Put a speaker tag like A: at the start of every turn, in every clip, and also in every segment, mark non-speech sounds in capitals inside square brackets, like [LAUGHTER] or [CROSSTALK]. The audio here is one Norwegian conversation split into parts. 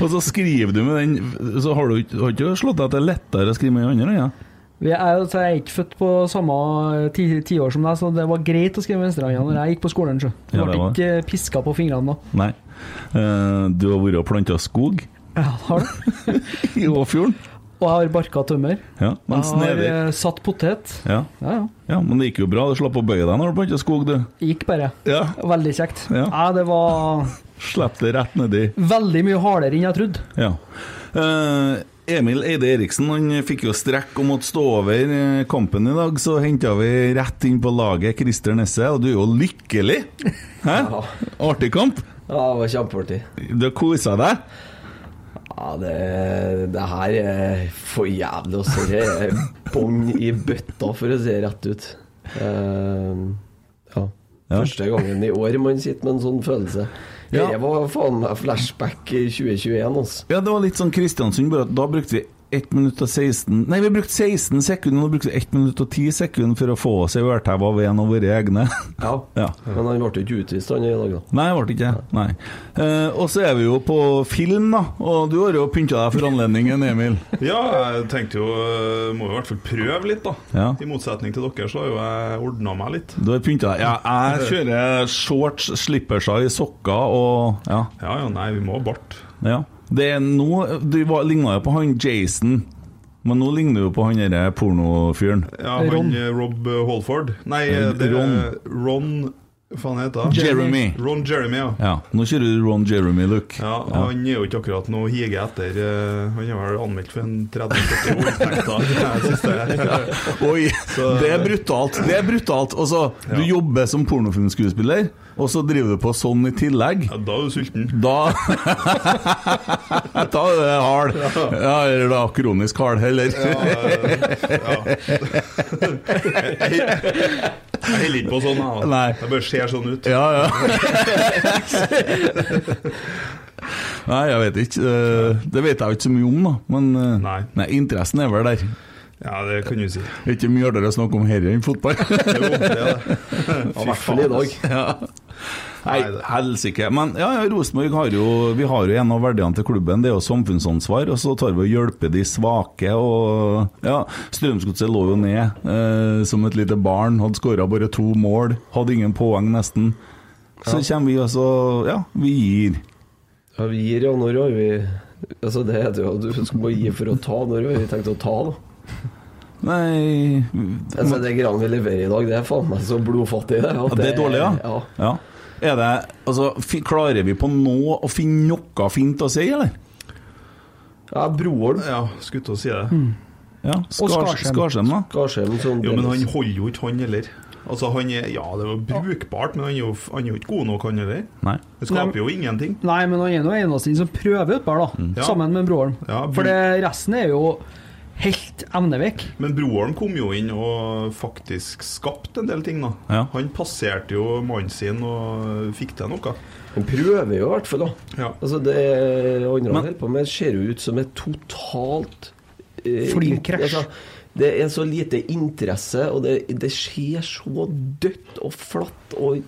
A: Og så skriver du med den Så har du ikke- har ikke slått deg at det er lettere å skrive med den andre? Ja?
B: Vi er jo- så Jeg er ikke født på samme ti- tiår som deg, så det var greit å skrive venstrehånda når jeg gikk på skolen. Så.
A: Ja,
B: Jeg
A: det
B: ble
A: var det.
B: ikke piska på fingrene da.
A: Nei. Eh, du har vært og planta skog
B: Ja, har det.
A: i Åfjorden?
B: Og jeg har barka tømmer.
A: Ja, men
B: Jeg har
A: snedig.
B: eh, satt potet.
A: Ja.
B: Ja, ja.
A: ja, men det gikk jo bra. Du slapp å bøye deg når du planta skog, du.
B: Gikk bare.
A: Ja.
B: Veldig kjekt.
A: Ja.
B: Nei, det var
A: Slipp det rett nedi.
B: veldig mye hardere enn jeg trodde.
A: Ja. Eh, Emil Eide Eriksen han fikk jo strekk og måtte stå over eh, kampen i dag. Så henta vi rett inn på laget Christer Nesse, og du er jo lykkelig! Hæ? Artig kamp.
C: Ja, det var kjempeartig.
A: Du har kosa deg.
C: Ja, det, det her er for jævlig, altså. Det er bånn i bøtta, for å si det rett ut. Ehm, ja.
A: Ja.
C: Første gangen i år man sitter med en sånn følelse.
A: Ja.
C: Dette var faen meg flashback i 2021, altså.
A: Ja, det var litt sånn Kristiansund, bare at da brukte vi 1 minutt og 16 Nei, vi brukte 16 sekunder, nå brukte vi 1 minutt og 10 sekunder for å få oss ei ørtæve av en av våre egne. [LAUGHS]
C: Ja.
A: Ja.
C: Men han ble jo ikke utvist, han i dag, da.
A: Nei, det ble ikke det. Nei. Eh, og så er vi jo på film, da. Og du har jo pynta deg for anledningen, Emil.
D: [LAUGHS] Ja, jeg tenkte jo eh, Må jo i hvert fall prøve litt, da.
A: Ja.
D: I motsetning til dere, så har jo jeg ordna meg litt.
A: Du har pynta deg. Ja,
D: [LAUGHS]
A: jeg kjører shorts, slipperser i sokker og Ja.
D: Ja ja, nei, vi må ha bart.
A: ja. Det er nå Du var- ligna jo på han Jason, men nå ligner du jo på han derre pornofyren.
D: Ja,
B: Ron.
D: han eh, Rob eh, Holford. Nei, eh, det er
A: Ron.
D: eh, Ron Hva faen heter han?
A: Jeremy.
D: Ron Jeremy, ja.
A: Ja, nå kjører du Ron Jeremy-look.
D: Ja, Han er jo ikke akkurat noe hige etter eh, Han er vel anmeldt for en
A: [LAUGHS]
D: 30-40 voldtekter. jeg synes det.
A: Oi,
D: Så-
A: det er brutalt. Det er brutalt. Og så, du
D: Ja.
A: jobber som pornofilmskuespiller, og så driver du på sånn i tillegg.
D: Ja, Da er du sulten.
A: Da Da er det hard. Ja, eller da kronisk hard heller.
D: Ja, eh, ja. Jeg, jeg, Jeg holder ikke på sånn, jeg.
A: Nei.
D: Jeg bare ser sånn ut.
A: Ja, ja. Nei, jeg vet ikke. Eh, Det vet jeg jo ikke så mye om, da. Men eh,
D: Nei.
A: nei, interessen er vel der.
D: Ja, det kan du si.
A: Det er ikke mye artigere å snakke om herre enn fotball.
D: Jo, det er det.
C: I hvert fall i dag.
A: [LAUGHS] Nei,
D: Nei, det-
A: helsike. Men ja, ja, Rosenborg har jo Vi har jo en av verdiene til klubben, det er jo samfunnsansvar. Og så tar vi og hjelper de svake og Ja, Strømsgodset lå jo ned eh, som et lite barn. Hadde skåra bare to mål. Hadde ingen poeng, nesten. Så kommer vi altså Ja, vi gir.
C: Ja, vi gir, ja. Når har vi Altså, det heter jo at du skal bare gi for å ta. Når har vi tenkt å ta, da?
A: Nei
C: Altså, det greiene vi leverer i dag, det er faen meg så blodfattig, det.
A: Ja, det er dårlig, ja?
C: ja.
A: ja. Er det, altså, fi, klarer vi på nå å finne noe fint å si, eller?
C: Ja, Broholm.
D: Ja, skulle til å si det.
A: Mm. Ja, Skars-
B: Skarsheim.
A: Skarsheim, da.
C: Skarsheim sånn
D: Jo, men han holder jo ikke, han heller. Altså, han er Ja, det var brukbart, men han er jo, han er jo ikke god nok, han heller.
A: Nei.
D: Det skaper jo ingenting.
B: Nei, men han er nå eneste som prøver utpå her, da.
D: Mm. Ja.
B: Sammen med broren.
D: Ja,
B: For det, resten er jo helt evnevekk.
D: Men Broholm kom jo inn og faktisk skapte en del ting, da.
A: Ja.
D: Han passerte jo mannen sin og fikk til noe.
C: Han prøver jo i hvert fall, da.
D: Ja.
C: Altså, det andre
A: Men-
C: han holder på med, ser jo ut som et totalt eh,
B: Flykrasj.
C: det er så lite interesse, og det, det skjer så dødt og flatt og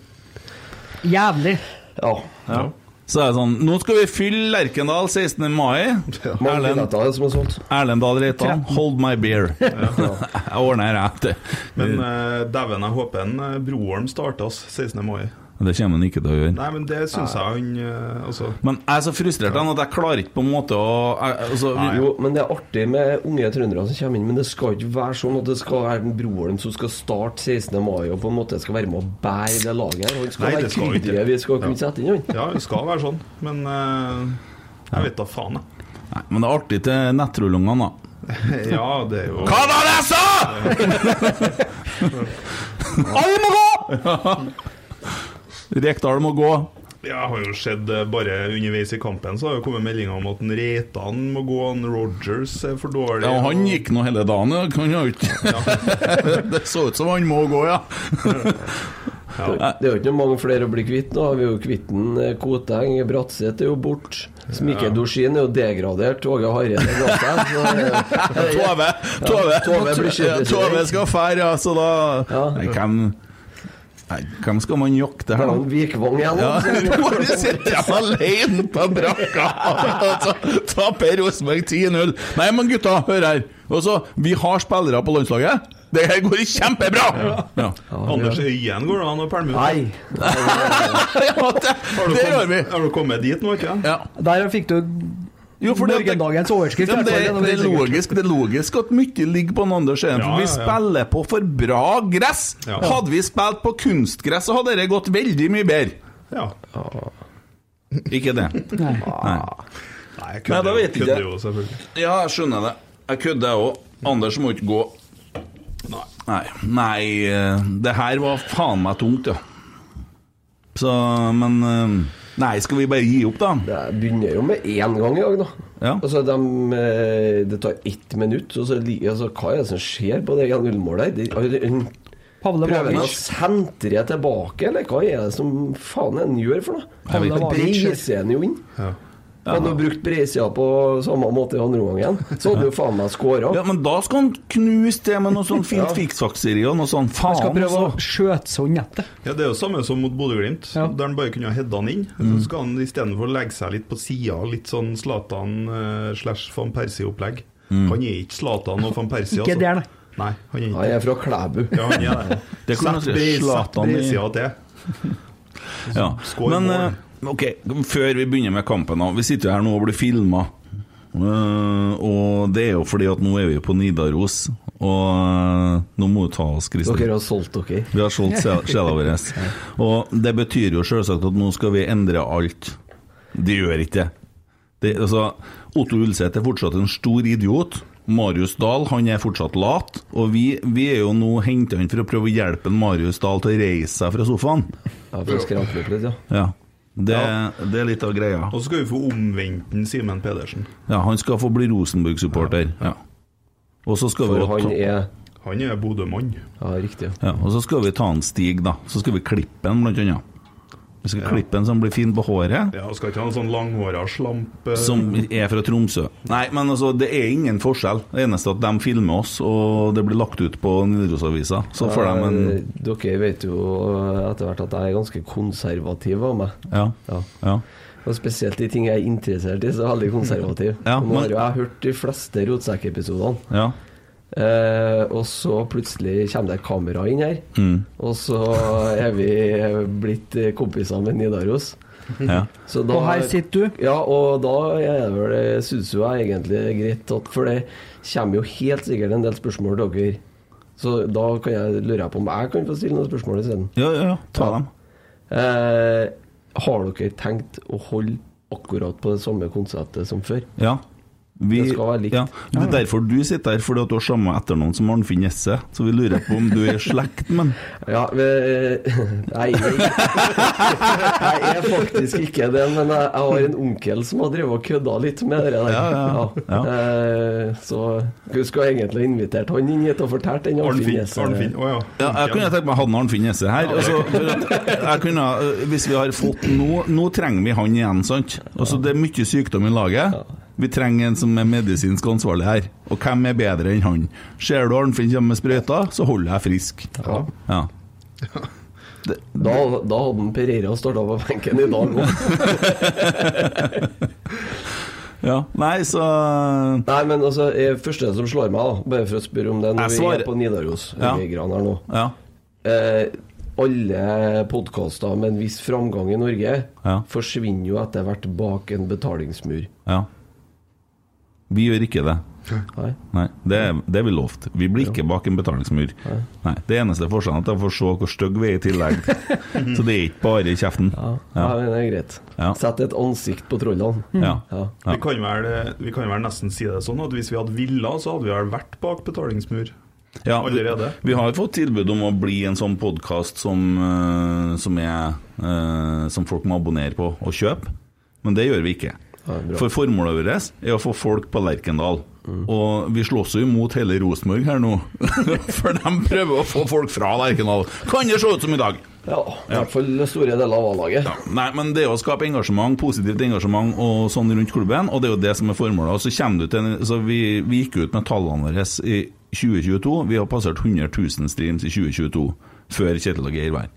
B: Jævlig.
C: Ja.
A: Ja. Så er det sånn Nå skal vi fylle Lerkendal 16. mai.
C: Mange
A: [LAUGHS] Erlend,
C: billetter som er solgt.
A: Erlend Dahl Reitan, hold my beer. [LAUGHS] Jeg ordner det.
D: Men eh, dæven, jeg håper en eh, Broholm starter oss 16. mai.
A: Det kommer han ikke til å gjøre.
D: Nei, men det syns jeg han eh, Altså,
A: Men jeg er så frustrert han, at jeg klarer ikke på en måte å jeg, altså, vi,
C: Jo, men det er artig med unge trøndere som kommer inn, men det skal ikke være sånn at det skal være en Broholm som skal starte 16. mai og på en måte skal være med å bære det laget her. Han skal
D: Nei,
C: være
D: det skal han ikke.
C: krydderet vi skal kunne
D: Ja.
C: sette inn han.
D: ja, det skal være sånn, men eh, jeg vet da faen, jeg.
A: Nei, men det er artig til nettrollungene, da.
C: [LAUGHS]
D: Ja, det er jo
A: Hva var det jeg sa?! [LAUGHS] Alle må gå! [LAUGHS] Rekdal må gå.
D: Jeg har jo sett eh, bare underveis i kampen, så har det kommet meldinger om at en Reitan må gå, en Rogers er for dårlig
A: Ja, han gikk nå hele dagen. ja. Han har jo ikke [LAUGHS] Det så ut som han må gå, ja.
C: Det er jo ikke noe mange flere å bli kvitt nå. Vi er jo kvitt en eh, Koteng, Bratseth er jo borte. Mikkel Dorsin er jo degradert. Åge Hareide er blant dem,
A: [LAUGHS]
C: så, eh,
A: Tove Tove,
C: Tove blir kjent.
A: Tove skal fære, ja, så da
C: Ja.
A: Nei, hvem Nei, hvem skal man jakte her,
C: Erlend
A: da?
C: Vikvang igjen.
A: Ja,
C: altså.
A: [LAUGHS] Bare sitter jeg alene på Altså, brakka og så taper Rosenborg 10-0. Nei, men gutta, hør her. Også, vi har spillere på landslaget. Det her går kjempebra! Ja. [LAUGHS]
D: Anders Øyen går da, han har permut.
C: Nei.
A: Ja, det,
D: Har du
A: der har vi!
D: kommet- Har du kommet dit nå, ikke sant?
A: Ja.
B: Der fikk du
A: Jo, fordi at det-
B: morgendagens overskrift.
A: Ja, men det,
B: i hvert fall,
A: det, er
B: helt sikkert.
A: logisk, det er logisk at mye ligger på en annen skjerm,
D: Ja,
A: for vi
D: ja, ja.
A: spiller på for bra gress.
D: Ja.
A: Hadde vi spilt på kunstgress, så hadde det gått veldig mye bedre.
D: Ja.
A: Ikke det.
B: Nei.
A: Nei.
D: Nei, jeg
A: Nei, da
D: kødder jo-
A: vet jeg ikke.
D: kødder jo, selvfølgelig.
A: Ja, jeg skjønner det. Jeg kødder, jeg òg. Anders må ikke gå.
D: Nei.
A: Nei. Nei, eh, det her var faen meg tungt, ja. Så, men eh, Nei, skal vi bare gi opp, da?
C: Det begynner jo med én gang i dag, da.
A: Ja.
C: Altså, dem, eh, det tar ett minutt, og så li- altså, hva er det som skjer på det 1-0-målet? Det- han-
B: Pavle
C: Prøver han å
B: Vagic.
C: sentre tilbake, eller hva er det som faen er det han gjør for noe?
A: Jeg vet
C: Han
B: ikke.
C: breiser han jo inn.
D: Ja.
C: Hadde han brukt breisida på samme måte i andre omgang, så hadde han jo faen meg skåra.
A: Ja, men da skal han knuse til med noe sånn fint
C: Ja.
A: fiksfakseri og noe sånn faen.
B: Han skal prøve
A: altså.
B: å skjøte sånn nettet.
D: Ja, Det er jo samme som mot Bodø-Glimt,
B: Ja.
D: der han bare kunne ha hedda han inn. Så skal han istedenfor legge seg litt på sida, litt sånn Zlatan eh, slash van Persie-opplegg. Han er ikke Zlatan og van Persie, altså.
B: Ikke der, nei.
D: Nei, han er ikke
C: Han er fra Klæbu.
D: ja, han er det.
A: Det kunne
D: Sett
A: han si.
D: brei- sett
A: Zlatan i-
D: breisida til.
A: altså. Ja.
D: Skår
A: Men
D: mål.
A: eh, ok, før vi begynner med kampen da. Vi sitter jo her nå og blir filma. og det er jo fordi at nå er vi på Nidaros, og eh, nå må du ta oss, Kristin.
C: Dere har solgt dere.
A: Vi har solgt sjel- sjela vår. Og det betyr jo selvsagt at nå skal vi endre alt. Det gjør ikke det. det. Altså, Otto Ulseth er fortsatt en stor idiot. Marius Dahl han er fortsatt lat. Og vi, vi er jo nå henta inn for å prøve å hjelpe en Marius Dahl til å reise seg fra sofaen.
C: Jeg får skremte opp litt, ja.
A: Ja. Det,
D: Ja.
A: det er litt av greia.
D: Og så skal vi få omvendt den Simen Pedersen.
A: Ja, han skal få bli Rosenborg-supporter. Ja. Og så skal vi
C: For
A: jo
C: han
A: ta-
C: er
D: Han er Bodø-mann.
C: Ja, riktig.
A: Ja, og så skal vi ta en Stig, da. Så skal vi klippe den, blant annet. Vi skal klippe den som blir fin på håret.
D: Ja, skal ikke ha en sånn langhåra slamp eh,
A: Som er fra Tromsø. Nei, men altså, det er ingen forskjell. Det eneste er at de filmer oss, og det blir lagt ut på Nidarosavisa. Så får de en
C: Eh, Dere vet jo etter hvert at jeg er ganske konservativ av meg.
A: Ja.
C: Ja.
A: ja.
C: Og spesielt de ting jeg er interessert i, så er jeg veldig konservativ.
A: [LAUGHS] Ja,
C: Nå har
A: men-
C: jo jeg hørt de fleste rotsekkepisodene.
A: ja.
C: Eh, og så plutselig kommer det et kamera inn her,
A: Mm.
C: og så er vi blitt eh, kompiser med Nidaros.
A: ja.
C: Så da,
B: Og her sitter du.
C: Ja, og da er det vel syns jo jeg egentlig er greit, at- for det kommer jo helt sikkert en del spørsmål til dere. Så da kan jeg, lurer jeg på om jeg kan få stille noen spørsmål isteden.
A: Ja, ja, ja. Ta dem.
C: Eh, har dere tenkt å holde akkurat på det samme konseptet som før?
A: Ja. Vi-
C: Det skal være likt.
A: Ja. Det er derfor du sitter her, fordi at du har samme etternavn som Arnfinn Jesse. Så vi lurer på om du er i slekt med han.
C: Ja, eh, [LAUGHS] nei, jeg, jeg er faktisk ikke det, men jeg, jeg har en onkel som har drevet og kødda litt med det der.
A: Ja, ja, ja.
C: Eh, så du skulle egentlig ha invitert han inn hit og fortalt den
D: Arnfinn.
C: Arnfinn-gjesen.
D: Arnfinn, Å ja.
A: Ja, jeg kunne tenkt meg å ha den Arnfinn Jesse her. Altså, for at jeg kunne, øh, hvis vi har fått nå Nå trenger vi han igjen, sant? Altså, det er mye sykdom i laget. Vi trenger en som er medisinsk ansvarlig her. Og hvem er bedre enn han? Ser du Arnfinn kommer med sprøyta, så holder jeg frisk.
C: Ja.
A: Ja.
C: Da, da hadde han Pereira starta på benken i dag òg.
A: ja. Nei, så
C: Nei, men altså, eh, første som slår meg, da, bare for å spørre om det når
A: Jeg
C: vi
A: svarer-
C: er på Nidaros
A: Ja.
C: vi er i Gran her nå
A: Ja.
C: eh, Alle podkaster med en viss framgang i Norge
A: Ja.
C: forsvinner jo etter hvert bak en betalingsmur.
A: ja. Vi gjør ikke det.
C: Nei.
A: Nei, det, det er vi lovt. Vi blir ikke bak en betalingsmur. Nei, Det eneste forskjellen er at de får se hvor stygge vi er i [LAUGHS] tillegg. Så det er ikke bare i kjeften.
C: Ja, men det er greit.
A: Ja. Mm.
C: Sett et ansikt på trollene.
A: Ja.
C: Ja.
A: Ja.
D: Vi, kan vel, vi kan vel nesten si det sånn at hvis vi hadde villa, så hadde vi vel vært bak betalingsmur.
A: Ja,
D: Allerede.
A: Vi har fått tilbud om å bli en sånn podkast som, eh, som, er, eh, som folk må abonnere på og kjøpe, men det gjør vi ikke.
C: Ja, bra. Mm.
A: For formålet vårt er å få folk på Lerkendal. Og vi slåss jo imot hele Rosenborg her nå, [LAUGHS] for de prøver å få folk fra Lerkendal. Kan det se ut som i dag?
C: ja, i hvert fall store deler av A-laget.
A: Ja, nei, men det er å skape engasjement, positivt engasjement og sånn rundt klubben, og det er jo det som er formålet. Og så kommer du til en, så vi, vi gikk ut med tallene våre i 2022. Vi har passert 100 000 streams i 2022, før Kjetil og Geir var her.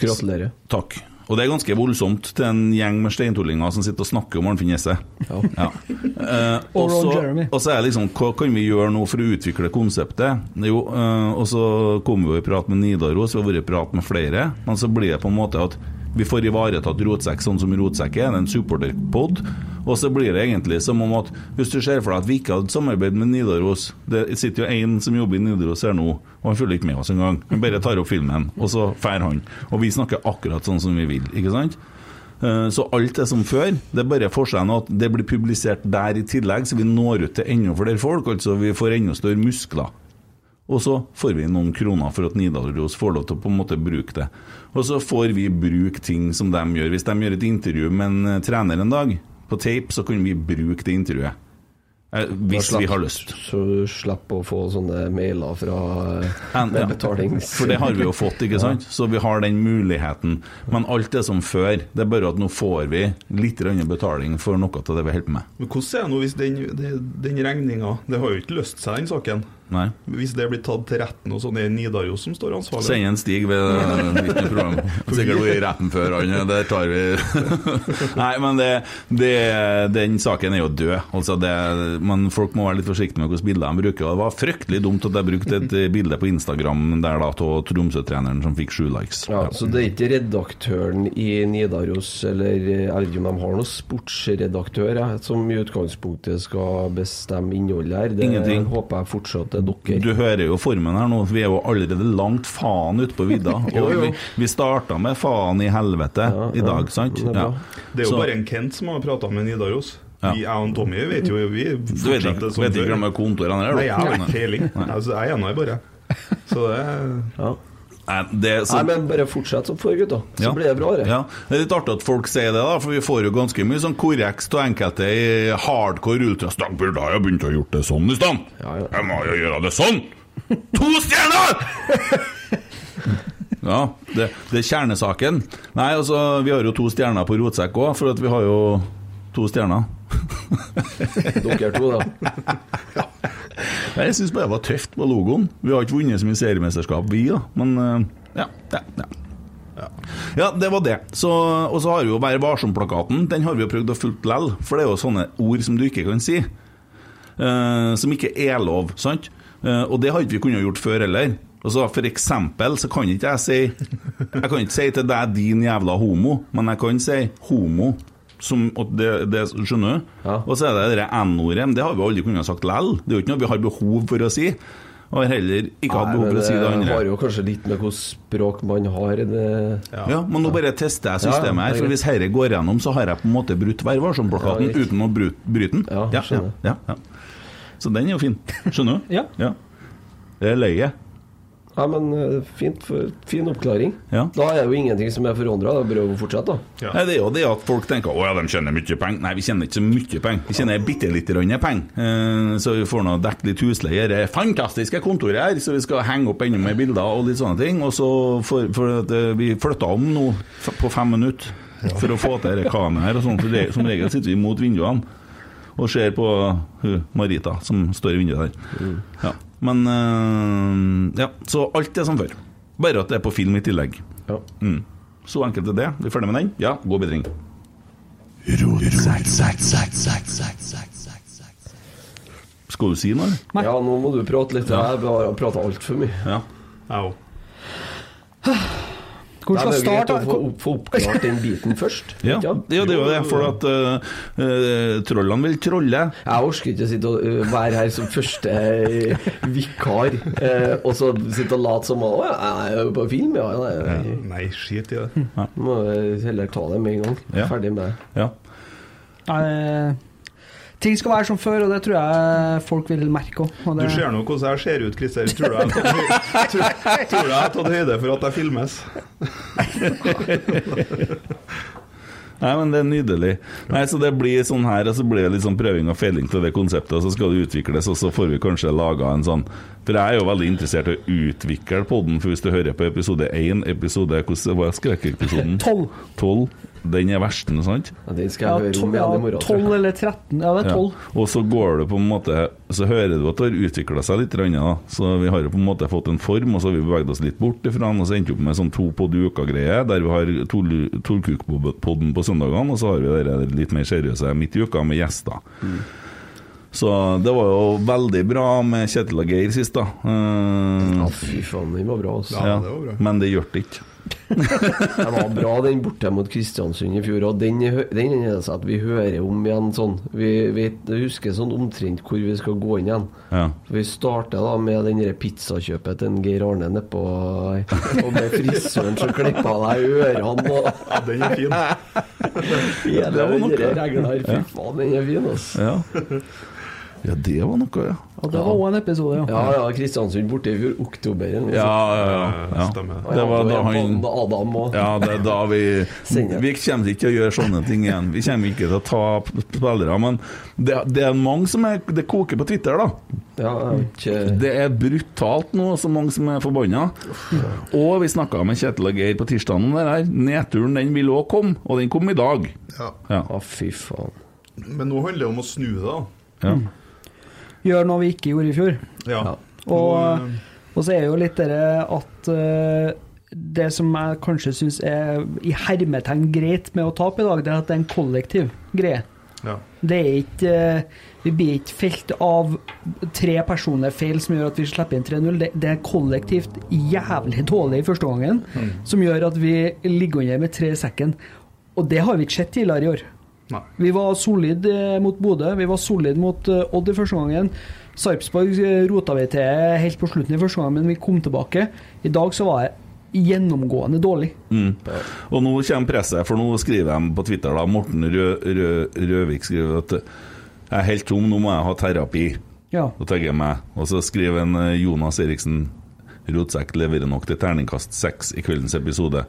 C: Gratulerer.
A: Takk. Og det er ganske voldsomt til en gjeng med steintullinger som sitter og snakker om Arnfinn Jesse.
C: Ja.
A: Ja. Eh,
B: Og
A: og
B: Ron
A: så-
B: Jeremy.
A: Og så er det liksom Hva kan vi gjøre nå for å utvikle konseptet? Jo, eh, og så kom vi jo i prat med Nidaros, vi har vært i prat med flere. Men så blir det på en måte at vi får ivaretatt Rotsekk sånn som Rotsekk er, det er en supporterpod. Og så blir det egentlig som om at hvis du ser for deg at vi ikke hadde samarbeidet med Nidaros Det sitter jo en som jobber i Nidaros her nå, og han følger ikke med oss engang. Han bare tar opp filmen, og så drar han. Og vi snakker akkurat sånn som vi vil, ikke sant? Eh, Så alt er som før. Det er bare forskjellen at det blir publisert der i tillegg, så vi når ut til enda flere folk. Altså vi får enda større muskler. Og så får vi noen kroner for at Nidaros får lov til å på en måte bruke det. Og så får vi bruke ting som de gjør. Hvis de gjør et intervju med en eh, trener en dag, på tape, så kan vi bruke det intervjuet. Eh, Hvis vi har lyst.
C: Så du slipper å få sånne mailer fra eh,
A: En-
C: med
A: ja.
C: betalings...
A: For det har vi jo fått, ikke sant? Så vi har den muligheten. Men alt er som før. Det er bare at nå får vi litt grann betaling for noe av det vi holder på med.
D: Men hvordan er det nå hvis den, det- den regninga Det har jo ikke løst seg, den saken.
A: Nei.
D: Hvis det blir tatt til retten og sånn, er det Nidaros som står ansvarlig?
A: Send en Stig ved hvilket program. [LAUGHS] Sikkert vært i retten før han, der tar vi [LAUGHS] Nei, men det, det, den saken er jo død. Altså det, men folk må være litt forsiktige med hvilke bilder de bruker. Og Det var fryktelig dumt at jeg brukte et eh, bilde på Instagram der da av Tromsø-treneren som fikk sju likes.
C: Ja, så det er ikke redaktøren i Nidaros, eller eh, jeg vet ikke om de har noen sportsredaktør, jeg, som i utgangspunktet skal bestemme innholdet her. Det
A: Ingenting.
C: håper jeg fortsatt er dere.
A: Du hører jo formen her nå. Vi er jo allerede langt faen ute på
D: [LAUGHS]
A: vidda.
C: Jo,
A: Og
C: jo.
A: vi, vi starta med faen i helvete i dag, sant?
C: det er bra.
D: Det er jo
A: Så-
D: bare en Kent som har prata med Nidaros.
A: Ja.
D: Vi, jeg og Tommy vet jo vi
A: Du vet ikke,
D: fortsetter som
A: vet ikke
D: før.
A: hvem er kontorene der?
D: Nei, jeg har
A: da?
D: ikke peiling. Altså, jeg er enig bare. Så det er
C: Ja.
A: Nei, det, sånn- så,
C: Nei, men bare fortsett som før, gutta. Så
A: Ja.
C: blir det bra. Det.
A: Ja. Det er litt artig at folk sier det, da, for vi får jo ganske mye sånn korreks av enkelte i hardcore ultras. Da burde jeg ha begynt å gjøre det sånn i stand!
C: Ja, ja.
A: Jeg må jo gjøre det sånn! To stjerner! [LAUGHS] Ja, det, det er kjernesaken. Nei, altså, vi har jo to stjerner på rotsekk òg, for at vi har jo to stjerner.
C: [LAUGHS] Dere to,
A: [LAUGHS]
C: da.
A: Nei, Jeg syns bare det var tøft på logoen. Vi har ikke vunnet så mye seriemesterskap, vi, da. Men eh, ja, ja, ja. Ja, det var det. Så, og så har vi jo Vær varsom-plakaten. Den har vi jo prøvd å fulgt lell, for det er jo sånne ord som du ikke kan si. eh, som ikke er lov, sant? Eh, og det har ikke vi kunnet gjort før heller. Og så For eksempel så kan ikke jeg si Jeg kan ikke si til deg 'din jævla homo', men jeg kan si 'homo'. Som, og det, det, skjønner du?
C: Ja.
A: Og så er det det N-ordet. men Det har vi aldri kunnet sagt lell. Det er jo ikke noe vi har behov for å si. Og har heller ikke hatt
C: Nei,
A: behov
C: men eh,
A: for å si det andre.
C: har jo kanskje litt med hvilket språk man har. Det,
A: Ja. men nå bare tester jeg systemet
C: Ja, ja, det er
A: her, for
C: greit.
A: hvis dette går gjennom, så har jeg på en måte brutt Vær varsom-plakaten
C: Ja, greit.
A: uten å bru- bryte den.
C: Ja,
A: ja,
C: skjønner.
A: ja, ja. Så den er jo fin. Skjønner du?
B: Ja.
A: Det er løye.
C: Nei, men eh, fint, for, fin oppklaring.
A: Ja.
C: Da er jo ingenting som er forandra. Det er bare å fortsette, da.
D: Ja.
A: Nei, Det er jo det at folk tenker å ja, de tjener mye penger. Nei, vi tjener ikke så mye penger. Vi tjener bitte lite grann penger. Eh, Så vi får nå dekket litt husleie. Det er fantastiske kontoret her, så vi skal henge opp enda mer bilder og litt sånne ting. Og så for, for at eh, vi flytta om nå f- på fem minutter for å få til dette kameraet her og sånn. For det, som regel sitter vi mot vinduene og ser på hun, Marita som står i vinduet der. Ja. Men eh, Ja, så alt er som før. Bare at det er på film i tillegg.
C: Ja.
A: Mm. Så enkelt er det. Vi er ferdig med den? Ja, god bedring. Skal du si noe? eller?
B: Nei.
C: ja, nå må du prate litt. Jeg har prata altfor mye.
A: Ja.
D: Au.
B: Hvor
C: Nei,
B: skal
C: det er jo greit
B: starte?
C: å få, opp, få oppklart den biten først.
B: [LAUGHS]
C: ikke
A: Ja. ja,
C: sant?
A: det er jo det, for at eh, eh, trollene vil trolle.
C: Jeg orker ikke å sitte og ø, være her som første ø, vikar, eh, og så sitte og late som at, Å, jeg er jo på film, ja. ja, ja.
D: Nei, skit i
B: Hm.
D: det.
C: Må jeg heller ta det med en gang.
A: Ja.
C: Ferdig med det.
A: Ja.
B: Nei, eh, ting skal være som før, og det tror jeg folk vil merke òg. Og
D: Du
B: det,
D: ser nå hvordan jeg ser ut, Christer. Tror du jeg har tatt høy- tror- tror du jeg har tatt høyde for at jeg filmes?
A: Nei, men det er nydelig. Nei, Så det blir sånn her, og så blir det litt sånn prøving og feiling til det konseptet, og så skal det utvikles, og så får vi kanskje laga en sånn For jeg er jo veldig interessert i å utvikle podden, for hvis du hører på episode én, episode Hvordan var skrekkepisoden?
B: Tolv.
A: [LAUGHS] Tolv. Den er verst, ikke sant?
C: Ja, den skal
B: Ja,
C: jeg høre
B: tolv,
C: om
B: ja,
C: igjen i morgen.
B: 12
C: tror jeg.
B: eller 13. Ja, det er 12.
A: Ja. Og så går det på en måte Så hører du at det har utvikla seg litt, grann, da. så vi har jo på en måte fått en form, og så har vi beveget oss litt bort ifra den, og så endte vi opp med sånn to på uka-greie, der vi har Tol- Tolkukpodden på søndagene, og så har vi det der litt mer seriøse midt i uka med gjester.
D: Mm.
A: Så det var jo veldig bra med Kjetil og Geir sist, da. Eh,
C: Ja, fy faen, den var bra, altså.
D: Ja, det var bra.
A: Men det gjør det ikke.
C: Den var bra, den borte mot Kristiansund i fjor. Og den, hø- den er det sånn at vi hører om igjen sånn. Vi vet, husker sånn omtrent hvor vi skal gå inn igjen.
A: Ja.
C: Vi starter da med den der pizzakjøpet til en Geir Arne nedpå Og med frisøren som klippa deg i ørene og
D: Ja, den er fin.
C: hele
A: var
C: den
A: noe.
C: der regla her. Fy faen, den er fin, ass.
A: Ja. ja, det var noe, ja.
B: Ja, det var òg en episode, ja.
C: Ja, ja, Kristiansund borte i fjor. Oktober. eller noe
A: Ja,
C: sånt.
A: ja, ja.
D: Stemmer.
A: ja. Det var da han
C: Adam og
A: Ja, det er da vi
C: Sender.
A: Vi kommer ikke til å gjøre sånne ting igjen. Vi kommer ikke til å ta p- spillere. Men det, det er mange som er Det koker på Twitter, da.
C: Ja, jeg vet ikke
A: Det er brutalt nå, så mange som er forbanna. Og vi snakka med Kjetil og Geir på tirsdag om det her. Nedturen den vil òg komme, og den kom i dag.
D: Ja.
A: Ja.
C: Å, fy faen.
D: Men nå handler det om å snu det, da.
A: ja.
B: Gjør noe vi ikke gjorde i fjor.
D: Ja.
C: Ja.
B: Og,
D: Nå, eh,
B: og så er jo litt det at eh, det som jeg kanskje syns er i hermetegn greit med å tape i dag, det er at det er en kollektiv greie.
D: ja.
B: Det er ikke eh, Vi blir ikke felt av tre personlige feil som gjør at vi slipper inn 3-0. Det, det er kollektivt jævlig dårlig i første omgangen
A: Mm.
B: som gjør at vi ligger under med tre i sekken. Og det har vi ikke sett tidligere i år.
D: Nei.
B: Vi var solid eh, mot Bodø, vi var solid mot eh, Odd i første gangen. Sarpsborg eh, rota vi til helt på slutten i første gang, men vi kom tilbake. I dag så var jeg gjennomgående dårlig.
A: Og nå kommer presset, for nå skriver de på Twitter da Morten Rø Rø Røvik skriver at jeg er helt tom, nå må jeg ha terapi.
B: Ja.
A: Da tagger jeg meg. Og så skriver en eh, Jonas Eriksen Rotsekk leverer nok til terningkast seks i kveldens episode.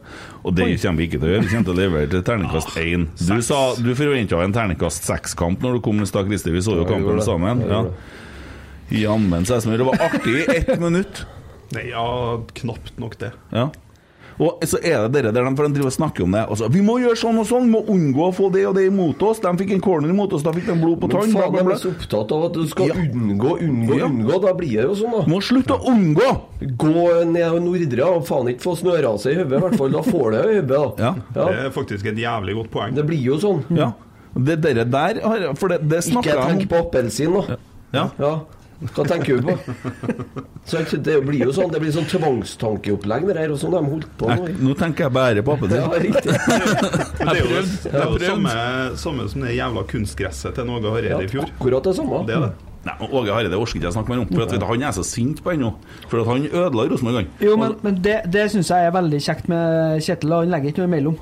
A: Og det kommer vi ikke til å gjøre. Vi kommer til å levere til terningkast
C: Ah,
A: én. Du,
D: seks.
A: sa- du forventa en terningkast seks-kamp når du kom i stad, Christer. Vi så jo
C: Ja, jeg
A: kampen
C: gjorde det.
A: sammen.
C: Jeg
A: Ja.
C: gjorde
A: Jammen sesmer. Det var artig i ett [LAUGHS] minutt.
D: Nei, ja, knapt nok det.
A: Ja. Og så er det dere der de, for de driver og snakker om det. Og så, 'Vi må gjøre sånn og sånn, må unngå å få det og det imot oss.' De fikk en corner imot oss, da fikk de blod på
C: Men
A: tann. bla,
C: faen,
A: bla,
C: jeg
A: bla.
C: blir så opptatt av at du skal
A: Ja.
C: unngå, unngå,
A: Ja.
C: unngå. Da blir det jo sånn, da.
A: Må slutte å unngå!
C: Gå ned og nordre og faen ikke få snørase i hodet, i hvert fall. Da får du det i hodet, da.
A: Ja.
D: Det er faktisk et jævlig godt poeng.
C: Det blir jo sånn.
A: Ja. Det dere der har For det, det
C: Ikke
A: snakka
C: tenk
A: jeg om.
C: på appelsin, da.
A: Ja.
C: Ja. Hva tenker
A: [LAUGHS]
C: du på? Så det blir jo sånn Det blir sånn tvangstankeopplegg, det der. Og sånn de holdt på
A: Jeg,
C: nå.
A: nå tenker jeg bare på
C: Ja,
A: appelsin.
C: riktig.
D: Men det er jo
A: prøvd.
D: det
A: Jeg
D: er jo
A: prøvd.
D: samme, samme som det jævla kunstgresset til Norge
C: Ja,
D: Hareide i fjor.
C: akkurat det samme.
D: Det er det.
A: Nei, men Åge Hareide orker ikke jeg snakke mer om, for at, vet du, han er så sint på ennå. For at han ødela Rosenborg, han.
B: Jo, men, men det, det syns jeg er veldig kjekt med Kjetil. Han legger ikke noe imellom.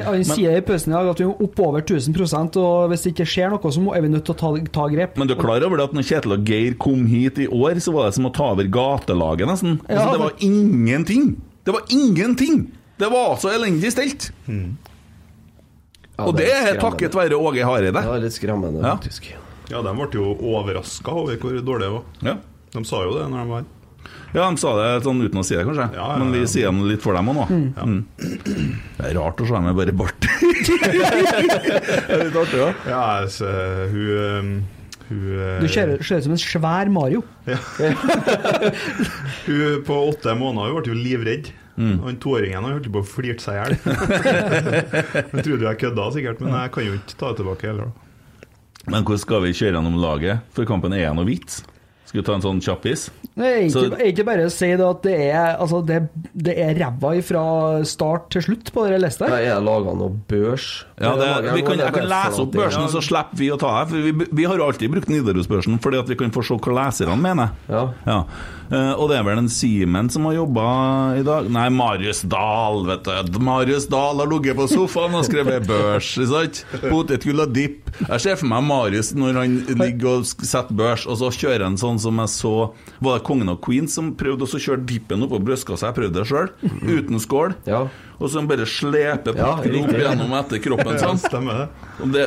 B: han han sier i pausen i dag at vi må opp over 1000 og hvis det ikke skjer noe, så må, er vi nødt til å ta, ta grep.
A: Men du er klar over det at når Kjetil og Geir kom hit i år, så var det som å ta over gatelaget, nesten. Altså,
B: Ja.
A: det var ingenting! Det var ingenting! Det var så elendig stelt!
C: Ja,
A: Og det er takket være Åge Hareide.
C: Det er litt skremmende,
A: Ja.
C: faktisk.
D: Ja, de ble jo overraska over hvor dårlig det var.
A: Ja.
D: De sa jo det når de var her.
A: ja, de sa det sånn uten å si det, kanskje.
D: Ja, ja,
A: Men vi
D: ja.
A: sier det litt for dem òg nå. Mm. Det er rart å se med bare bart. [LAUGHS] det er litt artig, ja.
D: Ja, altså, hun eh, hun, eh,
B: Du ser ser ut som en svær Mario.
D: hun på åtte måneder hun ble jo livredd.
A: Mm.
D: Han toåringen han holdt på å flirte seg i hjel.
A: [LAUGHS]
D: Jeg trodde jeg kødda sikkert, men jeg kan jo ikke ta det tilbake heller. da.
A: Men hvordan skal vi kjøre gjennom laget? For kampen er noe vits. Skal vi ta en sånn kjappis?
B: Det er ikke,
A: Så-
B: er ikke bare å si det at det er, altså det, det er ræva fra start til slutt på det lista.
C: Nei, er det laga noe børs?
A: Ja, det,
C: Er det laget
A: vi kan,
C: noe-
A: jeg kan lese opp børsen, så slipper vi å ta her. For vi, vi har jo alltid brukt Nidaros-børsen, fordi at vi kan få se hva leserne mener.
C: Ja.
A: Eh, og det er vel en Simen som har jobba i dag Nei, Marius Dahl, vet du. Marius Dahl har ligget på sofaen og
C: [LAUGHS]
A: skrevet børs, ikke sant? Potetgull og dipp. Jeg ser for meg Marius når han ligger og sk- setter børs, og så kjører han sånn som jeg så Var det Kongen og Queen som prøvde også å kjøre dippen oppå brystkassa? Jeg prøvde det sjøl, uten skål.
C: Mm. Ja.
A: Og så han bare sleper
C: Ja,
A: pukken opp
C: riktig.
A: gjennom etter kroppen.
D: Ja,
A: Sånn.
D: stemmer det.
A: Og det,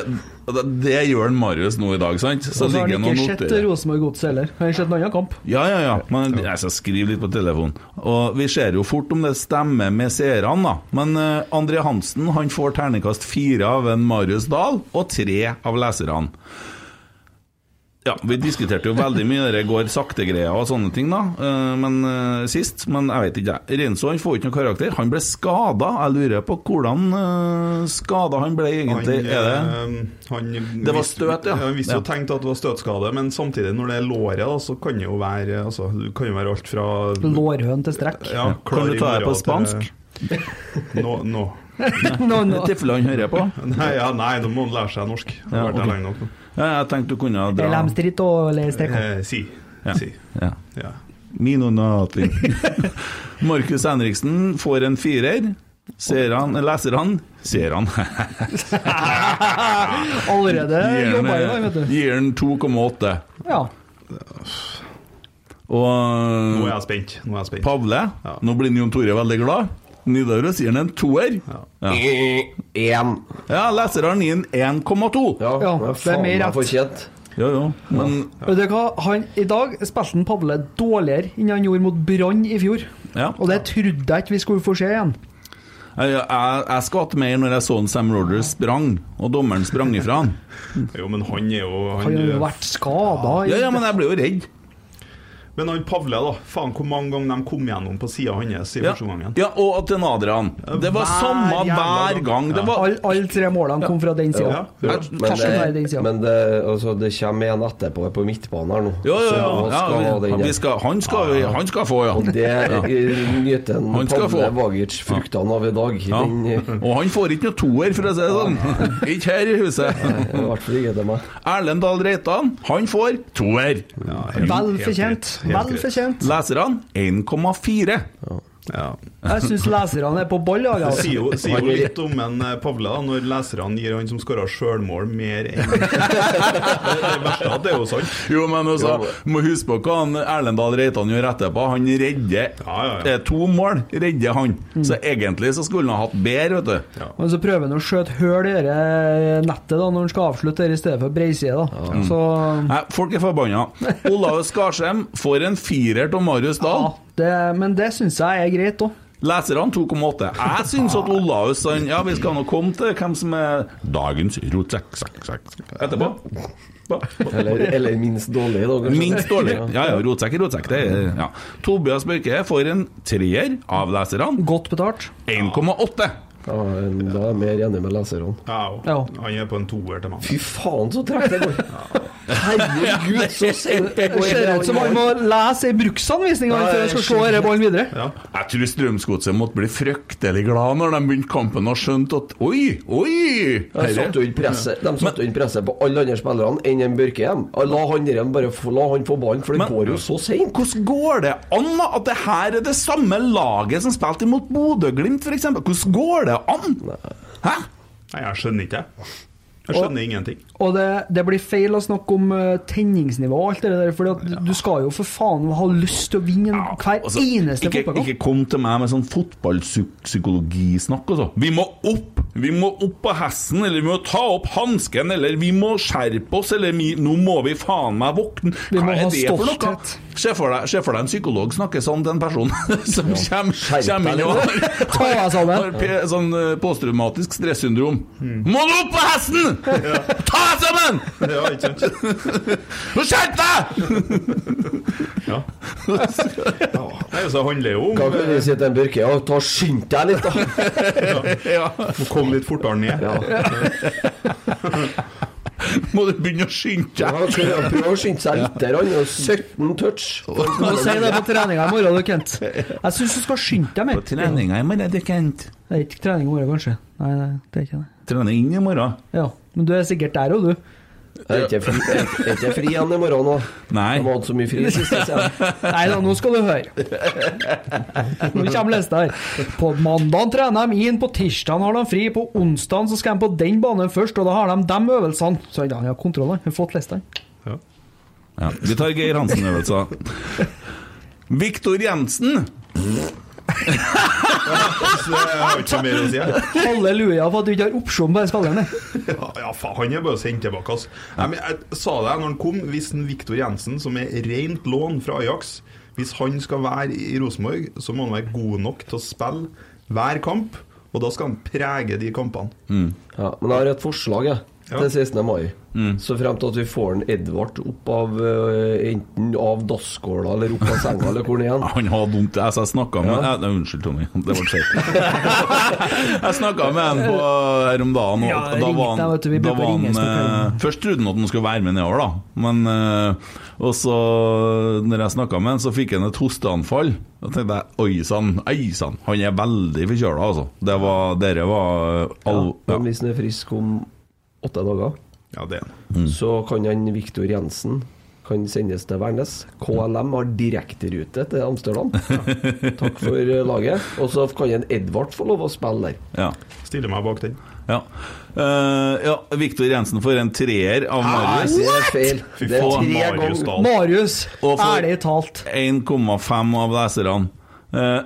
A: det, det gjør en Marius nå i dag, sant? Så
B: Og så har
A: ligger
B: han
A: han og
B: ikke sett
A: noterer.
B: Rosenborg Godset heller. Han har sett en annen kamp.
A: Ja, ja, ja. Men jeg skal skrive litt på telefonen. Og vi ser jo fort om det stemmer med seerne, da. Men eh, André Hansen han får terningkast fire av en Marius Dahl, og tre av leserne. Ja, vi diskuterte jo veldig mye det går sakte-greia og sånne ting, da. eh, Men eh, sist. Men jeg vet ikke, jeg. Renzo han får ikke noen karakter. Han ble skada. Jeg lurer på hvordan eh, skada han ble, egentlig. er det
D: eh, han
A: Det var
D: visste-
A: støt, ja.
D: Han visste
A: Ja.
D: jo tenkt at det var støtskade, men samtidig, når det er låret, da, så kan det jo være altså, Det kan jo være alt fra
B: Lårhøn til strekk.
D: ja, klar
A: Kan du
D: i
A: ta det på
D: morgen til-
A: spansk?
D: [LAUGHS] Nå, nå.
B: Nå- nå-
A: Det er Teffeland hører jeg på.
D: Nei, ja, nei, nå må han lære seg norsk. Han har
A: Ja,
D: vært der
A: ok.
D: lenge nok nå.
A: Ja, jeg tenkte du kunne ha
B: Det er
A: dra
B: lemstritt og le- strekk.
D: Eh, si.
A: Ja.
D: Si.
A: ja.
D: Ja.
A: Mino nothing. [LAUGHS] Markus Henriksen får en firer. Ser han, leser han, ser han. [LAUGHS]
B: Allerede
A: Gir
B: jobba i dag,
A: han, eh,
B: vet du.
A: gir han 2,8.
B: Ja.
D: Nå er
A: Og eh,
D: jeg spent. Nå er jeg spent.
A: Pavle, nå blir Jon Tore veldig glad. Nidaros gir han en toer.
C: En.
A: Ja, leserne gir han 1,2.
C: Ja,
B: Ja,
C: men
B: det er mer
C: faen meg
B: rett.
C: fortjent.
A: Jo, jo, men
B: Vet du hva, han, I dag spilte han Pavle dårligere enn han gjorde mot Brann i fjor.
A: ja.
B: Og det trodde jeg ikke vi skulle få se igjen.
A: Jeg, jeg, jeg skvatt mer når jeg så en Sam Rogers sprang, og dommeren sprang ifra han.
D: Jo, men han er jo han,
B: Han har jo vært skada.
A: Ja, ja, men jeg ble jo redd.
D: Men han Pavle, da. Faen hvor mange ganger de kom gjennom på sida hans i
A: Ja,
D: første omgang.
A: ja og til Adrian. Det var
D: Hver
A: samme
D: jævla
A: hver
D: gang.
A: gang. Det
D: Ja.
A: var
B: Alle all tre målene kom fra den
D: Ja.
B: sida.
D: Ja.
C: Men,
B: Karsten er i den
C: det,
B: sida.
C: men det, altså, det kommer en etterpå på midtbanen her nå.
A: Jo, jo, jo.
C: Så han skal
A: Ja,
C: ha den
A: vi-
C: der.
A: vi skal, han, skal, han skal få, ja.
C: Og det eh, nyter
A: Han
C: en
A: skal
C: Pavle
A: få.
C: Vagic fruktene av i dag.
A: ja.
C: Den, eh,
A: Og han får ikke noe toer, for å si det sånn. Ikke her i
C: [LAUGHS] I
A: huset.
C: hvert fall ikke til meg.
A: Erlend Dahl Reitan, han får toer.
D: Ja, helt-
B: Vel
D: helt
B: fortjent.
D: greit, helt
B: Vel
D: greit.
B: fortjent.
A: Leserne 1,4.
D: Ja.
B: Jeg syns leserne er på ball. i dag,
D: Det
B: Altså.
D: sier jo, sier jo litt om en eh, Pavle da, når leserne gir han som skåra sjølmål,
B: [LAUGHS]
D: mer enn Det verste er at det er jo sant.
A: [LAUGHS] Jo, men også, må huske på hva han Erlendal Reitan gjør etterpå. Han redder
D: Ja, ja, ja.
A: Det er to mål, redder han. Så egentlig så skulle han ha hatt bedre, vet du.
B: Men så prøver han å skjøte hull i det eh, nettet da, når han skal avslutte det i stedet for breiside. da. Så
A: Nei, folk
D: [LAUGHS]
A: er forbanna. Olav Skarsheim får en firer av Marius Dahl.
B: ja, det, Men det syns jeg er greit òg.
A: Leserne 2,8. Jeg syns at Olaus han, Ja, vi skal nå komme til hvem som er dagens rotsekk sekk, sekk, sekk. etterpå. Ba, ba.
C: Eller, eller minst dårlig, da. kanskje.
A: Minst dårlig. Ja, ja, rotsekk er rotsekk. Det er, ja. Tobias Børke får en treer av leserne.
B: Godt betalt.
A: 1,8.
C: Ja, da er jeg mer enig med leserne.
D: Ja,
B: Ja.
D: og han er på en toer til meg.
C: Fy faen, så tregt det går! Herregud, så sent det
B: Det ser ut som han må lese ei bruksanvisning han, før han skal se denne ballen videre.
A: Jeg tror Strømsgodset måtte bli fryktelig glad når de begynte kampen og skjønte at Oi, oi!
C: De satte jo inn presset De satte jo inn presset på alle andre spillerne enn en Børkehjem. La han der bare få, la han få ballen, for det
A: Men-
C: går jo så seint.
A: Hvordan går det an da, at det her er det samme laget som spilte imot Bodø-Glimt, f.eks.? Hvordan går det an? Hæ?
D: Nei, jeg skjønner ikke, jeg. Jeg skjønner ingenting.
B: Og det, det blir feil å snakke om eh, tenningsnivå og alt det der, for du skal jo for faen ha lyst til å vinne en- hver
A: Altså,
B: eneste
A: ikke,
B: fotballkamp.
A: ikke kom til meg med sånn fotballpsykologisnakk og så. Vi må opp! Vi må opp på hesten, eller vi må ta opp hansken, eller vi må skjerpe oss, eller vi, nå må vi faen meg våkne.
B: Vi må
A: Hva
B: ha
A: er det for noe?
B: stolthet.
A: Se for deg, se for deg en psykolog snakker sånn til en person [LAUGHS] som kommer, kommer inn og har, [LAUGHS]
B: Ta deg sammen.
A: har pe- sånn eh, posttraumatisk stressyndrom. Må du opp på hesten! Ta deg sammen!
D: [LAUGHS] Ja, ikke sant?
A: Nå skjerp deg!
B: [LAUGHS]
D: Ja. Nei, så handler det jo
C: Hva kan
D: om
C: vi si til en Børke? Ja, ta skynd deg
B: [LAUGHS]
C: litt, da!
A: Ja.
D: å komme litt fortere ned.
C: Ja.
A: Må du begynne å skynde
C: Ja,
A: deg?
C: prøv- Prøv å skynde seg litt. Der, han er jo 17 touch.
B: Du må si det på treninga i morgen, du, Kent. Jeg syns du skal skynde deg mer.
A: På treninga i morgen, du, Kent.
B: Det er ikke trening i morgen, kanskje. Nei, nei, det er ikke det.
A: Trening inn i morgen.
B: Ja, Men du er sikkert der òg, du.
C: Jeg er ikke fri, jeg er ikke fri igjen i morgen nå.
A: Nei.
C: De har hatt så mye fri i det siste. sier jeg.
B: Nei da, nå skal du høre. Nå kommer lista her. På mandag trener de inn, på tirsdag har de fri, på onsdag så skal de på den banen først, og da har de de øvelsene. Så han har kontroll, han. Har fått lista.
A: Ja. Vi tar Geir Hansen-øvelser. Viktor Jensen.
D: Så jeg har ikke så mer å si. jeg.
B: [LAUGHS] Halleluja for at du ikke har opsjon på den skalleren. der.
D: Ja, ja, faen, han er bare å sende tilbake, altså. Nei, men jeg sa det når han kom, hvis en Viktor Jensen, som er rent lån fra Ajax Hvis han skal være i Rosenborg, så må han være god nok til å spille hver kamp, og da skal han prege de kampene.
C: Ja, men jeg har et forslag jeg,
D: Ja.
C: til 16. mai. Så frem til at vi får en Edvard opp av eh, enten av dasskåla eller opp av senga eller hvor han er. igjen.
A: Han har dumt altså, Jeg snakka med Nei, Nei, Unnskyld, Tommy. Det ble skjevt. [LAUGHS] jeg snakka med han på her om dagen, og
B: Ja, jeg
A: da
B: ringte
A: var
B: deg, vet du, vi
A: han, da
B: burde
A: var
B: ringe,
A: han
B: Stortinget.
A: eh, Først trodde han at han skulle være med nedover, da. Men eh, Og så, når jeg snakka med han, så fikk han et hosteanfall. Da tenkte jeg oi sann, ei sann. Han er veldig forkjøla, altså. Det var Dere var eh,
C: Ja,
A: al... [LAUGHS] Ja.
C: Men hvis han er frisk om åtte dager,
D: Ja, det er han.
C: så kan han Viktor Jensen kan sendes til Værnes. KLM har direkterute til Amsterdam. Takk for eh, laget. Og så kan en Edvard få lov å spille der.
A: Ja.
D: Stiller meg bak den.
A: Ja. Eh, ja, Viktor Jensen får en treer av
C: Jeg
A: Marius.
C: sier det er feil.
D: Fy
C: Det er
D: faen,
C: tre
D: Marius
C: ganger
D: Dahl.
B: Marius,
A: Og for-
B: ærlig talt,
A: 1,5 av leserne. Eh,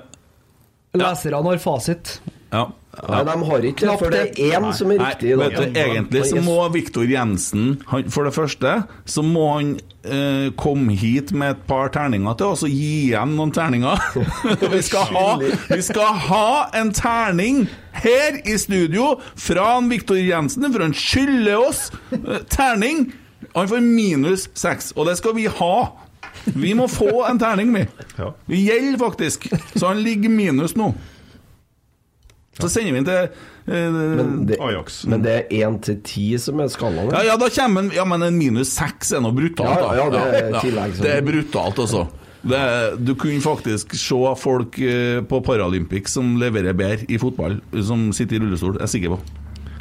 B: leserne har fasit.
A: ja.
C: Nei, de har ikke det, for det er én som er
A: Nei,
C: riktig. i dag.
A: vet du, egentlig så
C: Han er
A: må Viktor Jensen han, For det første så må han eh, komme hit med et par terninger til oss og gi igjen noen
C: [LAUGHS]
A: terninger. [LAUGHS] vi, skal ha, vi skal ha en terning her i studio fra han Viktor Jensen, for han skylder oss eh, terning. Han får minus seks, og det skal vi ha. Vi må få en terning, vi.
D: Ja.
A: Det gjelder faktisk. Så han ligger minus nå. Så sender vi den til eh,
C: Men det,
D: Ajax.
C: men det er 1 til 10 som er skalaen.
A: Ja, ja, da kommer en, ja, men en minus seks er noe brutalt. da.
C: Ja, ja, ja, det er tillegg, så-
A: Det er brutalt, altså. Det, er- du kunne faktisk se folk eh, på Paralympics som leverer bedre i fotball, som sitter i rullestol. Jeg er sikker på.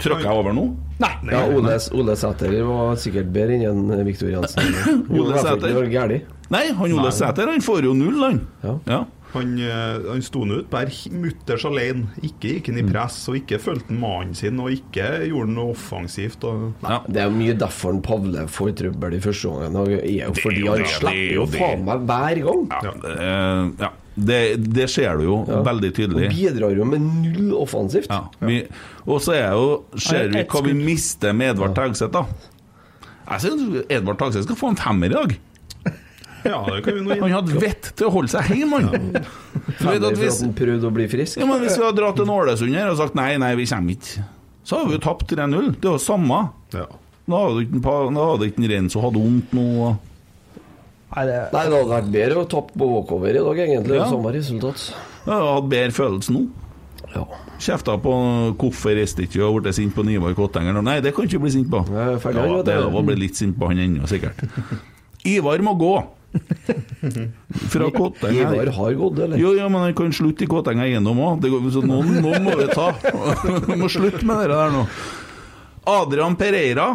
A: Tråkker jeg over nå?
B: Nei!
C: Ja, Ole, Ole Sæter var sikkert bedre enn en
A: [CLEARS THROAT]
C: Viktor Jensen. Jo, i hvert fall ikke
A: Sæter.
C: noe gærlig.
A: Nei, han Ole Sæter han får jo null, han.
C: Ja.
A: Ja.
D: Han, eh, han sto nå ut bare h- mutters alene. Ikke gikk han i press, og ikke fulgte mannen sin, og ikke gjorde noe offensivt. Og, nei.
A: Ja.
C: Det er jo mye derfor han Pavle får trøbbel i første omgang. og er jo Fordi
A: jo
C: han
A: det, det er
C: slipper
A: jo
C: jo
A: det.
C: faen meg hver gang.
A: Ja, eh, ja. Det, det ser du jo veldig
C: Og
A: tydelig.
C: bidrar jo med null offensivt.
A: Ja. Vi, og så er jo, ser
B: Nei,
A: vi
B: ett
A: hva vi
B: skudd.
A: mister med Edvard Tagseth, da. Jeg syns Edvard Tagseth skal få en femmer i dag.
D: Ja, det kan vi nå
A: Han
D: inn.
A: hadde vett til å holde seg hjemme, han. Du vet
C: Eller
A: at
C: for
A: hvis,
C: at han prøvde å bli frisk.
A: ja, men hvis vi hadde dratt til Ålesund her og sagt nei, nei, vi kommer ikke, så hadde vi jo tapt 3-0. Det er jo samme.
D: Ja.
A: Da hadde ikke en pa- da hadde ikke en Rein som hadde vondt nå. og-
B: Nei, det,
C: Nei, det hadde vært bedre å tappe på walkover i dag, egentlig.
A: Ja.
C: Samme resultat.
A: Jeg hadde hatt bedre følelse nå.
C: Ja.
A: Kjefta på hvorfor reiste ikke og ble sint på Nivar Kottenger. nå. Nei, det kan ikke bli sint på.
C: Nei, jeg er ferdig,
A: ja,
C: vet du.
A: det er lov å bli litt sint på han ennå, sikkert. Ivar må
C: [LAUGHS]
A: gå. Fra
C: Ivar
A: Kottenger.
C: har gått, eller?
A: Jo, ja, men han kan slutte i Kottenger eiendom òg. Så noen, noen må vi ta. [LAUGHS] Vi må slutte med det der nå. Adrian Pereira.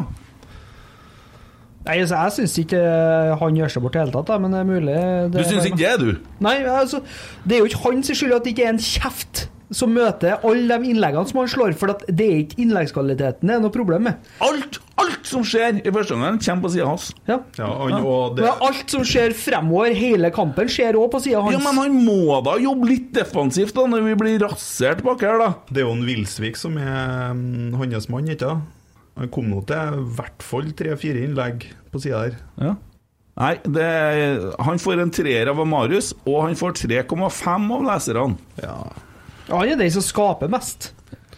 B: nei, altså, jeg syns ikke eh, han gjør seg bort i det hele tatt, da, men det er mulig
A: Du
B: det-
A: syns ikke det, du?
B: Nei, altså, det er jo ikke hans skyld at det ikke er en kjeft som møter alle de innleggene som han slår, for at det er ikke innleggskvaliteten det er noe problem med.
A: Alt, alt som skjer i første omgang, kommer på sida hans.
B: Ja.
D: Ja, han, og det,
B: Men alt som skjer fremover, hele kampen, skjer òg på sida hans.
A: Ja, men han må da jobbe litt defensivt da, når vi blir rasert bak her, da.
D: det er jo en Wilsvik som er mm, hans mann, ikke sant? Han kom nå til i hvert fall tre-fire innlegg på sida her.
A: Ja. Nei, det, han får en treer av Marius, og han får 3,5 av leserne.
D: Ja.
B: Ja, han er den som skaper mest.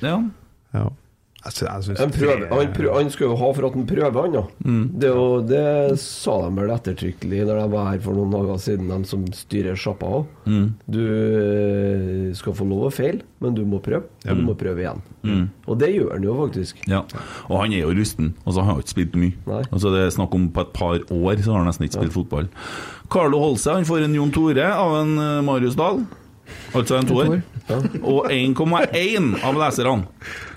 A: Ja.
D: ja. Jeg, sy- jeg syns
C: Han, prøver,
D: tre-
C: han, prøver, han skal jo ha for at han prøver, han, da.
A: Mm.
C: Det, er jo- det sa de vel ettertrykkelig når de var her for noen dager siden, de som styrer sjappa òg.
A: Mm.
C: Du eh, skal få lov å feile, men du må prøve, og du må prøve igjen.
A: Mm.
C: Og det gjør han jo faktisk.
A: ja. Og han er jo rusten. Altså, han har jo ikke spilt mye.
C: Nei.
A: Altså, det er snakk om på et par år så har han nesten ikke spilt fotball. Carlo Holse han får en Jon Tore av en eh, Marius Dahl. Altså en toer. Og 1,1 av leserne.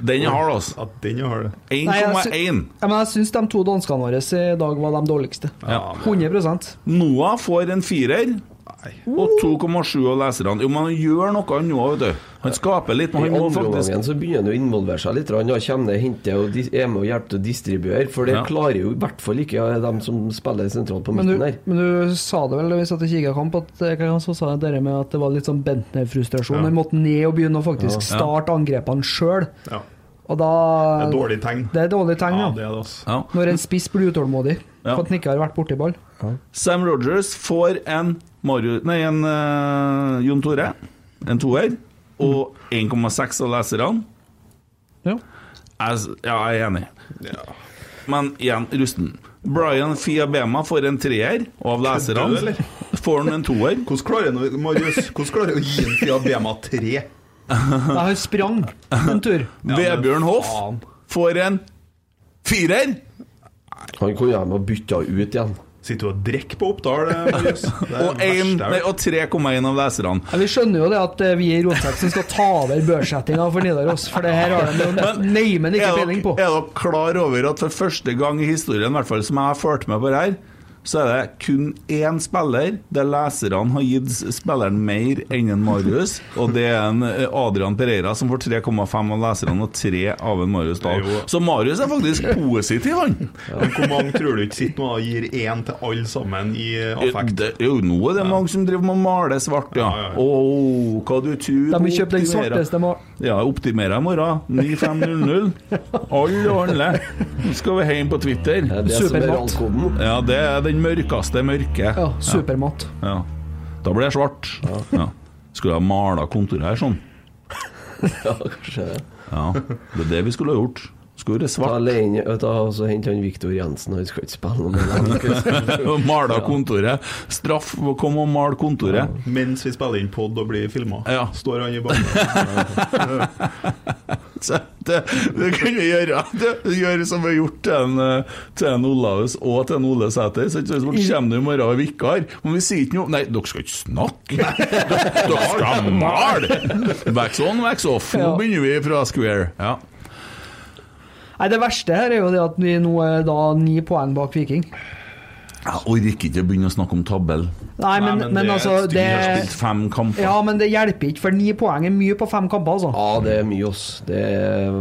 A: Den er hard, altså.
D: Ja, den har det.
A: 1,1.
B: Ja, men jeg syns de to danskene våre i dag var de dårligste.
A: Ja.
B: 100
A: Noah får en firer.
D: Nei.
A: Og 2,7 av leserne. Jo, men han gjør noe han nå, vet du. Han skaper litt,
C: I
A: men han må
C: andre
A: faktisk
C: omgangen så begynner han å involvere seg litt. Han kommer ned, henter og dis- er med og hjelper til å distribuere. For det
A: Ja.
C: klarer jo i hvert fall ikke de som spiller sentralt på
B: Men du,
C: midten her.
B: men du sa det vel hvis at jeg kikket kamp, at eh, hva så sa jeg dere med at det var litt sånn Bentner-frustrasjon. Han måtte ned og begynne å faktisk starte angrepene sjøl.
D: Ja.
B: Og da
D: Det er dårlig tegn.
B: Det er dårlig tegn,
D: Ja,
B: ja.
D: det er det, altså.
A: ja.
B: Når en spiss blir utålmodig
A: Ja.
B: for at han ikke har vært borti ball.
A: Sam Rogers får en, Mario, nei, en eh, Jon Tore, en toer, og 1,6 av leserne.
B: Ja.
A: Jeg, s- ja, jeg er enig. Men igjen, rusten. Brian Fiabema får en treer, og av
D: Kødder du,
A: leserne
D: eller?
A: får han en toer.
D: Hvordan klarer han å- Marius, hvordan klarer han å gi en Fia Bema 3?
B: Nei, han sprang en tur.
A: Vebjørn Hoff
D: faen.
A: får en firer.
C: Han kunne ha med å bytte ut igjen.
D: Sitter du og drikker på Oppdal, eh,
A: [LAUGHS]
D: Marius? Det er
A: Og,
D: det
A: en-
D: verste jeg
A: nei,
D: vet.
A: og 3,1 av leserne.
B: Ja, vi skjønner jo det at eh, vi i Rotseksen skal ta over børssettinga for Nidaros, for det her har de jo neimen ikke
A: Er dere-
B: peiling på.
A: Er dere klar over at for første gang i historien, i hvert fall som jeg har ført med på det her, så er det kun én spiller der leserne har gitt spilleren mer enn en Marius, og det er en eh, Adrian Pereira som får 3,5 av leserne og 3 av en Marius Dahl.
D: Det er jo-
A: Så Marius er faktisk positiv, han.
D: Men Hvor mange tror du ikke sitter nå og gir én til alle sammen i eh, affekt?
A: Det er Jo, nå er det mange som driver med å male svart, ja.
D: Ja, ja, ja.
A: Å, hva du tror
B: De vil kjøpe den
A: optimerer.
B: svarteste mal-
A: Ja, optimerer i morgen. 9500. Alle og alle. Nå skal vi hjem på Twitter.
C: Det er det som er
B: Supermat.
C: rallkoden.
A: Ja, det er den mørkeste mørke.
B: Ja, Supermat.
A: Ja. Da blir jeg svart. Ja. Skulle ha mala kontoret her sånn.
C: [LAUGHS] Ja, kanskje det.
A: Ja, det er det vi skulle ha gjort. Skulle vært
C: Ta
A: svart [LAUGHS]
C: alene, vet du, og så henter han Viktor Jensen, han skal ikke spille noe med
A: [LAUGHS]
C: dem.
A: og mala kontoret. Straff for å komme og male kontoret.
D: Mens vi spiller inn pod og blir filma,
A: Ja.
D: står han i
B: [LAUGHS]
D: bakgrunnen.
A: Så det, det kan vi gjøre. Det, gjør som vi har gjort til en, eh, til en Olaus og til en Ole Sæter. Så ikke sant, så kommer du i morgen og er vikar, men vi sier ikke noe Nei, dere skal ikke snakke! Dere, dere skal male! Wax on, wax off. Nå
B: Ja.
A: begynner vi fra square. Ja.
B: Nei, Det verste her er jo det at vi nå er da ni poeng bak Viking.
A: Jeg orker ikke å begynne å snakke om tabell.
B: Nei, men,
D: Nei, men
B: men,
D: det er
B: altså
D: et stykke
B: det,
A: Spilt fem kamper.
B: Ja, men det hjelper ikke, for ni poeng er mye på fem kamper, altså.
C: Ja, det er mye, ass. Det er,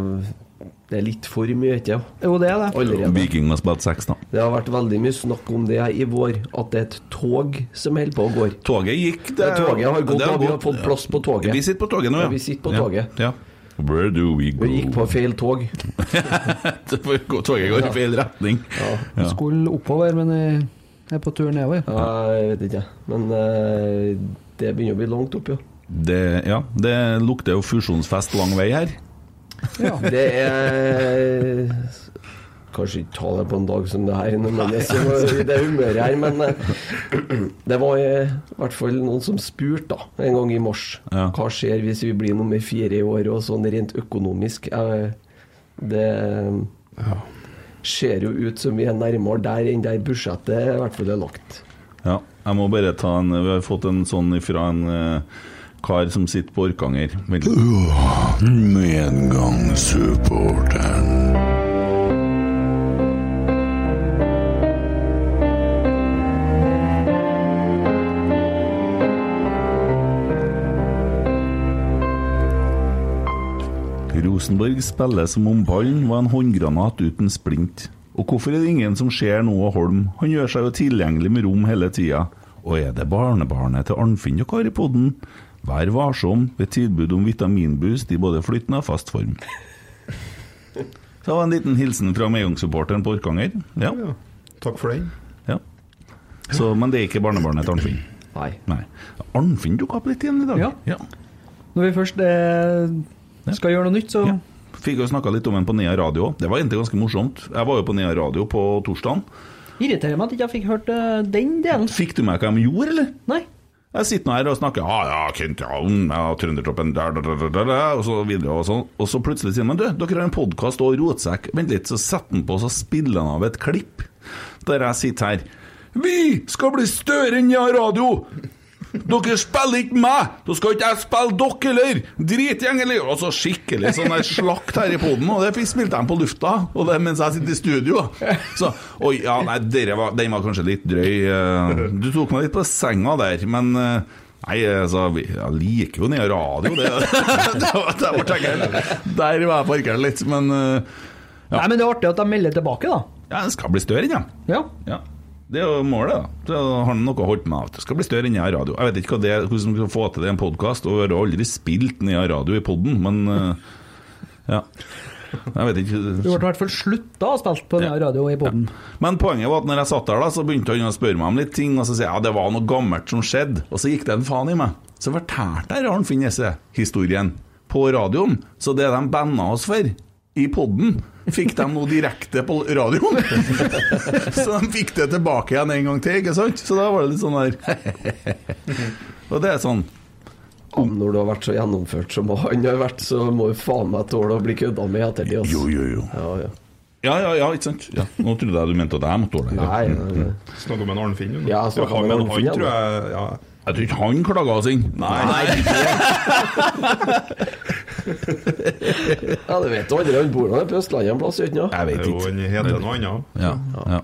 C: det er litt for mye, ikke sant?
B: Jo, det er det.
C: Allerede.
A: Viking har spilt seks, da.
C: Det har vært veldig mye snakk om det i vår, at det er et tog som holder på å gå.
A: Toget gikk.
C: Det toget har gått,
A: det har
C: og vi har
A: gått.
C: fått plass på toget.
A: Vi sitter på toget nå, ja.
C: Ja, vi sitter på
A: Ja,
C: toget.
A: Ja. Where do we go?
C: Vi gikk på feil tog.
A: Toget går i feil retning. Ja.
B: Skulle oppover, men jeg er på tur nedover.
C: Ja, jeg vet ikke, men eh, det begynner å bli langt opp, jo.
A: Det, ja, det lukter jo fusjonsfest lang vei her.
C: [LAUGHS] Det er Kanskje ikke ta det på en dag som det her, når man er så- i det humøret her, men eh, det var eh, i hvert fall noen som spurte da, en gang i mars.
A: Ja.
C: Hva skjer hvis vi blir nummer fire i år, og sånn rent økonomisk? Eh, Det ser jo ut som vi er nærmere der enn der budsjettet i hvert fall er lagt.
A: Ja, jeg må bare ta en Vi har fått en sånn fra en eh, kar som sitter på Orkanger. Vent litt. Medgangssupporteren. Rosenborg spiller som om ballen var en håndgranat uten splint. Og hvorfor er det ingen som ser noe av Holm? Han gjør seg jo tilgjengelig med rom hele tida. Og er det barnebarnet til Arnfinn og Kari Podden? Vær varsom ved tilbud om vitaminboost i både flyttende og fast form. Så det var en liten hilsen fra Meyong-supporteren på Orkanger. Ja.
D: Ja. Takk for den.
A: ja. Så, men det er ikke barnebarnet til Arnfinn.
C: Nei.
A: Nei. Arnfinn dukka opp litt igjen i dag.
B: Ja.
A: ja.
B: Når vi først eh, skal gjøre noe nytt, så
A: Ja. Fikk jo snakka litt om den på Nea radio. Det var egentlig ganske morsomt. Jeg var jo på Nea radio på torsdagen.
B: irriterer det meg at jeg ikke fikk hørt eh, den delen.
A: Fikk du med hva de gjorde, eller?
B: Nei.
A: Jeg sitter nå her og snakker Ja, ja, Kent, ja, mm, ja Trøndertoppen der, der, der, der, der, Og så videre og sånn. Og så plutselig sier de Men du, dere har en podkast og rotsekk. Vent litt, så setter han på, så spiller han av et klipp der jeg sitter her. Vi skal bli større enn jeg radio! Dere spiller ikke meg! Da skal ikke jeg spille dere heller! Dritgjeng, eller? Og så skikkelig sånn der slakt her i poden, og det fikk spilt de på lufta Og det mens jeg sitter i studio. Så Oi, ja, nei, dere var, den var kanskje litt drøy. eh, Du tok meg litt på senga der, men eh, Nei, altså, vi- jeg liker jo den her radio, det [LAUGHS] det var- Der var tenkeren. Der var jeg parkert litt, men eh,
B: Nei, men det er artig at de melder tilbake, da.
A: Ja, den skal bli større, ja.
B: Ja.
A: Ja. Det er jo målet, da. Så har han noe å holde på med. at Det skal bli større enn jeg har radio. Jeg vet ikke hva det, er, hvordan man skal få til det i en podkast. Og jeg har aldri spilt ned jeg har radio i poden, men eh, Ja. Jeg vet
B: Du ble i
A: ikke.
B: hvert fall slutta å spille på Nea radio i poden.
A: Men poenget var at når jeg satt der, da, så begynte han å spørre meg om litt ting. Og så sier jeg ja, det var noe gammelt som skjedde. Og så gikk det en faen i meg. Så fortalte jeg Arnfinn Jesse historien på radioen. Så det de banna oss for i poden, fikk de nå direkte på radioen. [LAUGHS] Så de fikk det tilbake igjen en gang til, ikke sant? Så da var det litt sånn der Og det er sånn
C: Ja, men Når du har vært så gjennomført som han har vært, så må du faen meg tåle å bli kødda med etter det. ass.
A: Jo, jo, jo.
C: Ja, ja.
A: Ja, ja, ja, ikke sant? Ja. Nå trodde jeg du mente at jeg måtte tåle det.
C: Nei, nei, nei.
D: Snakk om en Arnfinn. du, nå.
C: Ja, snakk om en
D: men
C: Arnfinn, ja.
D: Han tror jeg ja.
A: Jeg tror ikke han klaga oss inn. Nei.
C: ja, du vet jo aldri. Han bor nå på Østlandet en plass, gjør han ikke?
A: Jeg vet
D: Jo,
A: ikke.
D: han heter noe annet.
A: Ja, ja.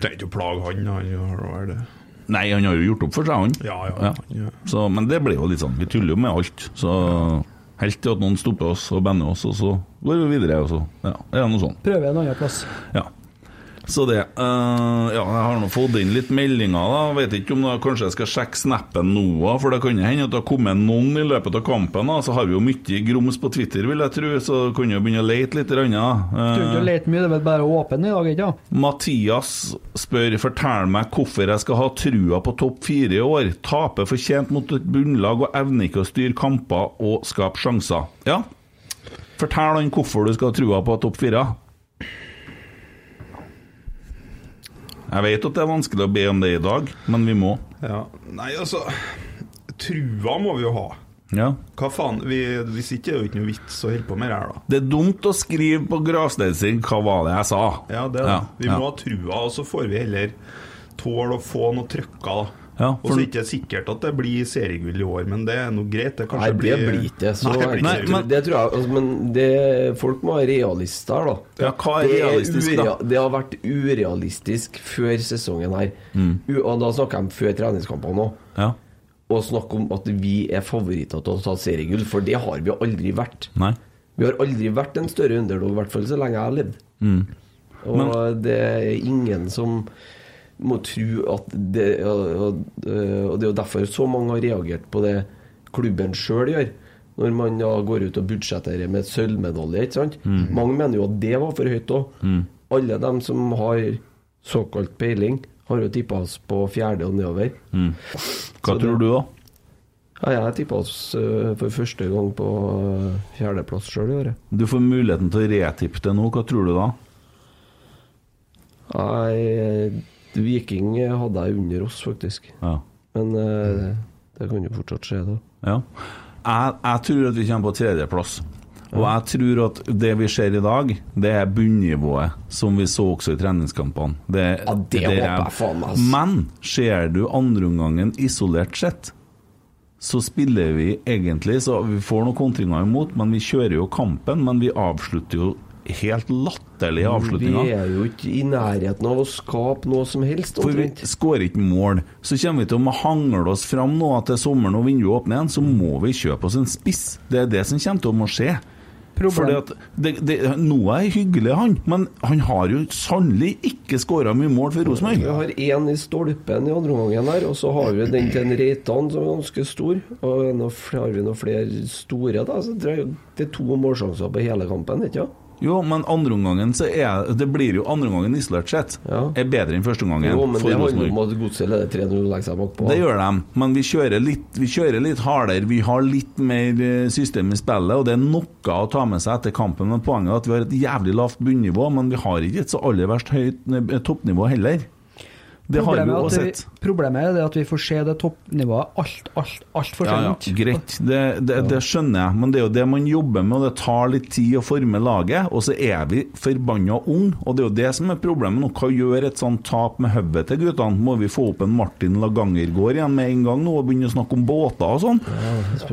D: Trenger ikke å plage han. Han har vel det.
A: Nei, han har jo gjort opp for seg, han.
D: Ja, ja. ja.
A: Så, men det ble jo litt sånn, vi tuller jo med alt. Så helt til at noen stopper oss og bander oss, og så går vi videre. Og så. Ja, det er noe sånn.
B: Prøve en annen plass.
A: Ja. Så det eh, Ja, jeg har nå fått inn litt meldinger, da. Jeg Vet ikke om da, kanskje jeg skal sjekke snappen nå, for det kan jo hende at det har kommet noen i løpet av kampen. Da. Så har vi jo mye grums på Twitter, vil jeg tro, så kan jo begynne å lete litt. Rann,
B: Du trenger ikke å lete mye, det er vel bare åpen i dag, ikke sant?
A: Mathias spør fortell meg hvorfor jeg skal ha trua på topp fire i år. Tape fortjent mot et bunnlag og evner ikke å styre kamper og skape sjanser. Ja, fortell han hvorfor du skal ha trua på topp fire. Jeg vet at det er vanskelig å be om det i dag, men vi må.
D: ja. Nei, altså Trua må vi jo ha.
A: Ja.
D: Hva faen? Vi, hvis ikke er det jo ikke noe vits å holde på med det her, da.
A: Det er dumt å skrive på gravsteinen sin 'hva var det jeg sa'?
D: Ja, det er det. Vi må ha trua, og så får vi heller tåle å få noe trøkka, da.
A: Ja,
D: Og så
A: for-
D: er det ikke sikkert at det blir seriegull i år, men det er noe greit.
C: Nei,
D: Det kanskje
C: det blir ikke det. Så
D: Nei, det blir
A: Nei,
D: ikke
A: men-
C: det tror jeg, altså, men det, folk må være realister her, da.
A: Ja, hva er
C: Det
A: realistisk, da?
C: urea- Det har vært urealistisk før sesongen her.
A: Mm.
C: U og da snakker jeg om før treningskampene òg.
A: Ja.
C: Å snakke om at vi er favoritter til å ta seriegull, for det har vi aldri vært.
A: Nei.
C: Vi har aldri vært en større underdog, i hvert fall så lenge jeg har levd. Og det er ingen som må tro at det og, og, og det er jo derfor så mange har reagert på det klubben sjøl gjør. Når man da går ut og budsjetterer med sølvmedalje. ikke sant? Mange mener jo at det var for høyt òg. Alle dem som har såkalt peiling, har jo tippa oss på fjerde og nedover.
A: Hva
C: Så det-
A: tror du, da?
C: Ja, jeg tippa oss eh, for første gang på eh, fjerdeplass sjøl i året.
A: Du får muligheten til å retippe det nå. Hva tror du da?
C: Nei, eh, Viking hadde jeg under oss, faktisk.
A: Ja.
C: Men
A: Mm.
C: eh, det kan jo fortsatt skje, da.
A: ja. Jeg, jeg tror at vi kommer på tredjeplass. Og jeg tror at det vi ser i dag, det er bunnivået, som vi så også i treningskampene. Det,
C: Ja, det
A: er-
C: håper jeg faen meg, ass.
A: Men ser du andreomgangen isolert sett, så spiller vi egentlig Så vi får noen kontringer imot, men vi kjører jo kampen. Men vi avslutter jo helt latterlig
C: Vi
A: avslutninger.
C: er jo ikke i nærheten av å skape noe som helst.
A: For vi
C: omtrent.
A: skårer ikke mål. Så kommer vi til å hangle oss fram nå at det er sommeren og vinduet åpner igjen, så må vi kjøpe oss en spiss. Det er det som kommer til å må skje. Fordi at det, det, Noah er hyggelig, han, men han har jo sannelig ikke skåra mye mål for Rosenborg.
C: Vi har én i stolpen i andre omgangen her, og så har vi den til en Reitan som er ganske stor. Og nå f- har vi noen flere store, da. Så det er jo- det er to målsjanser på hele kampen, ikke sant?
A: Jo, men andreomgangen så er Det blir jo andreomgangen isolert sett
C: Ja.
A: er bedre enn førsteomgangen
C: Jo, men
A: for
C: det handler
A: Rosenborg.
C: om at Godset leder 3-0 og legger seg bakpå.
A: Det gjør de, men vi kjører litt, vi kjører litt hardere. Vi har litt mer eh, system i spillet, og det er noe å ta med seg etter kampen. Men poenget er at vi har et jævlig lavt bunnivå, men vi har ikke et så aller verst høyt eh, toppnivå heller. Det har vi
B: Problemet
A: jo
B: er
A: også
B: at vi-
A: sett.
B: Problemet er det at vi får se det toppnivået alt, alt, altfor
A: Ja, ja,
B: sent.
A: greit, det, det, det skjønner jeg, men det er jo det man jobber med, og det tar litt tid å forme laget. Og så er vi forbanna unge, og det er jo det som er problemet nå. Hva gjør et sånt tap med hodet til guttene? Må vi få opp en Martin Lagangergård igjen med en gang nå og begynne å snakke om båter og sånn?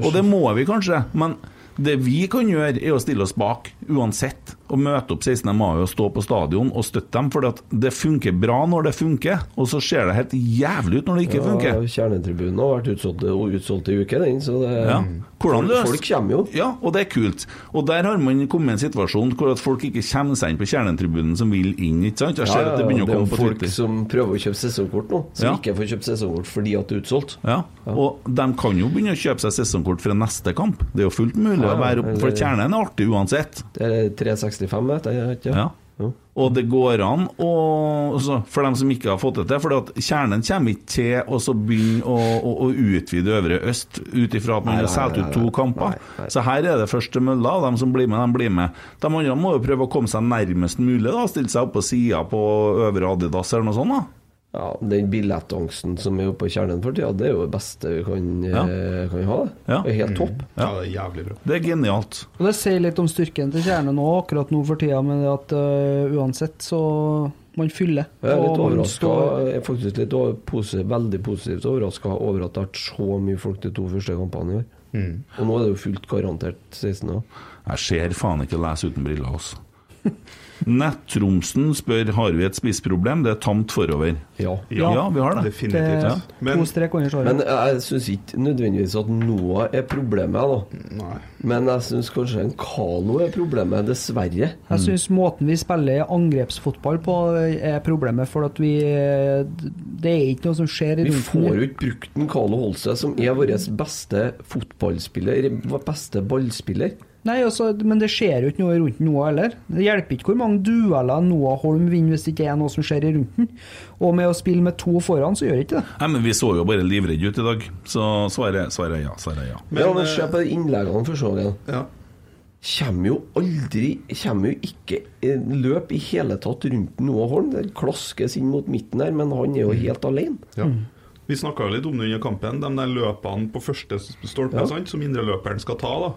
A: og det må vi kanskje, men det vi kan gjøre, er å stille oss bak uansett. Og møte opp 16. mai og stå på stadion og støtte dem. For det funker bra når det funker, og så ser det helt jævlig ut når det ikke funker.
C: Ja, kjernetribunen har vært utsolgt, utsolgt i uke, den. Så det,
A: Ja. Hvordan
C: folk,
A: løs-
C: folk kommer jo.
A: Ja, og det er kult. Og der har man kommet i en situasjon hvor at folk ikke kommer seg inn på kjernetribunen som vil inn, ikke sant? Jeg ser at det
C: er
A: begynner å
C: jo
A: komme på
C: folk
A: Twitter.
C: som prøver å kjøpe sesongkort nå, som
A: Ja.
C: ikke får kjøpt sesongkort fordi at det er utsolgt.
A: Ja, og de kan jo begynne å kjøpe seg sesongkort fra neste kamp. Det er jo fullt mulig å være oppe, for kjernen er artig uansett.
C: Det er 365, vet jeg ikke.
A: Ja. Og det går an å altså, For dem som ikke har fått det til. For at kjernen kommer ikke til å så begynne å, å, å utvide Øvre Øst ut ifra at man
C: Nei,
A: har
C: nei,
A: solgt
C: nei,
A: ut
C: nei,
A: to
C: nei.
A: kamper.
C: Nei, nei.
A: Så her er det første mølla. og De som blir med, de blir med. De andre må jo prøve å komme seg nærmest mulig. da Stille seg opp på sida på Øvre Adidas eller noe sånt. da
C: Ja, Den billettangsten som er oppe på kjernen for tida, det er jo det beste vi kan,
A: Ja.
C: eh, kan ha. det.
A: Ja.
C: Det er helt topp.
D: Ja, det er jævlig bra.
A: Det er genialt.
B: Og det sier litt om styrken til kjernen nå, akkurat nå for tida, men det at øh, uansett så Man fyller.
C: Jeg er
B: Og
C: litt
B: man
C: overraska,
B: står-
C: jeg er faktisk litt over- posi- veldig positivt overraska over at det har vært så mye folk de to første kampene i år. Og nå er det jo fullt garantert 16 år.
A: Jeg ser faen ikke å lese uten briller, altså.
C: [LAUGHS]
A: Nett-Tromsen spør har vi et spissproblem. Det er tamt forover.
C: Ja.
A: Ja, vi har det.
D: Definitivt.
B: Det-
D: Men
B: to strek under svaret.
C: Men jeg syns ikke nødvendigvis at Noah er problemet, da.
D: nei.
C: Men jeg syns kanskje en Kalo er problemet, dessverre.
B: Jeg syns måten vi spiller angrepsfotball på eh, er problemet, for at vi eh, Det er ikke noe som skjer i
C: Vi
B: rundt
C: får
B: den.
C: jo ikke brukt den Kalo Holse, som er vår beste fotballspiller, vår beste ballspiller.
B: Nei, altså, Men det skjer jo ikke noe rundt Noah heller. Det hjelper ikke hvor mange dueller Noah Holm vinner hvis det ikke er noe som skjer i rundt den. Og med å spille med to foran, så gjør det ikke det.
A: Nei, men Vi så jo bare livredde ut i dag, så svaret, svaret er ja. svaret er ja.
C: Men, ja, men se på de innleggene for sesongen.
D: Ja.
C: Kommer jo aldri Kommer jo ikke eh, løp i hele tatt rundt Noah Holm. Det klaskes inn mot midten her, men han er
A: Mm.
C: jo helt alene.
D: Ja.
B: Mm.
D: Vi snakka litt om det under kampen, de der løpene på første s- stolpe
C: Ja.
D: sant, som indreløperen skal ta, da.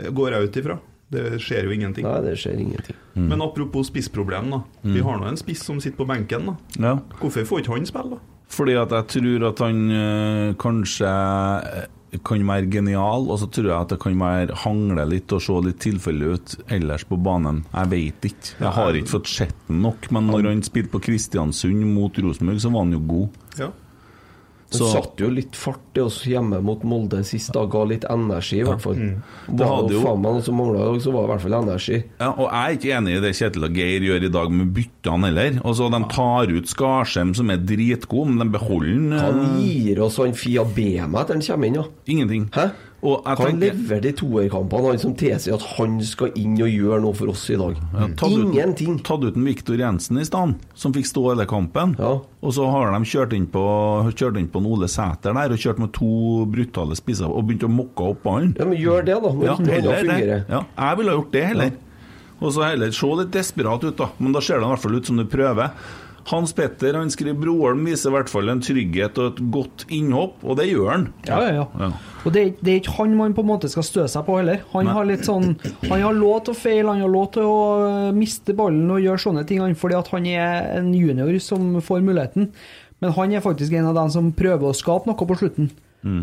D: Eh, går jeg ut ifra. Det skjer jo ingenting.
C: Nei, det skjer ingenting.
A: Mm.
D: Men apropos spissproblem, da. Vi har nå en spiss som sitter på benken, da.
A: ja.
D: Hvorfor får ikke han spille, da?
A: Fordi at jeg tror at han øh, kanskje eh, kan være genial, og så tror jeg at det kan være hangle litt og se litt tilfeldig ut ellers på banen. Jeg vet ikke. Jeg har ikke fått sett den nok, men når han spilte på Kristiansund mot Rosenborg, så var han jo god.
D: Ja.
C: Det
A: Så-
C: satt jo litt fart i oss hjemme mot Molde sist, da ga litt energi, i hvert fall. Det
A: Mm. hadde
C: var jo
A: jo-
C: faen meg noe som mangla i dag, så var det i hvert fall energi.
A: Ja, og jeg er ikke enig i det Kjetil og Geir gjør i dag med byttene heller. Altså, De tar ut Skarsheim, som er dritgod, men de beholder den,
C: Han
A: øh,
C: gir oss han Fia Bema etter han kommer inn, ja.
A: ingenting.
C: Hæ?
A: Og jeg
C: Han
A: tenker-
C: lever de toerkampene, han som tilsier at han skal inn og gjøre noe for oss i dag.
A: Ja, tatt ut-
C: Ingenting.
A: Tatt ut en Viktor Jensen i stedet, som fikk stå hele kampen.
C: Ja.
A: Og så har de kjørt inn på, kjørt inn på en Ole Sæter der, og kjørt med to brutale spisser og begynt å mokke opp ballen.
C: Ja, men gjør det, liksom da. Når
A: Ja,
C: ja,
A: heller det.
C: fungerer.
A: Ja, jeg ville ha gjort det heller. Og så heller se litt desperat ut, da. Men da ser det i hvert fall ut som du prøver. Hans Petter han skriver Broholm viser i hvert fall en trygghet og et godt innhopp, og det gjør han.
B: Ja, ja, ja. Og det, er ikke- det er ikke han man på en måte skal støte seg på heller. Han har litt sånn Han har lov til å feile, han har lov til å øh, miste ballen og gjøre sånne ting, han, fordi at han er en junior som får muligheten. Men han er faktisk en av dem som prøver å skape noe på slutten.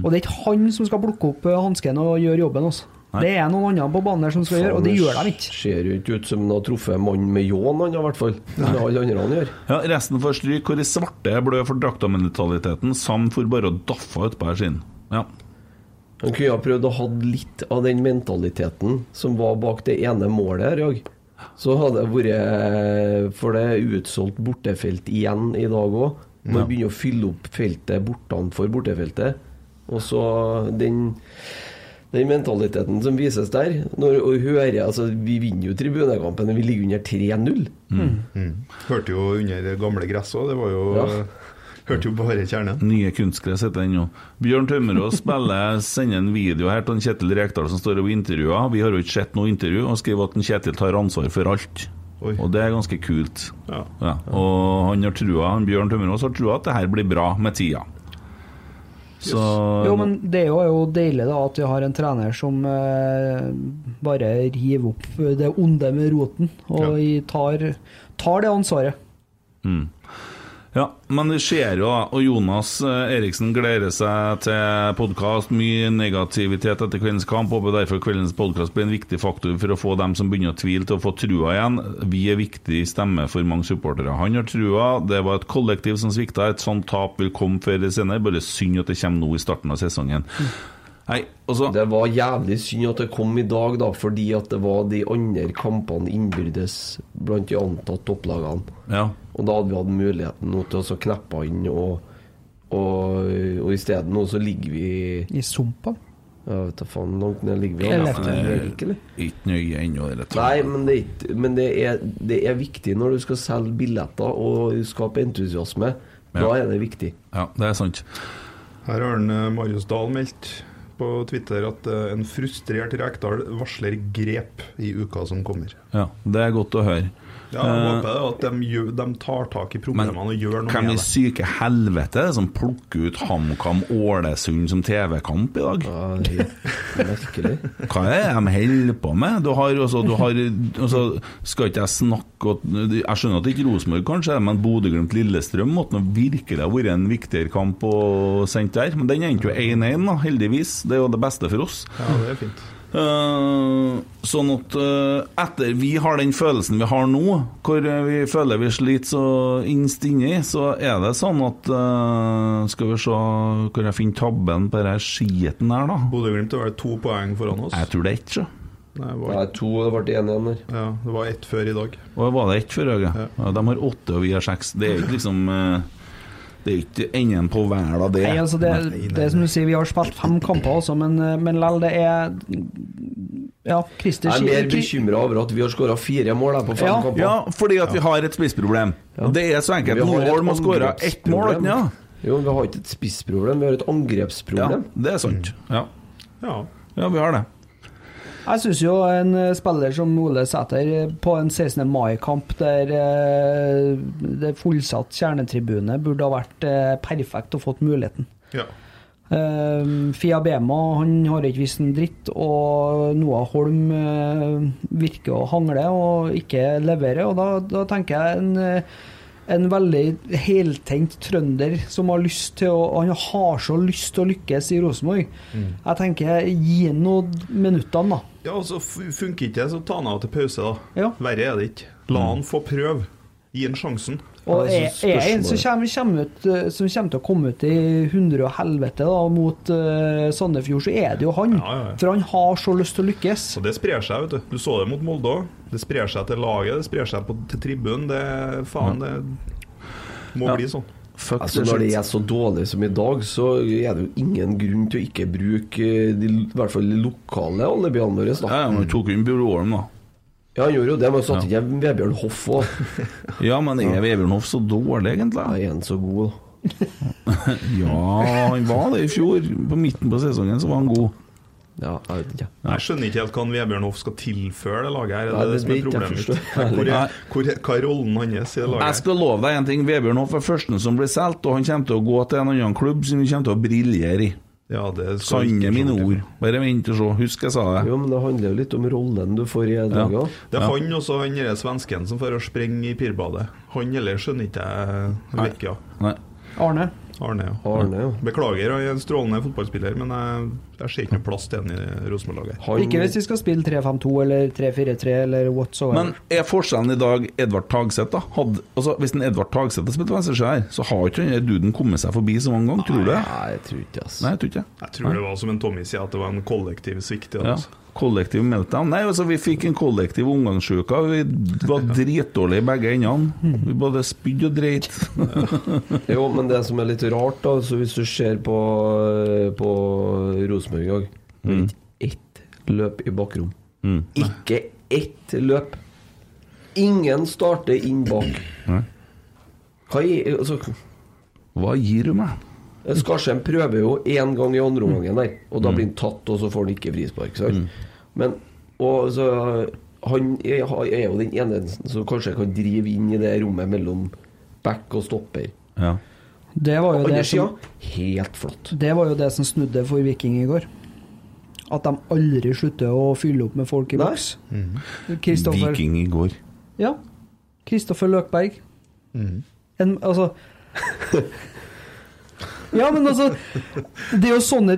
B: Og det er ikke han som skal plukke opp øh, hansken og gjøre jobben. Altså. Det er noen andre på banen der som skal gjøre, og det gjør de ikke.
C: Ser jo ikke ut som han har truffet mannen med ljåen, han da, i hvert fall. Som alle andre han gjør.
A: Ja, resten får stryk, hvor de svarte blør for draktamentaliteten. Sam for bare å daffe utpå her siden. Ja.
C: Han kunne ha prøvd å ha litt av den mentaliteten som var bak det ene målet her i dag. Så hadde det vært For det er utsolgt bortefelt igjen i dag òg. Man begynner å fylle opp feltet bortenfor bortefeltet. Og så den den mentaliteten som vises der når, og hører, altså, Vi vinner jo tribunekampen, men vi ligger under 3-0.
D: Mm. Hørte jo under det gamle gresset òg, det var jo
C: Ja.
D: Hørte jo bare kjernen.
A: Nye kunstgress heter den jo. Bjørn Tømmerås
D: [LAUGHS]
A: spiller, sender en video her til en Kjetil Rekdal som står og intervjuer. Vi har jo ikke sett noe intervju, og skriver at en Kjetil tar ansvar for alt.
D: Oi.
A: Og det er ganske kult.
D: Ja.
A: Ja, og han har trua, han Bjørn Tømmerås har trua at det her blir bra med tida. Så
B: Jo, men det er jo, er jo deilig da at vi har en trener som eh, bare river opp det onde med roten, og i- tar, tar det ansvaret.
A: Ja, men vi ser jo da, og Jonas eh, Eriksen gleder seg til podkast. Mye negativitet etter kveldens kamp. Håper derfor kveldens podkast blir en viktig faktor for å få dem som begynner å tvile, til å få trua igjen. Vi er viktig stemme for mange supportere. Han har trua, det var et kollektiv som svikta. Et sånt tap vil komme før eller senere. Bare synd at det kommer nå i starten av sesongen. Nei, altså
C: Det var jævlig synd at det kom i dag, da, fordi at det var de andre kampene innbyrdes blant de antatt topplagene.
A: Ja.
C: Og da hadde vi hatt muligheten nå til å så kneppe inn, og, og, og isteden nå så ligger vi
B: I sumpa.
C: Jeg vet da faen hvor langt ned ligger vi.
B: Eller
C: Ja, men det er ikke, eller?
A: Ikke nøye ennå, i det hele
C: Nei,
A: tatt.
C: men, det, er ikke- men det, er, det er viktig når du skal selge billetter og skape entusiasme. Da
A: Ja.
C: er det viktig.
A: Ja, det er sant.
D: Her har han, eh, Marius Dahl meldt på Twitter at eh, en frustrert Rekdal varsler grep i uka som kommer.
A: Ja, det er godt å høre.
D: Ja, jeg håper det, at de, gjør, de tar tak i
A: Eh, Men
D: problemene og gjør noe
A: hvem i
D: med det.
A: syke helvete er det som plukker ut HamKam Ålesund som TV-kamp i dag?
C: Ja, det er Merkelig.
A: [LAUGHS] Hva er det de holder på med? Du har også, du har, altså, skal ikke jeg snakke og, Jeg skjønner at det ikke er Rosenborg, kanskje, men Bodø-Glimt-Lillestrøm måtte nå virkelig ha vært en viktigere kamp å sendt der. Men den endte jo 1-1, da, heldigvis. Det er jo det beste for oss.
D: Ja, det er fint.
A: Eh, sånn at eh, etter vi har den følelsen vi har nå, hvor eh, vi føler vi sliter så innst inni, så er det sånn at eh, Skal vi se hvor jeg finner tabben på denne skiten her, da.
D: Bodø-Glimt er vel to poeng foran oss.
A: Jeg tror det er ett, så.
D: Nei, det
C: Det
D: var,
C: er to, det ble én igjen der.
D: ja, det var ett før i dag.
A: Og var det ett før, Høge? Ja, de har åtte, og vi har seks. Det er jo ikke liksom eh, Det er jo ikke enden på hver av det.
B: Nei, altså det, det er som du sier, vi har spilt fem kamper også, men, eh, men lell, det er Ja, Christer
C: Jeg er mer
B: Kri-
C: bekymra over at vi har skåra fire mål her på fem
B: Ja.
C: kamper.
A: Ja, fordi at vi har et spissproblem. Det er så enkelt.
C: Vi har et
A: Noen må skåre ett mål,
C: angrepsproblem.
A: ikke sant?
C: Jo, vi har ikke et spissproblem, vi har et
A: Ja,
C: angrepsproblem.
A: det er sant. Ja.
D: Ja.
A: ja, vi har det.
B: Jeg syns jo en eh, spiller som Ole Sæter eh, på en 16. mai-kamp der eh, det er fullsatt kjernetribune burde ha vært eh, perfekt og fått muligheten.
D: ja.
B: Eh, Fia Bema han har ikke visst en dritt, og Noah Holm eh, virker å hangle og ikke levere. og Da, da tenker jeg en, eh, en veldig heltenkt trønder som har lyst til å Han har så lyst til å lykkes i Rosenborg. Jeg tenker, gi ham noen minuttene, da.
D: Ja, og så f- funker ikke det, så ta han av til pause, da.
B: Ja.
D: Verre er det ikke. La han få prøve. Gi han sjansen.
B: Og
C: Mm. Ja,
B: er
C: det er så
B: er en som
C: spørsmålet.
B: kommer, kommer ut, eh, som kommer til å komme ut i hundre og helvete da, mot eh, Sandefjord, så er det jo han.
D: Ja, ja, ja.
B: For han har så lyst til å lykkes.
D: Så det sprer seg, vet du. Du så det mot Molde òg. Det sprer seg til laget, det sprer seg på, til tribunen. Det faen, det må bli sånn.
A: Fuck
C: Altså,
A: the
C: når det
A: shit.
C: er så dårlig som i dag, så er det jo ingen grunn til å ikke bruke eh, de, i hvert fall de lokale alibiene våre.
A: Ja,
C: da.
A: ja, men du tok inn Bjørn Olm, da.
C: Ja, han gjorde jo det, men satte ikke Vebjørn Hoff òg.
A: [LAUGHS] Ja, men er Vebjørn Hoff så dårlig,
C: Da
A: egentlig?
C: er han så god, da.
A: Ja, han var det i fjor. På midten på sesongen så var han god.
C: Ja, jeg vet ikke.
D: Jeg skjønner ikke helt hva han Vebjørn Hoff skal tilføre det laget her. Det
C: Nei,
D: er det,
C: det
D: som
C: blir
D: er
C: ikke jeg
D: problemet mitt.
C: forstår.
D: Hvor er, hvor er, hva er rollen hans i det
A: Jeg
D: laget? her?
A: skal love deg en ting. Vebjørn Hoff er førsten som blir solgt, og han kommer til å gå til en annen klubb som vi kommer til å briljere i.
D: Ja, det skal vi ikke
A: Sanne mine
D: se bort
A: ord.
D: ifra.
A: Bare vent og se. Husk jeg sa det.
C: Jo, men det handler jo litt om rollen du får i et lag
A: Ja.
C: òg.
D: Det er han og så han derre svensken som får å sprenge i pirbadet. Han heller skjønner ikke jeg Vekka.
A: Nei.
B: Arne.
D: Arne, ja.
C: Arne, jo.
D: Beklager, han er en strålende fotballspiller, men jeg, jeg ser ikke noe plass til han i Rosenborg-laget.
C: Han-
B: Ikke hvis vi skal spille 3-5-2 eller 3-4-3 eller whatsoever.
A: Men er forskjellen i dag Edvard Tagseth, da? Hadde, altså, hvis en Edvard Tagseth hadde spilt venstreskjær, så har ikke den der duden kommet seg forbi så mange ganger, tror du det?
C: Nei, jeg tror ikke altså. ass.
A: Nei, jeg tror ikke det.
D: Jeg tror det var som en Tommy sier, at det var en kollektiv svikt. i det,
A: Ja.
D: altså.
A: Kollektiv meltdown. Nei, altså, vi fikk en kollektiv omgangssjuke. Vi var dritdårlige i begge endene. Vi både spydde og [LAUGHS] dreit.
C: Jo, men det som er litt rart, da, så hvis du ser på, eh, på Rosenborg i dag det er Ikke ett løp i bakrom. Ikke ett løp. Ingen starter inn bak.
A: Nei.
C: Hva i altså,
A: Hva gir du meg?
C: Skarsheim prøver jo én gang i andre omgangen der, og da blir han tatt, og så får han ikke frispark. sant? Men og, så, han er, er jo den ene som kanskje kan drive inn i det rommet mellom back og stopper.
A: Ja.
B: det, var jo det,
C: Andre sida
B: som,
C: helt flott.
B: det var jo det som snudde for Viking i går. At de aldri slutter å fylle opp med folk i
C: Nei.
B: boks. Kristoffer
A: Viking i går.
B: Ja. Kristoffer Løkberg. En, altså Ja, men altså Det er jo sånne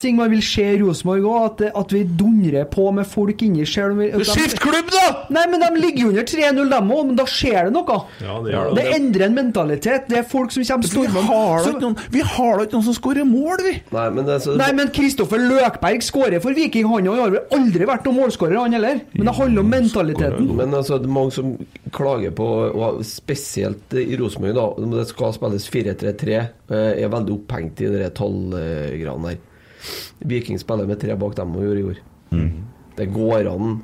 B: ting man vil se i Rosenborg òg, at, det- at vi dundrer på med folk inni selv om vi- de-
A: klubb, da!
B: Nei, men de ligger jo under 3-0, dem òg, men da skjer det noe.
D: Ja, det gjør det.
B: Det endrer en mentalitet. Det er folk som kommer
A: Vi
B: stormende
A: har da
B: Så-
A: ikke noen, vi har da ikke noen som skårer mål, vi!
C: Nei, men det er så
B: Nei, men Kristoffer Løkberg skårer for Viking, han òg. Har vel aldri vært noen målskårer, han heller. Men det handler
C: Mm.
B: om mentaliteten.
C: Men altså, det er mange som klager på, og spesielt i Rosenborg, da om Det skal spilles 4-3-3. eh, Er veldig opphengt i de der tallgreiene der. Viking spiller med tre bak dem og gjorde i går. Det går an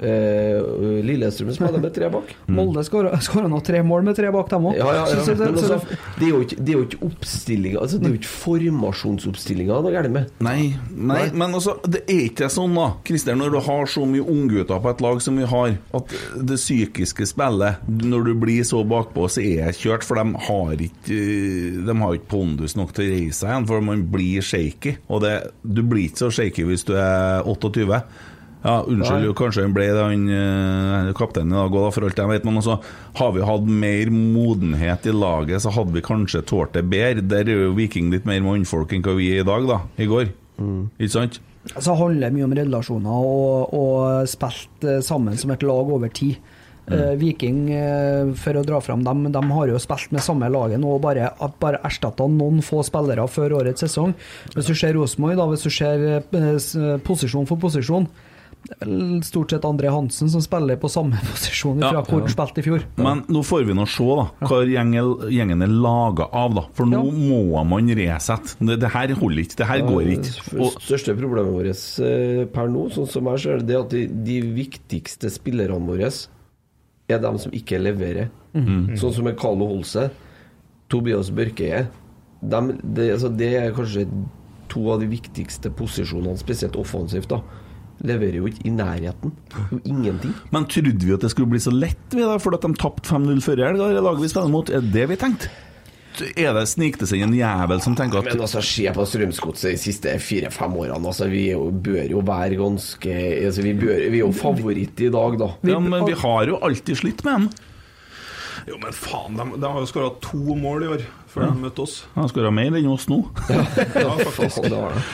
C: Eh, Lillestrøm spiller med tre bak.
B: Molde skåra nå tre mål med tre bak, dem òg.
C: Ja, ja, ja.
B: Så det-
C: Men
B: så
C: altså,
B: det-
C: det er jo ikke, det er jo ikke oppstillinga altså, Det er jo ikke formasjonsoppstillinga det er galt med.
A: Nei, nei,
C: Nei.
A: men altså, det er ikke sånn, da. Christer, når du har så mye unggutter på et lag som vi har, at det psykiske spillet Når du blir så bakpå, så er jeg kjørt, for de har ikke eh, De har ikke pondus nok til å reise seg igjen, for man blir shaky. Og det, du blir ikke så shaky hvis du er 28. Ja, unnskyld,
C: Nei.
A: kanskje han ble det, han eh, kapteinen i dag òg, da, for alt jeg vet. Men altså, har vi hatt mer modenhet i laget, så hadde vi kanskje tålt det bedre. Der er jo Viking litt mer mannfolk enn hva vi er i dag, da. I går. Ikke sant?
B: Så handler det mye om relasjoner og, og spilt eh, sammen som et lag over tid.
A: Mm.
B: Eh, Viking, eh, for å dra fram dem, de har jo spilt med samme laget nå og bare, bare erstatta noen få spillere før årets sesong. Hvis du ser Rosenborg, da, hvis du ser eh, s- posisjon for posisjon det er vel Stort sett André Hansen som spiller på samme [LAUGHS] posisjon fra
A: Ja.
B: hvor han spilte i fjor.
A: Men nå får vi nå se da hva gjengen, gjengen er laga av, da. For nå
B: Ja.
A: må man resette. Det, det her holder ikke, det her går ikke.
C: Det
A: Og,
C: største problemet vårt eh, per nå, sånn som jeg ser det, det er at de, de viktigste spillerne våre er dem som ikke leverer. Sånn som en Carlo Holse, Tobias Børkeie. Dem, det, altså, det er kanskje to av de viktigste posisjonene, spesielt offensivt. da Leverer jo ikke i nærheten. Jo ingenting.
A: men trodde vi at det skulle bli så lett, vi da, fordi at de tapte 5-0 før i helga? Det laget vi spiller mot, er det det vi tenkte? Er det snikte seg en jævel som tenker
C: Men
A: at
C: altså, se på Strømsgodset de siste fire-fem årene. Altså, vi er jo, bør jo være ganske altså, vi, bør, vi er jo favoritt i dag, da.
A: ja, men vi har jo alltid slitt med dem.
D: Jo, men faen, de, de har jo skåra to mål i år før de møtte oss.
A: Han skåra mer enn oss nå.
C: Ja, faktisk. Det var det.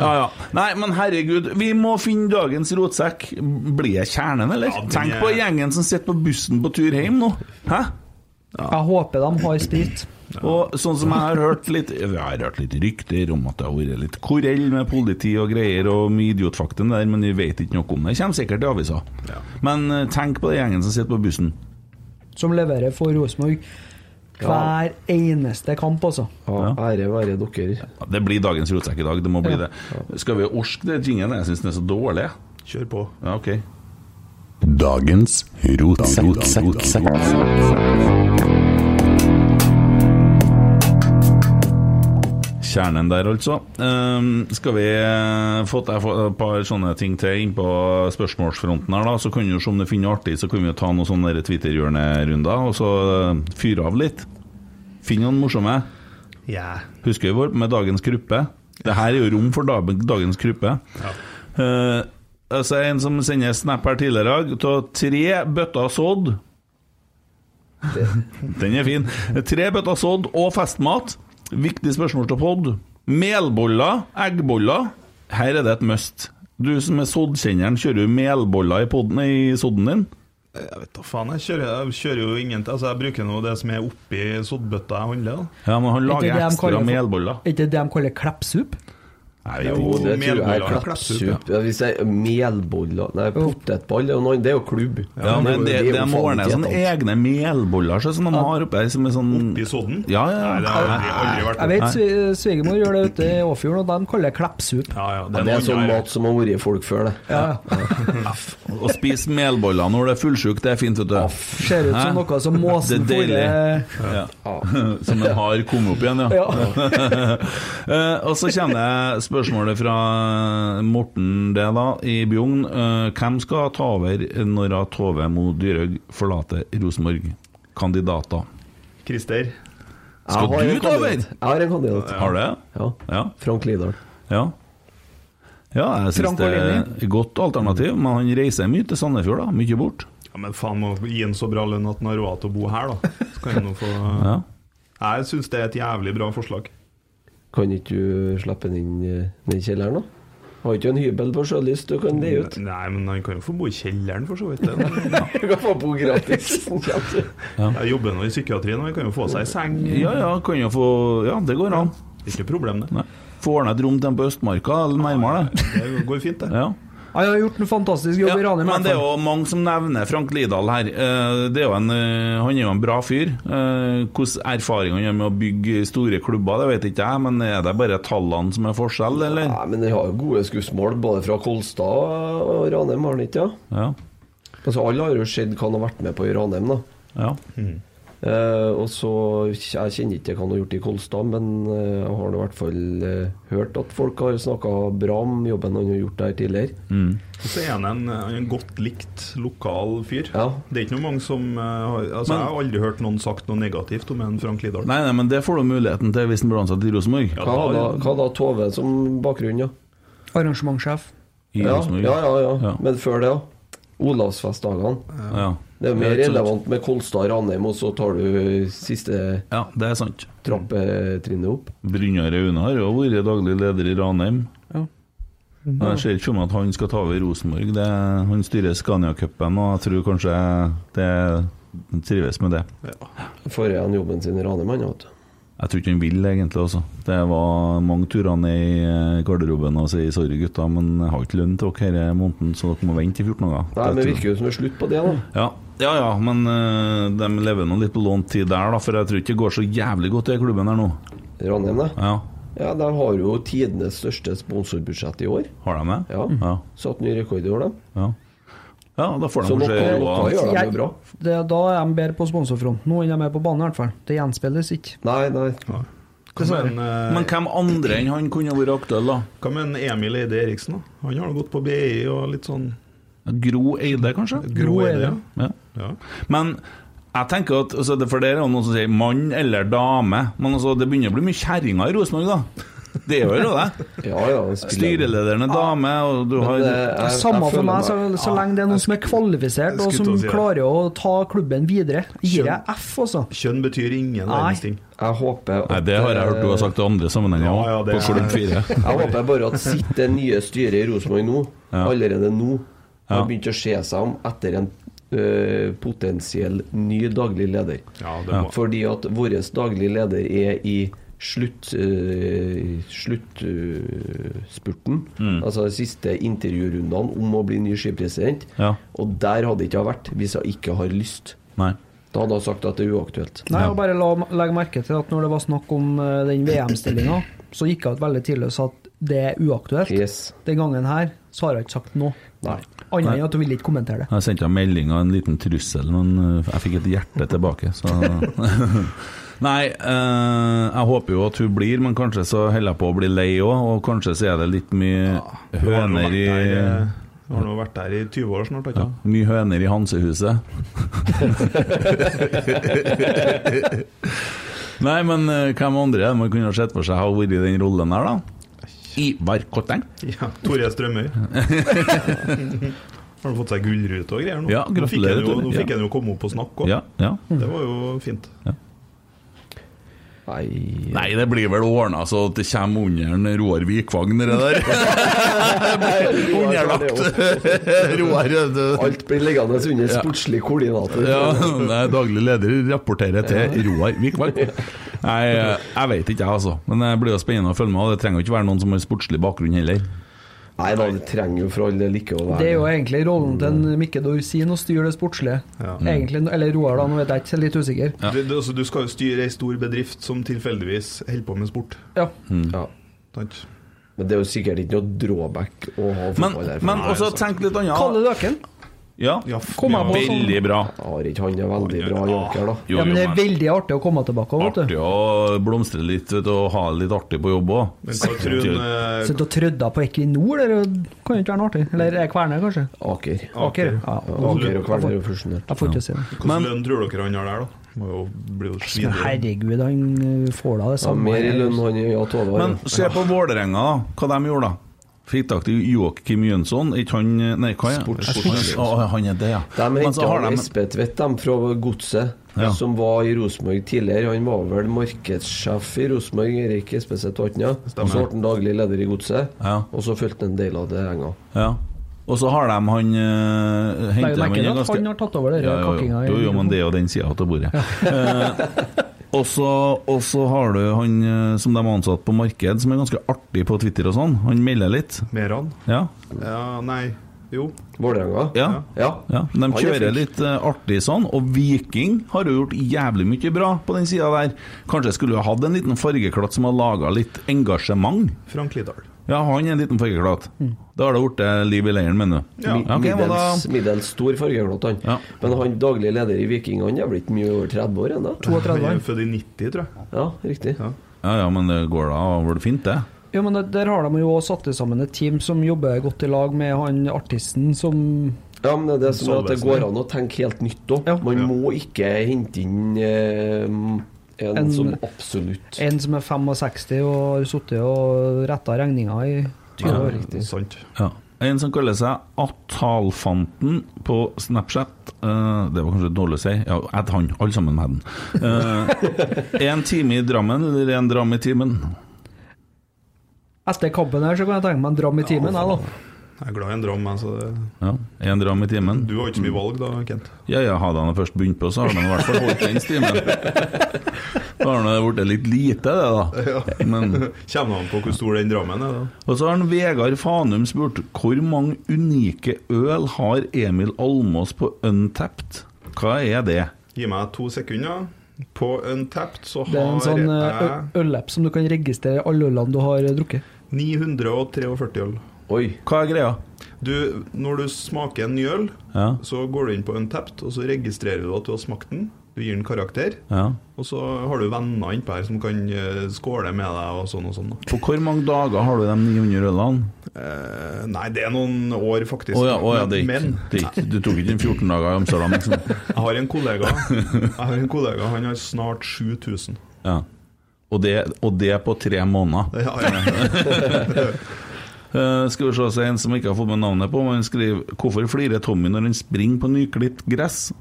A: Ja, ja. [LAUGHS] Nei, men herregud, vi må finne dagens rotsekk. Blir jeg kjernen, eller?
D: Ja, den
A: Tenk
D: er-
A: på gjengen som sitter på bussen på tur hjem nå. Hæ?
B: Jeg håper de har sprit.
A: Og sånn som jeg har hørt litt Jeg har hørt litt rykter om at det har vært litt korell med politi og greier og mye idiotfakten der, men vi vet ikke noe om det. Det kommer sikkert i avisa. Men eh, tenk på den gjengen som sitter på bussen.
B: Som leverer for Rosenborg hver eneste kamp, altså.
C: Ja, ære være dere.
A: Ja, Det blir dagens rotsekk i dag, det må bli det. Skal vi orske det jingelen? Jeg syns den er så dårlig.
D: Kjør på.
A: Ja, ok.
E: Dagens rotsekk.
A: Kjernen der, altså. Ehm, skal vi eh, få til et par sånne ting til innpå spørsmålsfronten her, da? Så kan vi jo se om det finner noe artig, så kan vi jo ta noen sånne der Twitter-hjørnerunder, og så eh, fyre av litt. Finn noen morsomme.
D: Ja.
A: Husker vi vår med dagens gruppe? Det her er jo rom for da- dagens gruppe. Eh, altså en som sender snap her tidligere i dag. Ta tre bøtter
C: [LAUGHS]
A: sådd. Den er fin. Tre bøtter sådd og festmat. Viktig spørsmål til pod. Melboller, eggboller. Her er det et must. Du som er soddkjenneren, kjører du melboller i, podden, i sodden din?
D: Jeg vet da faen, jeg kjører, jeg kjører jo ingenting. Altså, jeg bruker nå det som er oppi soddbøtta jeg handler, da.
A: Ja, men han
B: det
A: lager
B: det de
A: ekstra
B: kaller for-
A: melboller.
B: Er ikke det det de kaller kleppsup?
A: Nei,
C: Jo,
A: jo.
C: det tror jeg er
D: Melboller, klappsup,
C: klappsup. Ja, hvis jeg melboller Nei, potetball er jo noe annet. Det er jo klubb.
A: Ja, men det,
C: er jo
A: det må
C: faen
A: ordne
C: ikke
A: sånne
C: helt annet.
A: egne melboller så, som de har oppe her, som er sånn
D: Oppi sodden?
A: Ja, ja,
D: Nei, det
A: ja.
D: har jeg aldri, aldri vært
B: Jeg vet svi- svigermor gjør det ute i Åfjorden, og de kaller det kleppsup.
D: Ja, ja,
C: Ja, det er sånn mat som har vært i folk før, det.
A: Å spise melboller når det er fullsjuk, det er fint, vet du.
B: Ser ut som
A: Hæ?
B: noe som måsen
A: [LAUGHS] Det er deilig.
B: fôrer- eh,
A: Ja. [LAUGHS] Som en har kommet opp igjen, ja.
B: Ja.
A: [LAUGHS] Eh, og så kjenner jeg spørsmålet fra Morten det da, i Bjugn. Eh, hvem skal ta over når at Tove Mo Dyrhaug forlater Rosenborg? Kandidater.
D: Christer.
A: Skal
C: Jeg har
A: du
C: en
A: ta over?
C: kandidat. Jeg har en kandidat.
A: Har du det?
C: Ja.
A: Ja.
C: Frank Lidahl.
A: Ja. ja, jeg syns
B: Frank
A: det er et godt alternativ, men han reiser mye til Sandefjord, da. Mye bort.
D: Ja, men faen, må gi han så bra lønn at han har råd til å bo her, da. Så kan han jo få
A: Ja.
D: Jeg syns det er et jævlig bra forslag.
C: Kan ikke du slippe den inn eh, ned i kjelleren, da? Har ikke du en hybel på Sjølyst du kan leie ut?
D: Nei, men han kan jo få bo i kjelleren, for så vidt. det.
C: [LAUGHS] Du kan få bo gratis.
D: Jeg jobber nå i psykiatrien, og han kan jo få seg ei seng.
A: ja, ja, kan jo få Ja, det går an.
D: Ikke problem, det.
A: Nei. Få ordna et rom til dem på Østmarka, eller nærmere det.
D: Det går fint, det.
A: [LAUGHS] Ja.
B: Han har gjort en fantastisk jobb i
A: Ja,
B: Ranheim. i
A: men
B: hvert
A: det er
B: fall.
A: jo mange som nevner Frank Lidahl her. Eh, Det er jo en, eh, han er jo en bra fyr. Eh, Hvordan erfaring han gjør med å bygge store klubber, det vet ikke jeg, men er det bare tallene som er forskjell, eller?
C: Nei, men den har jo gode skussmål, både fra Kolstad og Ranheim, har den ikke det?
A: Ja.
C: Altså, alle har jo sett hva han har vært med på i Ranheim, da.
A: Ja.
C: Eh, og så, Jeg kjenner ikke hva han har gjort i Kolstad, men eh, jeg har nå i hvert fall eh, hørt at folk har snakka bra om jobben han har gjort der tidligere.
A: Mm.
D: Og så er han en, han er en godt likt lokal fyr.
C: Ja.
D: Det er ikke noe mange som eh, har altså,
A: Men-
D: Jeg har aldri hørt noen sagt noe negativt om en Frank Lidahl.
A: Nei, nei, men det får du muligheten til hvis den blir ansatt i Rosenborg.
D: Ja,
C: Hva da,
D: da,
C: hva da Tove som bakgrunn, ja?
B: Arrangementssjef.
A: I
C: Ja,
A: Rosenborg.
C: ja, ja, ja.
A: Ja.
C: Men før det, da? Olavsfestdagene.
A: ja.
C: Det er mer
A: Ja, absolutt.
C: relevant med Kolstad og Ranheim, og så tar du siste
A: Ja, det er sant.
C: trappetrinnet opp.
A: Brynjar Aune har jo vært daglig leder i Ranheim.
B: Ja.
A: Men Jeg ser ikke for meg at han skal ta over Rosenborg. Det, han styrer Scania-cupen, og jeg tror kanskje det han trives med det.
C: Får igjen jobben sin i Ranheim, han, vet du.
A: Jeg tror ikke han vil, egentlig. Også. Det var mange turer ned i eh, garderoben og si sorry, gutta, men jeg har ikke lønn til dere denne måneden, så dere må vente i 14 dager.
C: Nei, men det
A: Det tror jeg.
C: virker jo som det er slutt på det, da.
A: Ja, ja, ja men eh, de lever nå litt på lånt tid der, da, for jeg tror ikke det går så jævlig godt i klubben her nå.
C: Ranheim, det.
A: Ja,
C: Ja, de har jo tidenes største sponsorbudsjett i år.
A: Har de det?
C: Ja.
A: Mm. Ja,
C: Satt ny rekord i år, de.
A: ja. ja da får
C: Så
A: de kanskje
C: noe-
A: roa
C: noe gjør de
B: Jeg-
C: jo bra.
B: Det, da er de bedre på sponsorfronten nå enn de er på banen, i hvert fall. Det gjenspeiles ikke.
C: Nei, nei.
D: hva med en, eh,
A: Men hvem andre enn han kunne vært aktuell, da?
D: hva med en Emil Eide Eriksen? da? Han har nå gått på BI og litt sånn
A: Gro Eide, kanskje?
D: grå
B: Eide.
D: Eide. ja.
A: Ja.
D: Ja.
A: Men jeg tenker at altså, det- For det er jo noen som sier mann eller dame, men altså, det begynner å bli mye kjerringer i Rosenborg, da. Det gjør jo
C: [LAUGHS]
A: det.
C: Ja, ja. de spiller.
A: Styrelederen er dame, og du
C: Men,
A: har
C: eh, jeg-
B: Samme
C: jeg
B: for
C: føler
B: meg, så, så lenge det er noen som er kvalifisert, og som
D: jeg skulle til å si det.
B: klarer å ta klubben videre. Gir jeg F, altså.
D: Kjønn betyr ingen
B: Nei.
D: verdens ting.
C: Jeg håper at, eh,
A: Nei, det har jeg hørt du har sagt i andre sammenhenger
D: Ja,
A: òg,
D: ja, det
A: på Klubb
D: er-
A: 4.
C: Jeg håper bare at sitt det nye styret i Rosenborg nå,
A: Ja.
C: allerede nå, har
A: Ja.
C: begynt å se seg om etter en eh, potensiell ny daglig leder.
D: Ja, det må.
C: Fordi at vår daglig leder er i slutt eh, sluttspurten.
A: Mm.
C: Altså de siste intervjurundene om å bli ny skipresident.
A: Ja.
C: Og der hadde ikke jeg vært hvis jeg ikke har lyst.
A: Nei.
C: Da hadde jeg sagt at det er uaktuelt.
B: Nei, og bare la, legge merke til at når det var snakk om eh, den VM-stillinga, så gikk jeg ut veldig tidlig og sa at det er uaktuelt.
C: Yes.
B: Den gangen her så har jeg ikke sagt noe.
C: Nei.
B: Annet enn at du ville ikke kommentere det.
A: Jeg sendte en melding og en liten trussel, men eh, jeg fikk et hjerte tilbake, så [LAUGHS] Nei, eh, jeg håper jo at hun blir, men kanskje så holder jeg på å bli lei òg, og kanskje så er det litt mye
D: Har nå vært
A: høner i
D: der, eh, Har nå vært der i 20 år snart, har ikke
A: ja,
D: han?
A: Mye høner i Hansehuset. [LAUGHS] Nei, men eh, hvem andre er det man kunne ha sett for seg har vært i den rollen her, da? Ivar Kotteng.
D: Ja, Tore Strømøy. [LAUGHS] Har han fått seg gullrute og greier nå?
A: Ja,
D: Nå fikk
A: gratulerer,
D: han jo-
A: Tore.
D: Nå fikk
A: Ja.
D: han jo komme opp og snakke òg.
A: Ja, ja.
D: Det var jo fint.
C: Nei.
A: Nei, det blir vel ordna så at det kommer under en Roar Vikvang, det der. Underlagt
C: [LAUGHS]
A: Roar det-
C: Alt blir liggende under sportslig koordinator.
A: ja, [LAUGHS] nei, Daglig leder rapporterer til Roar Vikvang. Nei, eh, jeg vet ikke, jeg, altså. Men det blir jo spennende å følge med. Og det trenger jo ikke være noen som har sportslig bakgrunn heller.
C: Nei da, det trenger jo for all del ikke å være
B: Det er jo egentlig rollen til en Mikke Dorsin å styre det sportslige.
D: Ja.
B: Egentlig, eller Roar, da, nå vet jeg ikke, jeg er litt usikker.
D: Du, du, altså, du skal jo styre ei stor bedrift som tilfeldigvis holder på med sport.
B: Ja.
C: ja.
D: Sant?
C: Men det er jo sikkert ikke noe drawback å ha
A: Men,
C: fotball her.
A: men
C: for
A: også tenk litt
B: altså. Kalle
A: annet.
B: Løken.
A: Ja,
D: Ja, f-
B: Kom her på
D: ja,
B: sånn.
A: veldig bra.
C: Har ikke han en veldig bra
D: Ah.
C: joker, da?
A: Jo,
B: ja, men
A: jo,
B: det er veldig artig å komme tilbake. Vet
A: artig
B: du.
A: å blomstre litt vet du, og ha det litt artig på jobb òg.
D: Men hva tror du eh,
B: Sitte og trødde på Equinor, det er jo- kan jo ikke være noe artig. Eller er Kværner, kanskje.
C: Aker.
B: Aker. Ja,
C: Aker og Kvelder er jo fusjonert.
B: Jeg får ikke si det.
D: Hvordan lønn tror dere han har der, da? Må jo bli jo
B: Men
D: svindyr.
B: herregud, han eh, får da det
C: Ja,
B: samme.
C: mer i lønn han ja, Tove har.
A: Men
C: ja.
A: se på Vålerenga, da. Hva de gjorde, da. Fikk tak i Joakim Jønsson. Ikke han Nei, hva er
C: Sports-
A: Å, han er det, ja.
C: De
A: Men så
C: henta
A: har de-
C: Espen Tvedt dem fra Godset,
A: Ja.
C: som var i Rosenborg tidligere. Han var vel markedssjef i Rosenborg, Erik Espeseth Vatna. Så ble han daglig leder i Godset,
A: Ja.
C: og så fulgte han en del av det enga.
A: ja. Og så har de han uh,
B: Det er
A: Henter
B: jo
A: de
B: merkelig
A: en
B: at han har tatt over dere
A: Ja, jo,
B: kakkinga. i-
A: Jo, jo, men det er jo den sida av bordet. Eh, Og så og så har du han eh, som de har ansatt på marked, som er ganske artig på Twitter og sånn. Han melder litt.
D: Meran?
A: Ja.
D: Ja, nei Jo.
C: Vålerenga?
A: Ja.
C: ja.
A: Ja, De
C: er
A: kjører
C: flink.
A: litt eh, artig sånn, og Viking har jo gjort jævlig mye bra på den sida der. Kanskje skulle jo hatt en liten fargeklatt som har laga litt engasjement.
D: Frank Lidahl.
A: Ja, han er en liten fargeklatt.
B: Mm.
A: Da har det blitt eh, liv i leiren, mener du?
D: Ja.
A: ok, men da
C: Middels, middels stor fargeglott, han.
A: Ja.
C: Men han daglig leder i Viking, han er blitt mye over 30 år ennå.
B: 32
D: Han
B: år.
D: er født i 90, tror jeg.
C: Ja, riktig.
D: Ja.
A: Ja, ja, men det går da var det fint, det?
B: Ja, men der- Der har de jo også satt sammen et team som jobber godt i lag med han artisten som
C: Ja, men det er det som er at det
D: Solvesen,
C: går
D: ja.
C: an å tenke helt nytt òg.
B: Ja.
C: Man
D: Ja.
C: må ikke hente inn eh, en,
B: En-
C: som absolutt
B: En som er 65 og har sittet og retta regninger i 20 år.
D: Sant.
A: Ja. En som kaller seg Atalfanten på Snapchat eh, Det var kanskje dårlig å si. Ja, add han. Alle sammen med den. Én time i Drammen eller én dram i timen?
B: Etter kampen her så kan jeg tenke meg en dram i timen, jeg, da.
D: Jeg er glad i en dram, jeg, så det
A: Ja, én dram i timen.
D: Du har ikke så mye valg da, Kent.
A: Ja, ja, hadde han først begynt på, så hadde han i hvert fall holdt den stimen. Da har det blitt litt lite, det, da. Men,
D: [LAUGHS] Kommer an på hvor stor den drammen er, da.
A: og så har han Vegard Fanum spurt hvor mange unike øl har Emil Almås på Untapped? Hva er det?
D: Gi meg to sekunder. På Untapped så
B: Det er en
D: har
B: sånn eh,
D: jeg
B: ø- ølapp som du kan registrere alle ølene du har eh, drukket.
D: 943 øl.
C: Oi.
A: Hva er greia?
D: Du, når du smaker en ny øl,
A: Ja,
D: så går du inn på Untapped, og så registrerer du at du har smakt den. Du gir den karakter,
A: ja.
D: og så har du venner innpå her som kan eh, skåle med deg og sånn og sånn. da.
A: På hvor mange dager har du de 900 ølene?
D: Eh, nei, det er noen år, faktisk.
A: Å ja, å ja, det er
D: Men
A: ikke, det er ikke Du tok ikke en 14 dager i Amsterdam, [LAUGHS] liksom?
D: jeg har en kollega, jeg har en kollega han har snart 7000.
A: Ja. Og det, og det på tre måneder.
D: Det har jeg.
A: [LAUGHS] Eh, skal vi se, så er en som ikke har fått med navnet på, men han skriver Hvorfor flirer Tommy når han springer på nyklitt gress?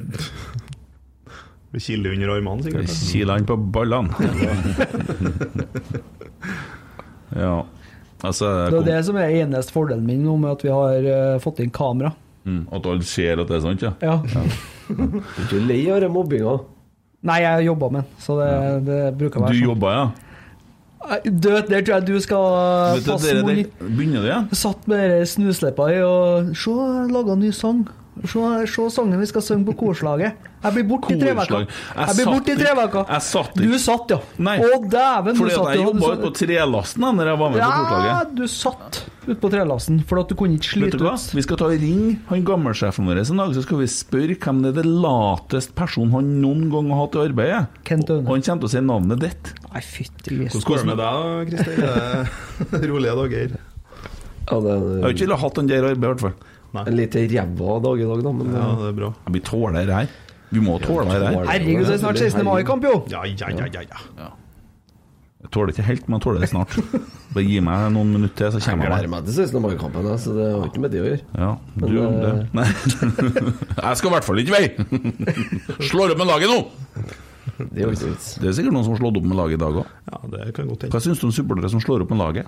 D: Det kiler under armene,
A: Det
D: sikkert.
A: kiler han på ballene. [LAUGHS] ja. Altså
B: Det er det som er eneste fordelen min nå, med at vi har eh, fått inn kamera.
A: mm, At alle ser at det er sant, ja?
B: Ja.
C: Du er ikke lei av den mobbinga?
B: Nei, jeg jobber med den, så det, det bruker å
A: Du
B: være sånn.
A: jobba, ja?
B: Nei, Du, vet, der tror jeg du skal
A: Vet du,
B: passe
A: dere,
B: munn.
A: dere, begynner du igjen?
B: Satt med dere snusleppa i og Se, jeg laga ny sang. Se, se sangen vi skal synge på korslaget. Jeg blir borte i tre uker.
A: Korslag. Jeg
B: Jeg blir borte i
A: satt
B: tre
A: i-
B: uker.
A: jeg satt i-
B: Du satt, ja.
A: Nei.
B: Å, dæven, du
A: Fordi
B: satt
A: at jeg
B: ja. Du
A: jobba
B: satt-
A: på trelasten da når jeg var med på
B: Ja,
A: kortlaget.
B: du satt ute på trelasten, for at du kunne ikke
A: Vet
B: slite
A: du hva?
B: ut.
A: Vi skal ta og ringe han gammelsjefen vår en dag, så skal vi spørre hvem det er det lateste personen han noen gang har hatt i arbeidet.
B: Kent
A: Og
B: Aune.
A: han kommer til å si navnet ditt.
B: Nei, fytti grisen.
D: Hvordan går det med deg, da, Kristin? Eh, Rolige dager.
C: Ja, det
A: Jeg har
C: er
A: ikke villet hatt han der i arbeid, i hvert fall.
C: en litt ræva dag i dag, da, men eh,
D: Ja, det er bra.
A: Ja, Vi tåler det her. Vi må tåle det her.
B: Herregud, det er snart 16. mai-kamp, jo!
D: Ja, ja, ja, ja. ja.
A: Jeg tåler det ikke helt, men jeg tåler det snart.
B: [LAUGHS]
A: Bare gi meg noen minutter til, så
C: Jeg
A: kommer
C: gleder
A: jeg
C: meg
A: meg.
C: til 16. mai-kampen, jeg, så det har ikke med det å gjøre.
A: Ja, du gjør
B: eh,
A: det. [LAUGHS] Nei. Jeg skal i hvert fall ikke
B: [LAUGHS]
A: vei! Slår opp med laget nå!
C: Det er jo ikke vits.
A: Det er sikkert noen som har slått opp med laget i dag òg.
D: ja det kan godt hende.
A: Hva syns du om supportere som slår opp med laget?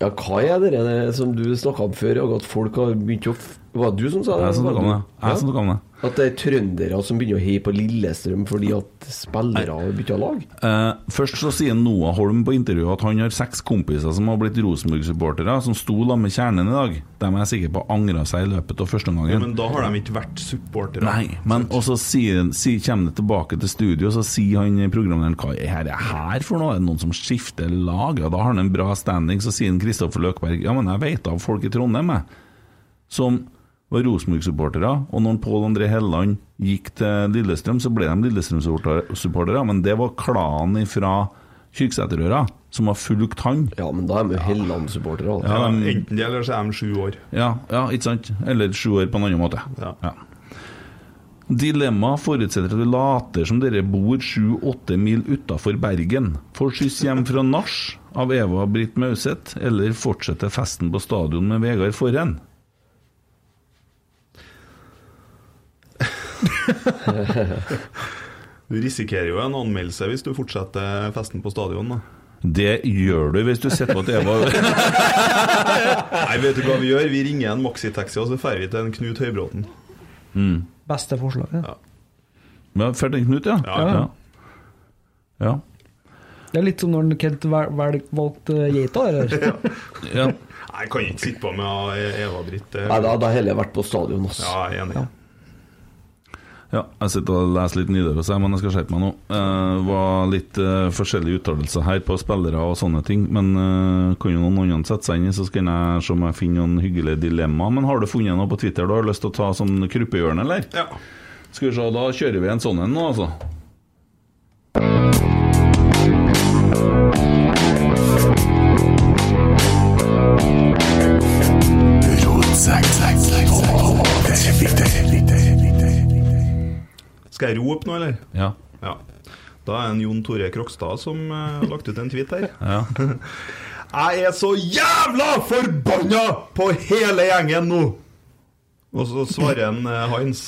C: Ja, hva er det der som du snakka om før, og at folk har begynt å f- Var det du som sa det?
A: Jeg som
C: Var
A: snakker om
C: du?
A: det. Jeg som snakker om det.
C: Ja. At det er trøndere som begynner å heie på Lillestrøm fordi at spillere har bytta lag?
A: Eh, først så sier Noah Holm på intervjuet at han har seks kompiser som har blitt Rosenborg-supportere, som sto sammen med kjernen i dag. De er jeg sikker på angra seg i løpet av første omgangen.
D: Ja, men da har de ikke vært supportere.
A: Nei, men og så sier, sier, kommer det tilbake til studio, så sier han programlederen hva er det her for noe? Er det noen som skifter lag? Ja, da har han en bra standing, så sier han Kristoffer Løkberg ja, men jeg vet av folk i Trondheim, jeg, som var Rosenborg-supportere, og når Pål André Helleland gikk til Lillestrøm, så ble de Lillestrøm-supportere, men det var klanen fra Kyrksæterøra som har fulgt han.
C: Ja, men da er de jo Helland-supportere. da.
D: Ja, enten det, eller så er de sju år.
A: Ja, ja, ikke sant? Eller sju år på en annen måte.
D: Ja.
A: Dilemma forutsetter at vi later som dere bor sju-åtte mil utafor Bergen. Får skyss hjem fra nach av Eva Britt Mauseth, eller fortsetter festen på stadion med Vegard Forhen?
D: Du risikerer jo en anmeldelse hvis du fortsetter festen på stadion. Da.
A: Det gjør du hvis du sitter på at Eva
D: Nei, vet du hva vi gjør? Vi ringer en maxitaxi, og så drar vi til en Knut Høybråten.
B: Beste forslaget.
A: Men Ferdig Knut, ja?
D: Ja.
A: ja. ja.
B: Det er litt som når Kent vel, vel, valgte geita,
D: [LAUGHS]
B: eller?
A: ja.
D: Nei, jeg kan ikke sitte på med Eva-Britt.
C: Nei, da hadde jeg heller vært på stadion, ass.
D: Ja, jeg er enig.
A: Ja, jeg sitter og leser litt Nidaros, her, men jeg skal skjerpe meg nå. Det var litt eh, forskjellige uttalelser her på spillere og sånne ting, men eh, kan jo noen andre sette seg inn i, så skal jeg se om jeg finner noen hyggelige dilemmaer. Men har du funnet noe på Twitter du har lyst til å ta som kruppehjørne, eller?
D: Ja.
A: Skal vi se, da kjører vi en sånn en nå, altså.
D: Skal jeg rope nå, eller?
A: Ja.
D: Ja. Da er det en Jon Tore Krokstad som eh, har lagt ut en tweet
A: [LAUGHS]
D: her. jeg er så jævla forbanna på hele gjengen nå! Og så svarer en eh, Hans.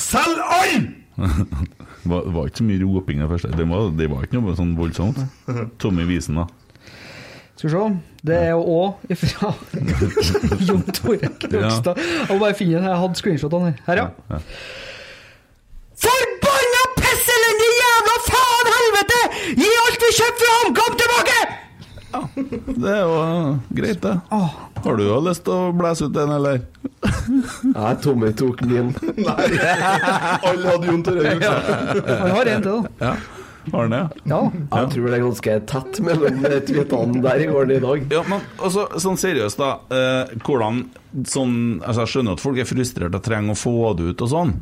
D: Selg alle!
A: Det var, var ikke så mye roping det første. Det var, det var ikke noe sånn [LAUGHS] voldsomt. Tommy Visen, da.
B: Skal vi se. Det er jo òg ifra
A: [LAUGHS]
B: Jon Tore Krogstad. Jeg må bare finne den. Jeg hadde screenshotene her. Her, ja. Forbanna pisselende jævla faen helvete! Gi alt vi kjøper fra HamKam tilbake!
A: Det er jo eh, greit, det.
B: Åh,
A: Har du jo lyst til å blæse ut en, eller?
C: Nei, Tommy tok min.
D: Nei, alle hadde Jon Tore
A: [LAUGHS]
D: Krokstad.
B: han har en til, da.
A: Har den det? ja?
B: Ja.
C: Jeg tror det er ganske tett mellom eh, tweetene der i går og i dag.
A: Ja, men altså, sånn seriøst da eh, Hvordan sånn, altså, Jeg skjønner at folk er frustrert og trenger å få det ut og sånn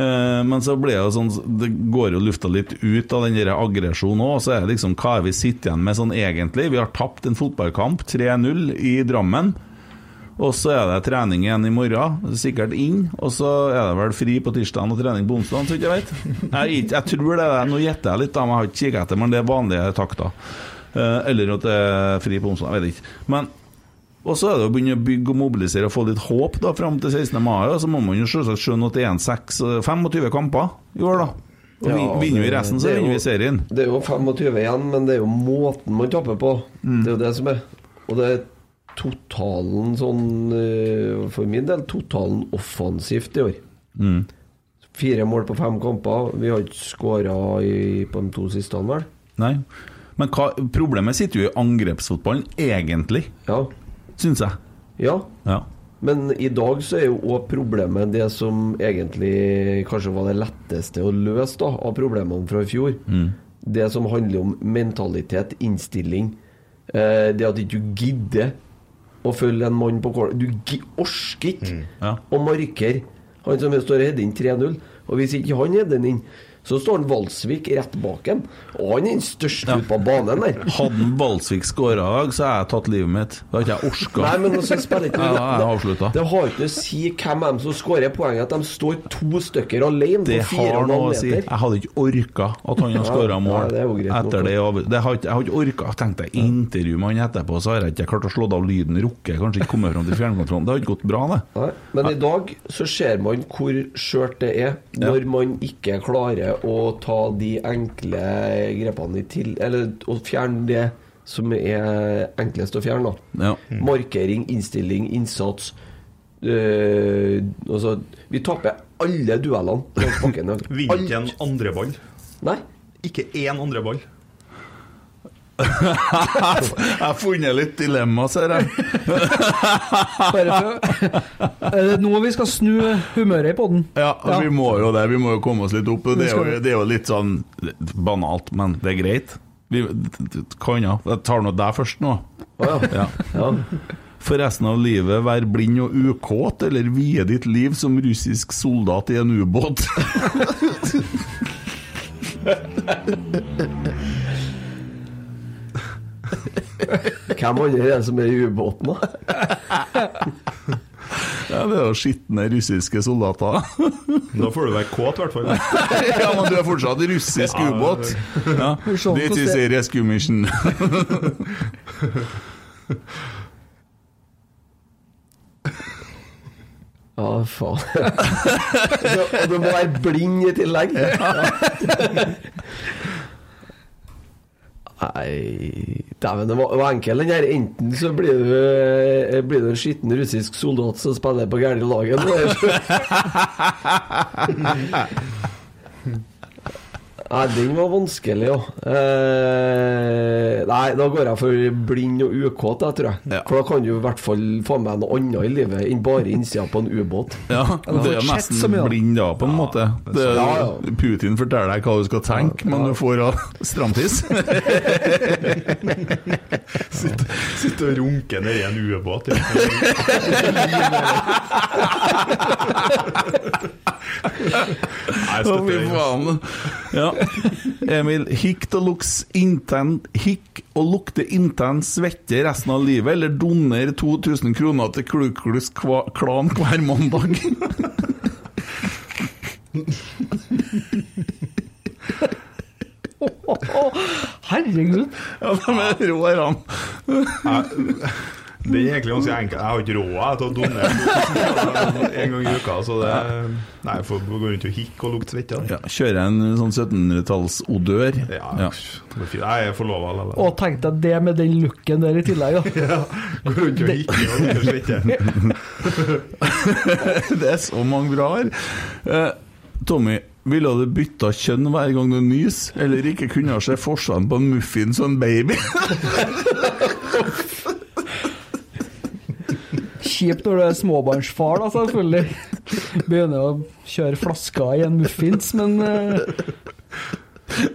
A: eh, Men så blir det jo sånn Det går jo lufta litt ut av den der aggresjonen også og Så er det liksom, hva er vi sitter igjen med sånn egentlig? Vi har tapt en fotballkamp 3-0 i Drammen og så er det trening igjen i morgen, sikkert inn. Og så er det vel fri på tirsdagen og trening på onsdagen, så vidt jeg vet. Jeg, er ikke- jeg tror det er Nå gjetter jeg litt, da, men jeg har ikke kikket etter, men det er vanlige takter. Eh, Eller at det er fri på onsdag, jeg vet ikke. Men og så er det å begynne å bygge og mobilisere og få litt håp da fram til 16. mai. Og så må man jo selvsagt skjønne at det er en seks- 25 kamper i år, da. Og vi-
C: Ja,
A: vinner vi
C: det-
A: resten, så
C: det er
A: vinner vi
C: jo-
A: serien.
C: Det er jo 25 igjen, men det er jo måten man tapper på. Det er jo det som er. Og det er totalen sånn eh, For min del totalen offensivt i år. Fire mål på fem kamper. Vi har ikke skåra i- på de to siste, vel?
A: Nei. Men hva, problemet sitter jo i angrepsfotballen, egentlig,
C: Ja.
A: syns jeg.
C: ja.
A: Ja.
C: Men i dag så er jo òg problemet det som egentlig kanskje var det letteste å løse da, av problemene fra i fjor. Det som handler om mentalitet, innstilling. Eh, det at ikke du gidder å følge en mann på corner. Du gi- orker ikke
A: Ja.
C: å markere han som står og header inn 3-0. Og hvis ikke han header den inn, så står han Valsvik rett bak ham. Og han er den største ute på banen der.
A: Hadde Balsvik skåra i dag, så hadde jeg tatt livet mitt. Da hadde ikke jeg orka.
C: Nei, men også spiller ikke
A: altså, Ja,
C: noe-
A: jeg avslutta.
C: Det har ikke noe å si hvem av dem som skårer poenget, at de står to stykker alene
A: Det
C: på fire og
A: har
C: en
A: noe
C: halv
A: å si.
C: meter.
A: Jeg hadde ikke orka at han har skåra
C: nei,
A: mål
C: det er jo greit nok,
A: etter det. over- det har ikke, jeg har ikke orka. Tenkte jeg intervju med han etterpå, så har jeg ikke klart å slå av lyden. Rukker kanskje ikke kommet fram til fjernkontrollen. Det har ikke gått bra, det.
C: Nei, Men i dag så ser man hvor skjørt det er når man ikke klarer å ta de enkle grepene i til... Eller å fjerne det som er enklest å fjerne, da.
A: Ja.
C: Markering, innstilling, innsats. Øh, altså, vi taper alle duellene. langs bakken.
D: Vinner ikke en andre ball.
C: Nei.
D: Ikke én andre ball.
A: Jeg har funnet litt dilemma, ser jeg.
B: [LAUGHS] Bare for
A: [LAUGHS]
B: Er det nå vi skal snu humøret i poden?
A: Ja, Vi må jo det. Vi må jo komme oss litt opp. Det er
B: skal
A: jo,
B: vi.
A: det er jo litt sånn banalt, men det er greit. Vi, hva annet? Jeg tar nå deg først nå. Ja.
C: Ja.
A: For resten av livet være blind og ukåt, eller vie ditt liv som russisk soldat i en ubåt? [LAUGHS]
C: Hvem andre er det som er i ubåten, da?
A: ja, det er jo skitne russiske soldater.
D: Da får du være kåt, i hvert fall. [LAUGHS]
A: ja, men du er fortsatt russisk ubåt. Ja.
B: Sånn
A: This is a rescue mission.
C: Ja, faen. [LAUGHS] Og du må være blind i tillegg. Nei Dæven, det var, var enkel den her. Enten så blir du, eh, blir du en skitten russisk soldat som spiller på gærne laget. eller så- Nei, den var vanskelig, ja. Eh, nei, da går jeg for blind og ukåt, jeg, tror jeg.
A: Ja.
C: For da kan du i hvert fall få med noe annet i livet enn bare innsida på en ubåt.
A: Ja, det er
B: fortsett som
A: nesten
B: jeg.
A: blind da, på en måte. Det,
C: Ja,
A: Putin forteller deg hva du skal tenke, men du får [LAUGHS] av stramtiss.
D: Sitte og runke nedi en
A: [LAUGHS]
D: ubåt.
A: Å, fy
D: altså.
A: faen. [LAUGHS] Ja. Emil, hikk og luks inten, hikk og lukte intens svette resten av livet, eller doner 2000 kroner til Kluklus kva, Klan hver mandag?
B: Herregud.
A: Ja, de er rå, er han.
D: Det er egentlig ganske enkelt. Jeg har ikke råd jeg, til å
B: [LAUGHS]
D: donere en gang i uka. Så det Nei, jeg får gå rundt og hikke og lukte svette. da.
A: Ja, kjører en sånn 1700-talls-odør.
D: Ja, det er fint. Jeg er forlova
B: Og
D: likevel.
B: tenk deg det med den looken der i tillegg,
D: [LAUGHS]
B: da.
D: Går rundt og hikker og lukter svette.
B: [LAUGHS]
A: Det er så mange bra her. Eh, Tommy, ville du bytta kjønn hver gang du nys, eller ikke kunne se forskjellen på en muffins og en baby? [LAUGHS]
B: Kjipt når du er småbarnsfar, da, selvfølgelig. Begynner å kjøre flaska i en muffins, men eh,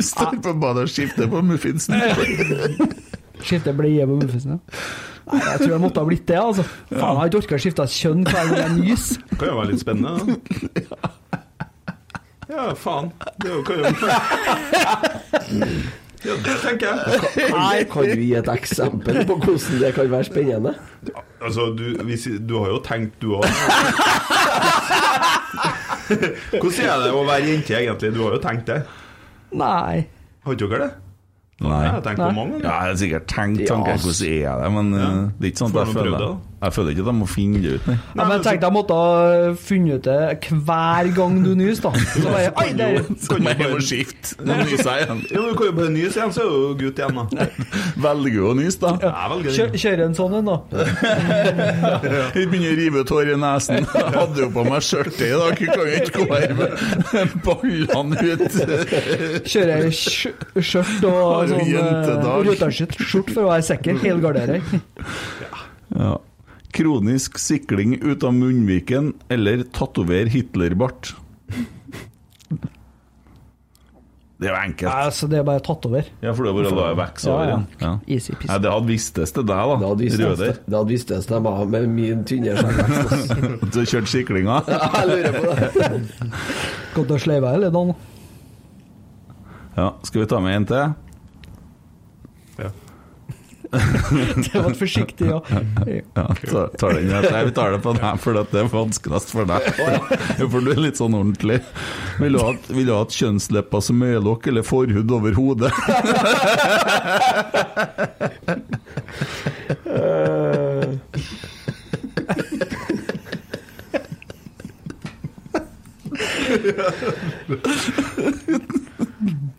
A: Står på badet og skifter på
B: [LAUGHS]
A: muffinsen.
B: skifte bleie på muffinsen. ja. Nei, jeg tror jeg måtte ha blitt det, altså. Faen, jeg har ikke orka å skifte kjønn hver gang jeg nyser.
D: Kan jo være litt spennende. da. Ja, faen. Det er jo- kan jo Ja, det tenker jeg.
C: Kan, kan du gi et eksempel på hvordan det kan være spennende?
D: Altså, du, hvis, du har jo tenkt, du
B: [LAUGHS]
D: òg. Hvordan er det å være jente, egentlig? Du har jo tenkt det.
B: Nei.
D: Har ikke dere det?
A: Nei.
D: Jeg har tenkt på
B: Nei.
D: mange.
A: Ja,
D: ganger.
A: jeg har sikkert tenkt tanken hvordan er jeg det, men eh, det er ikke sånn at
D: Får noen
A: jeg føler,
D: prøvd det,
A: jeg føler ikke at jeg må finne det ut, nei.
B: Ja,
C: altså-
B: men jeg tenkte jeg måtte ha funnet ut det hver gang du nyser, da. Så bare, Oi, der!
A: Så må jeg må skifte. Nå nyser jeg igjen.
D: Jo, du kan jo bare nyse igjen, så er du jo gutt igjen, da.
A: Velger du å nyse, da?
D: Jeg velger
B: Kjør,
D: den.
B: kjører en sånn en, da.
A: Ikke begynne å rive ut hår i nesen. Jeg hadde jo på meg skjørtet i dag, jeg kan jo ikke gå her med ballene ut.
B: Kjører jeg skj- skjørt og
A: Har du
B: sånn
A: jentedag?
B: rødtaskjørt skjort for å være sikker. Helgardering.
A: Ja. Kronisk sikling ut av munnviken eller tatover Hitlerbart? Det er jo
B: Nei,
A: enkelt.
B: altså, det er bare tatt over.
A: Ja, for det har vært laget vekk så
B: Ja, ja.
A: igjen. Ja.
B: Easy peasy.
A: Nei, det hadde vistes til deg, da.
C: Det hadde visst
A: Røder.
C: det hadde visst det stemmer med min tynne skjegg.
A: At Du har kjørt siklinga?
C: [LAUGHS] Jeg lurer på det.
B: Gått og sleiva hele dagen.
A: Ja. Skal vi ta med en til?
D: Ja.
B: [LAUGHS] Det var forsiktig, ja.
A: Ja, ta, ta den her. Nei, vi tar det på deg, for at det er vanskeligst for deg. For du er litt sånn ordentlig. Vil du ha, et- vil du ha et kjønnslepper som øyelokk eller forhud over hodet?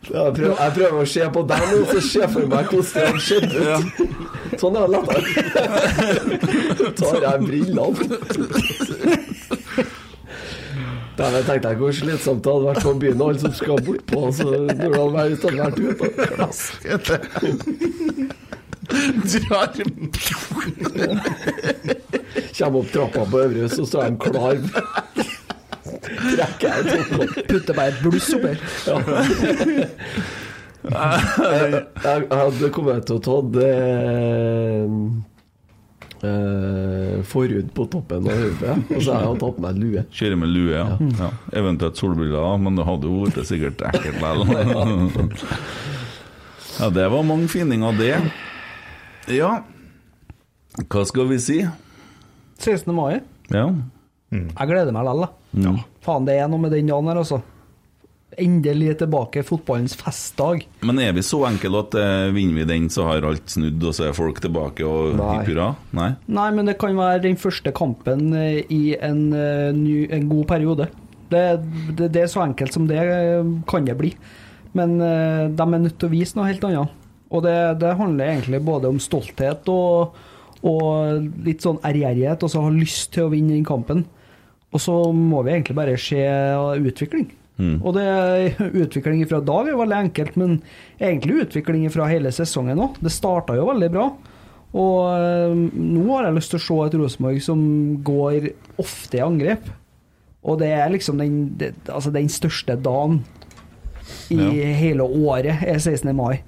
C: Jeg prøver, jeg prøver å se på deg nå, så ser jeg for meg hvordan det ser ut. Sånn er det lettere. Tar jeg brillene Dæven, jeg tenkte jeg hvor slitsomt sånn, det hadde vært for byen og alle som skal bort på så når de har vært ute, hadde vært ute. Klass.
A: Drar
C: Kommer opp trappa på Øvre Hus, og så er de klar. Trekker jeg et sånt opp.
B: Putter bare et bluss oppi her.
C: Ja. Jeg, jeg hadde kommet til å ta det eh, forhud på toppen av hodet, og så har jeg tatt meg lue.
A: Kjører med lue, ja. ja. Eventuelt solbriller, da, men det hadde jo vært sikkert ekkelt likevel. Ja, det var mange finninger, det. Ja, hva skal vi si?
B: 16. mai.
A: Ja.
B: Jeg gleder meg likevel, da. Faen, det er noe med den dagen her, altså. Endelig tilbake fotballens festdag.
A: Men er vi så enkle at eh, vinner vi den, så har alt snudd, og så er folk tilbake og
C: Nei.
A: hipp hurra? Nei.
B: Nei, men det kan være den første kampen eh, i en, eh, ny, en god periode. Det, det, det er så enkelt som det eh, kan det bli. Men eh, de er nødt til å vise noe helt annet. Og det, det handler egentlig både om stolthet og, og litt sånn ærgjerrighet, og så ha lyst til å vinne den kampen. Og så må vi egentlig bare se utvikling. Og det [LAUGHS] er utvikling fra da vi var veldig enkelt, men egentlig utvikling fra hele sesongen òg. Det starta jo veldig bra. Og eh, nå har jeg lyst til å se et Rosenborg som går ofte i angrep. Og det er liksom den, det, altså den største dagen i
A: Ja.
B: hele året, er 16. mai.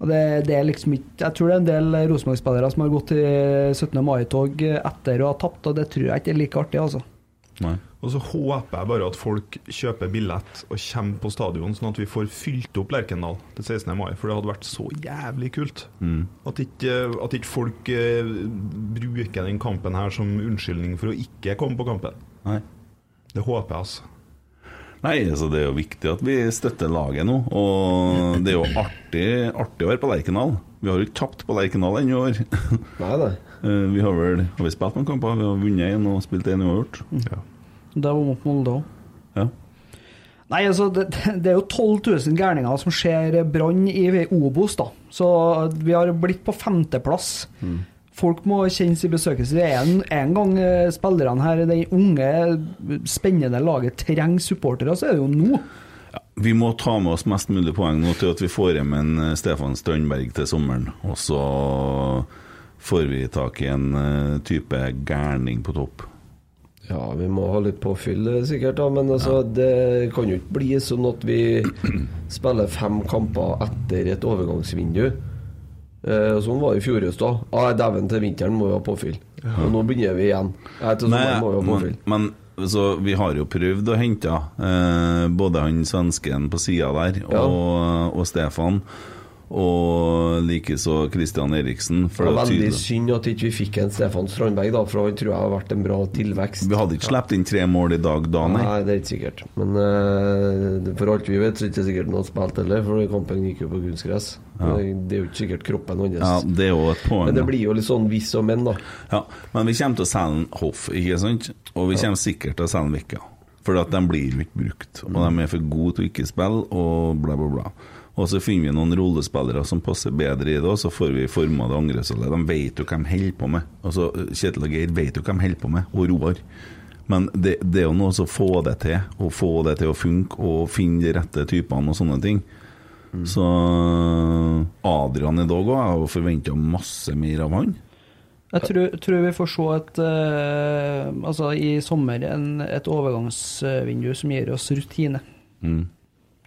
B: Og det, det er liksom ikke Jeg tror det er en del Rosenborg-spillere som har gått i 17. mai-tog etter å ha tapt, og det tror jeg ikke er like artig, altså.
A: Nei.
D: Og så håper jeg bare at folk kjøper billett og kommer på stadion, sånn at vi får fylt opp Lerkendal til 16. mai. For det hadde vært så jævlig kult. At, ikke, at ikke folk eh, bruker den kampen her som unnskyldning for å ikke komme på kampen.
A: Nei.
D: Det håper jeg, altså.
A: Nei, altså det er jo viktig at vi støtter laget nå, og det er jo artig, artig å være på Lerkendal. Vi har jo ikke tapt på Lerkendal ennå i år. [LAUGHS]
C: Nei, nei.
A: Eh, Vi har vel har vi spilt noen kamper, vi har vunnet én og spilt én uavgjort.
D: Ja.
B: Det var mot Molde òg.
A: Ja.
B: Nei, altså, det, det er jo 12 000 gærninger som ser brann i Obos, da. Så vi har blitt på femteplass.
C: Mm.
B: Folk må kjenne sin besøkelse. Det er en, en gang eh, spillerne her, det unge, spennende laget, trenger supportere, så er det jo nå.
A: Vi må ta med oss mest mulig poeng nå til at vi får hjem en eh, Stefan Strandberg til sommeren. Og så får vi tak i en eh, type gærning på topp.
C: Ja, vi må ha litt påfyll eh, sikkert, da, men altså, det kan jo ikke bli sånn at vi [CLEARS THROAT] spiller fem kamper etter et overgangsvindu. Eh, og sånn var det i fjor høst òg. Ah, Dæven, til vinteren må vi ha påfyll. Og nå begynner vi igjen. Nei, til sommeren må vi ha påfyll.
A: men, men så vi har jo prøvd å hente eh, både han svensken på sida der
C: Ja.
A: og, og Stefan. Og likeså Christian Eriksen.
C: Det
A: For
C: var
A: det er
C: veldig
A: tydelig-
C: synd at ikke vi ikke fikk en Stefan Strandberg, da, for han tror jeg har vært en bra tilvekst.
A: vi hadde ikke sluppet inn tre mål i dag da, nei.
C: Nei, det er ikke sikkert. Men eh, for alt vi vet, så er det ikke sikkert han hadde spilt heller, for kampen gikk jo på kunstgress. Det, det er jo ikke sikkert kroppen hans.
A: Ja, det er jo et poeng.
C: Men det
A: da.
C: blir jo litt sånn hvis og men, da.
A: Ja, men vi kommer til å selge en Hoff, ikke sant? Og vi kommer sikkert til å selge en Vikka. For at de blir jo ikke brukt. Og de er for gode til å ikke spille, og bla, bla, bla. Og så finner vi noen rollespillere som passer bedre i det, og så får vi forma det angrepsspillet. De vet jo hva de holder på med. Altså, Kjetil og Geir vet jo hva de holder på med, og Roar. Men det, det er jo noe å få det til, og få det til å funke, og finne de rette typene og sånne ting. Så Adrian i dag òg, jeg har jo forventa masse mer av han.
B: Jeg tror, tror vi får se et eh, Altså, i sommer en, et overgangsvindu som gir oss rutine.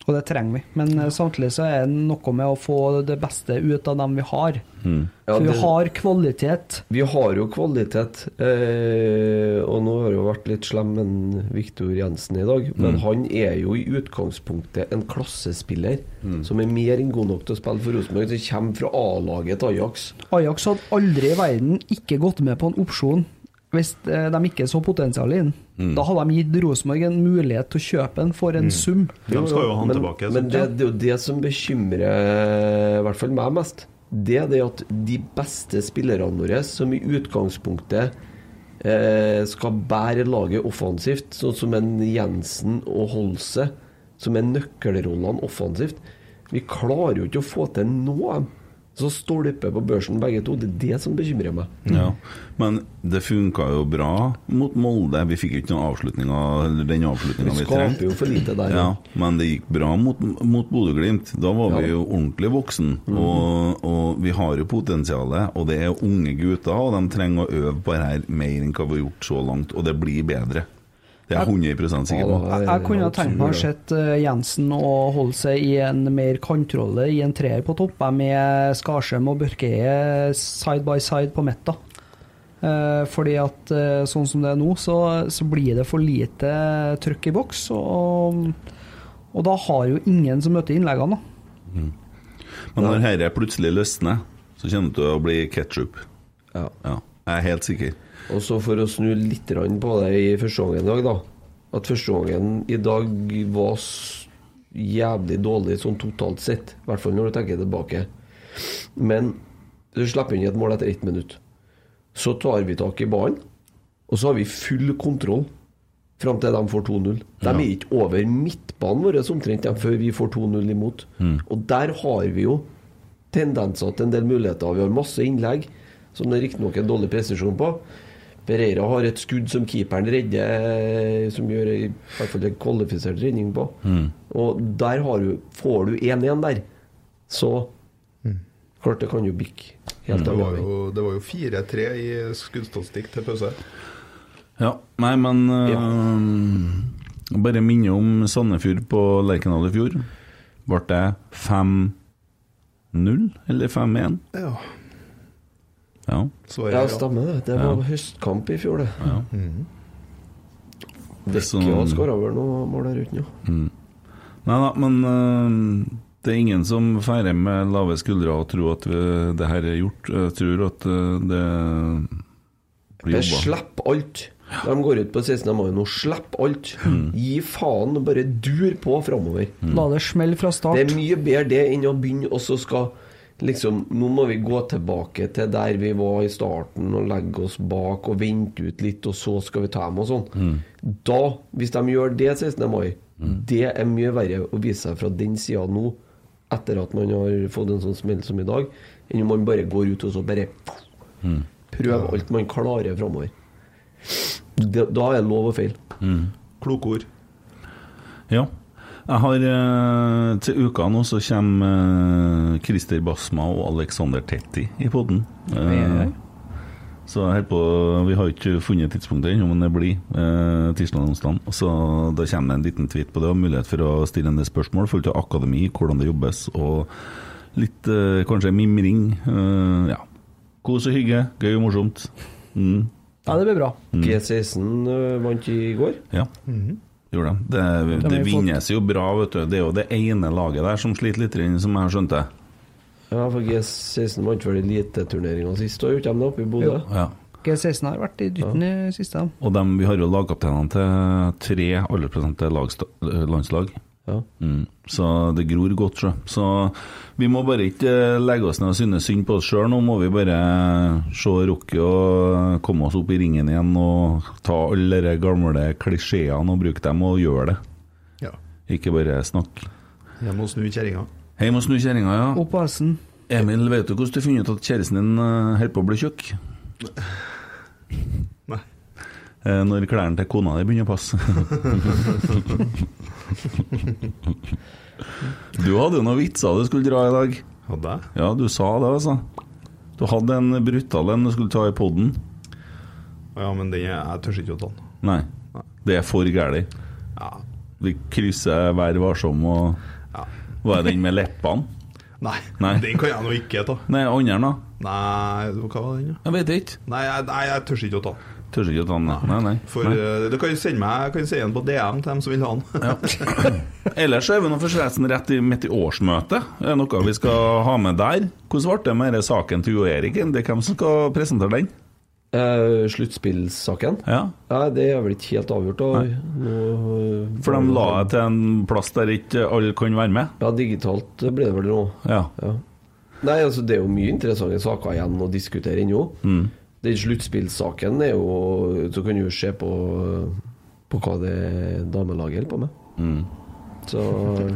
B: Og det trenger vi. Men eh, samtidig så er det noe med å få det beste ut av dem vi har.
C: Ja,
B: For
C: det-
B: vi har kvalitet.
C: Vi har jo kvalitet, eh, og nå har jo vært litt slem med Viktor Jensen i dag.
A: Mm.
C: Men han er jo i utgangspunktet en klassespiller
A: Mm.
C: som er mer enn god nok til å spille for Rosenborg. Som kommer fra A-laget til Ajax.
B: Ajax hadde aldri i verden ikke gått med på en opsjon hvis eh, de ikke så potensialet i den.
D: Mm.
B: Da hadde de gitt Rosenborg en mulighet til å kjøpe den for en sum.
D: De skal jo ha han
C: Men,
D: tilbake.
C: men
D: sant?
C: det, det er jo det som bekymrer eh, i hvert fall meg mest. Det er det at de beste spillerne våre, som i utgangspunktet eh, skal bære laget offensivt, sånn som en Jensen og Holse, som er nøkkelrollene offensivt Vi klarer jo ikke å få til noe av dem. Så stolper på børsen begge to. Det er det som bekymrer meg.
A: Ja, Men det funka jo bra mot Molde. Vi fikk jo ikke noen avslutninger, eller den avslutninga
C: Vi
A: vi
C: skaper
A: trengte.
C: jo for lite der.
A: Ja, men det gikk bra mot, mot Bodø-Glimt. Da var vi
C: Ja. Mm.
A: jo ordentlig voksen og, og vi har jo potensialet. Og det er unge gutter, og de trenger å øve på det her mer enn hva vi har gjort så langt. Og det blir bedre. Det er jeg 100 sikker på.
C: Ja, det er-
B: Jeg kunne ha
C: det er
B: tenkt meg å
C: absolutt.
B: se Jensen og holde seg i en mer kantrolle i en treer på topp, jeg med Skarsheim og Børkeie side by side på midten. Eh, Fordi at eh, sånn som det er nå, så, så blir det for lite trøkk i boks. Og, og da har jo ingen som møter innleggene, da.
A: Men når dette plutselig løsner, så kommer det til å bli ketsjup.
C: Ja.
A: Ja, jeg er helt sikker.
C: Og så for å snu litt grann på det i første gangen i dag, da. At første gangen i dag var s- jævlig dårlig sånn totalt sett. I hvert fall når du tenker tilbake. Men du slipper inn et mål etter ett minutt. Så tar vi tak i ballen, og så har vi full kontroll fram til de får 2-0. De er ikke over midtbanen vår omtrent dem før vi får 2-0 imot. Og der har vi jo tendenser til en del muligheter. Vi har masse innlegg som det riktignok er dårlig presisjon på. Pereira har et skudd som keeperen redder, eh, som gjør i hvert fall en kvalifisert redning på. Og der har du, får du 1-1 der, så klart det kan jo bikke. Helt
D: Det var
C: avgjørende.
D: jo, det var jo 4-3 i skuddstatistikk til pause.
A: Ja, nei, men eh, Bare minne om Sandefjord på Lerkendal i fjor. Ble det 5-0 eller 5-1?
D: Ja,
A: Ja.
D: svaret
C: Ja,
D: er ja.
C: stemmer det. Det var høstkamp i fjor, det. Ja. Dekkja
A: Sånn-
C: skåra vel noe mål der ute nå.
A: Nei da, men eh, det er ingen som feirer med lave skuldre og tror at eh, det her er gjort. Jeg tror at eh, det blir
C: Det
A: jobba.
C: Slipp alt. De går ut på 16. mai nå. Slipp alt. Gi faen. Bare dur på framover.
B: La det smelle fra start.
C: Det er mye bedre det enn å begynne og så skal liksom Nå må vi gå tilbake til der vi var i starten, og legge oss bak og vente ut litt, og så skal vi ta dem og sånn. Da, hvis de gjør det 16. mai, det er mye verre å vise seg fra den sida nå, etter at man har fått en sånn smell som i dag, enn om man bare går ut og så bare prøver alt man klarer framover. Da da er det lov å feile.
D: Kloke ord.
A: Ja. Jeg har eh, Til uka nå så kommer eh, Christer Basma og Alexander Tetti i poden. Så jeg holder på Vi har ikke funnet tidspunktet ennå, men det blir eh, tirsdag og onsdag. Så da kommer det en liten tweet på det, og mulighet for å stille en del spørsmål i forhold til akademi, hvordan det jobbes, og litt eh, kanskje mimring. Eh, ja. Kos og hygge. Gøy og morsomt. Mm.
B: Ja, det blir bra.
C: G16 ø, vant i går.
A: Ja, gjorde de. Det, det,
B: Mhm. har vi fått.
A: vinnes jo bra, vet du. Det er jo det ene laget der som sliter litt, inn, som jeg har skjønt det.
C: Ja, for G16 vant vel eliteturneringa sist, og gjorde de det oppe i Bodø?
A: Ja.
B: G16 har vært i dytten i siste. dem.
A: Og dem, vi har jo lagkapteinene til tre aldersprosenterte lagsta- landslag.
C: Ja.
A: Mm. Så det gror godt, sjø. Så vi må bare ikke eh, legge oss ned og synes synd på oss sjøl. Nå må vi bare eh, se Rocky og komme oss opp i ringen igjen og ta alle de gamle klisjeene og bruke dem og gjøre det.
D: Ja.
A: Ikke bare snakke.
D: Jeg må snu kjerringa.
A: Hjem og snu kjerringa, ja.
B: Opp på hesten.
A: Emil, vet du hvordan du finner ut at kjæresten din eh, holder på å bli tjukk?
D: Nei.
A: Eh, Når klærne til kona di begynner å [LAUGHS] passe. du hadde jo noen vitser du skulle dra i dag.
D: Hadde jeg?
A: Ja, du sa det, altså. Du hadde en brutal en du skulle ta i poden.
D: Ja, men den er, jeg tør ikke å ta den.
A: Nei, det er for gæli.
D: Ja.
A: Vi krysser Vær varsom og
D: ja.
A: Hva er den med leppene?
D: Nei,
A: Nei.
D: den kan jeg nå ikke ta.
A: Nei, andre, da?
D: Nei, hva var den, da?
A: Jeg vet ikke.
D: Nei, jeg, nei, jeg tør ikke å ta den.
A: Tør ikke å ta den. nei. Nei, nei.
D: For
A: nei.
D: eh, du kan jo sende meg kan jo sende den på DM til dem som vil ha den.
A: Ellers så er vi nå forresten rett i, midt i årsmøtet. Det er noe vi skal ha med der. Hvordan ble det med denne saken til Jo Erik? Det er hvem som skal presentere den?
C: Eh, Sluttspillsaken?
A: Ja.
C: Nei, det er vel ikke helt avgjort. Da. Nå, eh, ø,
A: For de la det til en plass der ikke alle kan være med.
C: Ja, digitalt ble det vel nå.
A: Ja.
C: Ja. Nei, altså det er jo mye interessante saker igjen å diskutere ennå.
A: Mm.
C: Den sluttspillsaken er jo Så kan du jo se på, på hva det damelaget holder på med.
A: Mm.
C: Så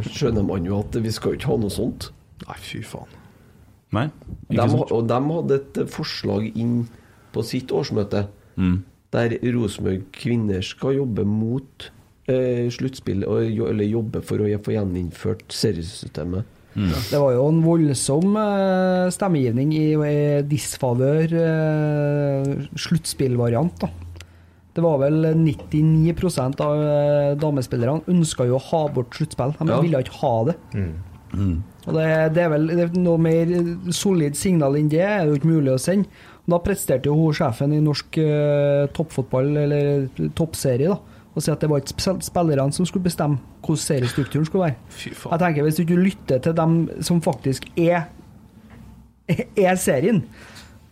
C: skjønner man jo at vi skal jo ikke ha noe sånt.
D: [LAUGHS] Nei, fy faen.
A: Nei?
C: Dem,
A: Ikke sant?
C: ha- og de hadde et forslag inn på sitt årsmøte
A: Mm.
C: der Rosenborg kvinner skal jobbe mot eh, sluttspill, og jo- eller jobbe for å få gjeninnført seriesystemet.
B: Det var jo en voldsom eh, stemmegivning i, i disfavør eh, sluttspillvariant, da. Det var vel 99 av eh, damespillerne ønska jo å ha bort sluttspill. De
C: Ja.
B: ville ikke ha det. Og det, det er vel det er noe mer solid signal enn det er jo ikke mulig å sende. Og da presterte jo hun sjefen i norsk eh, toppfotball, eller eh, toppserie, da, å si at det var ikke spil- spillerne som skulle bestemme hvordan seriestrukturen skulle være.
D: Fy
B: Jeg
D: faen.
B: tenker Hvis du ikke lytter til dem som faktisk er er serien,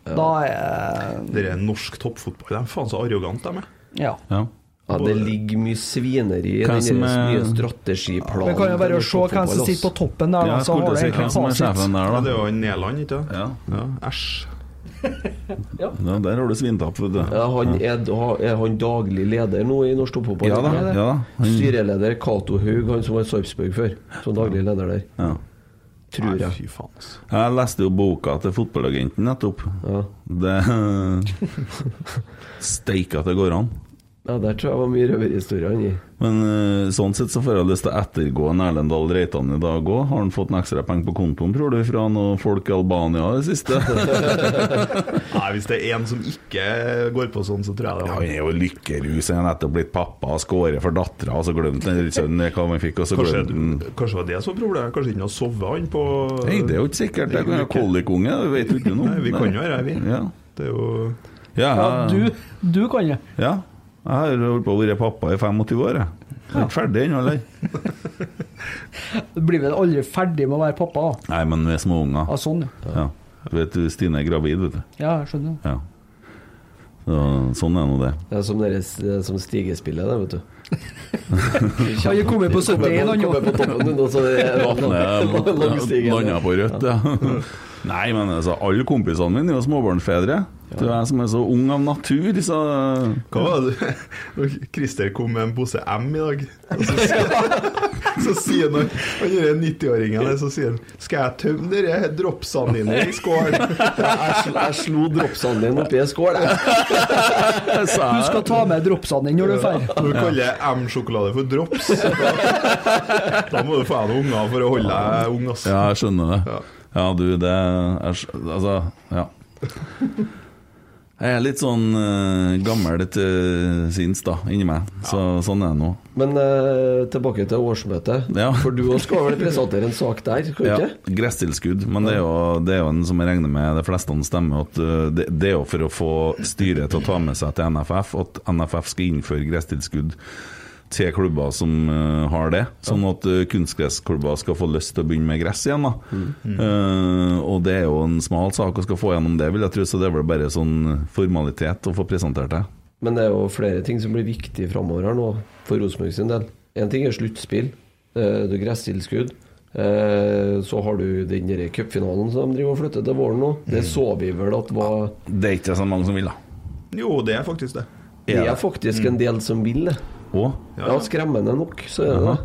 B: da eh, er
D: Dere er norsk toppfotball. De er faen så arrogante, de er.
B: Ja.
A: Ja.
C: Ja, det ligger mye svineri i
A: Hvem
C: den
A: som
C: der
A: er-
C: nye strategiplanen.
B: Vi kan jo bare
C: til norsk
B: se hvem
C: fotball,
B: som
C: ass.
B: sitter på toppen der, da,
A: Jeg
B: så
A: skulle
B: har
A: til å
B: du
A: si
B: egentlig
A: hvem som er
B: fasit.
A: sjefen
D: Ja,
A: der,
D: det
A: da.
D: er jo han Nederland, ikke sant?
A: Ja.
D: Ja, æsj.
A: Ja, der har du svint opp, vet du.
C: Ja, han er, da- er han daglig leder nå i norsk toppfotball?
A: Ja da.
C: Er det?
A: Ja da. Han-
C: Styreleder Cato Haug, han som var i Sarpsborg før. Som daglig leder der.
A: Ja.
C: tror
D: Nei,
C: jeg.
D: fy faen. ass.
A: Jeg leste jo boka til fotballagenten nettopp.
C: Ja.
A: Det [LAUGHS] Steike at det går an.
C: Ja, der tror jeg var mye røverhistorier inni.
A: Men eh, sånn sett så får jeg lyst til å ettergå en Erlend Dahl Reitan i dag òg. Har han fått en ekstra penge på kontoen, tror du, fra noen folk i Albania i det siste?
D: Nei, hvis det er en som ikke går på sånn, så tror jeg det
A: [LAUGHS] Ja,
D: var
A: Han er jo lykkerus, han er nettopp blitt pappa, skåret for dattera, og så glemte han sønnen hva han fikk, og så
D: Kanskje,
A: glemte han
D: kanskje var det som var problemet? Kanskje ikke å sove han på
A: Nei, det er jo ikke sikkert. Jeg kan jo ha kolikkunge, det vet du ikke noe om.
D: Nei, vi kan jo være her, vi.
A: Ja.
D: Det er jo
A: Ja,
B: Ja,
A: jeg-
B: du, du kan det.
A: ja. Jeg har holdt på å være pappa i 25 år, jeg. Jeg er ikke ferdig ennå, eller?
B: Du blir vel aldri ferdig med å være pappa? da.
A: Nei, men
B: Ja,
A: med småunger.
B: sånn, ja.
A: Ja. Vet du, Stine er gravid, vet du.
B: Ja, jeg skjønner.
A: Ja. Så, sånn er nå det.
C: Det er som, deres, det er som stigespillet, det, vet
B: [LAUGHS]
C: du.
B: Han er kommet på
C: Kommer
B: 71, han
C: kommer
B: nå.
C: på toppen, [LAUGHS] nå, så det er
A: [LAUGHS]
C: lang stige.
A: Landa på rødt, ja. [LAUGHS] Nei, men altså, alle kompisene mine er jo småbarnsfedre. Det er jeg som er så ung av natur, så
D: Hva var det [LAUGHS] Når Christer kom med en pose M i dag, og så sier, [LAUGHS] så sier han Han gjør 90-åringen det, så sier han Skal jeg tømme dere dropsene dine i
B: [LAUGHS]
D: skålen?
C: Jeg, sl- jeg slo dropsene dine oppi en skål, jeg.
B: Du skal ta med dropsene dine når du drar.
D: Når du kaller M-sjokolade for drops, da, da må du få deg noen unger for å holde deg ung, ass.
A: [LAUGHS] Ja, jeg skjønner det. Ja,
D: Ja.
A: du, det er skj- Altså, ja. Jeg er litt sånn eh, gammel til sinns, da, inni meg. Så, Sånn er det nå.
C: Men eh, tilbake til årsmøtet.
A: Ja.
C: For du også skal vel presentere en sak der, kan du
A: Ja,
C: ikke?
A: gresstilskudd, men det er, jo, det er jo en som jeg regner med de fleste stemmer at eh, det, det er jo for å få styret til å ta med seg til NFF at NFF skal innføre gresstilskudd til klubber som eh, har det, sånn at eh, kunstgressklubber skal få lyst til å begynne med gress igjen. da. Eh, og det er jo en smal sak å skal få gjennom det, vil jeg tro, så det er vel bare sånn formalitet å få presentert det.
C: Men det er jo flere ting som blir viktig framover her nå, for Rosenborg sin del. Én ting er sluttspill, eh, det er gresstilskudd. eh, Så har du den der cupfinalen som de driver og flytter til våren nå. Det
A: Mm.
C: så vi vel at var
A: Det er ikke så mange som vil, da.
D: Jo, det er faktisk det.
C: Det
A: Ja. Mm.
C: er faktisk en del som vil det.
A: Og
D: Ja,
C: Ja,
D: ja.
C: skremmende nok, så er det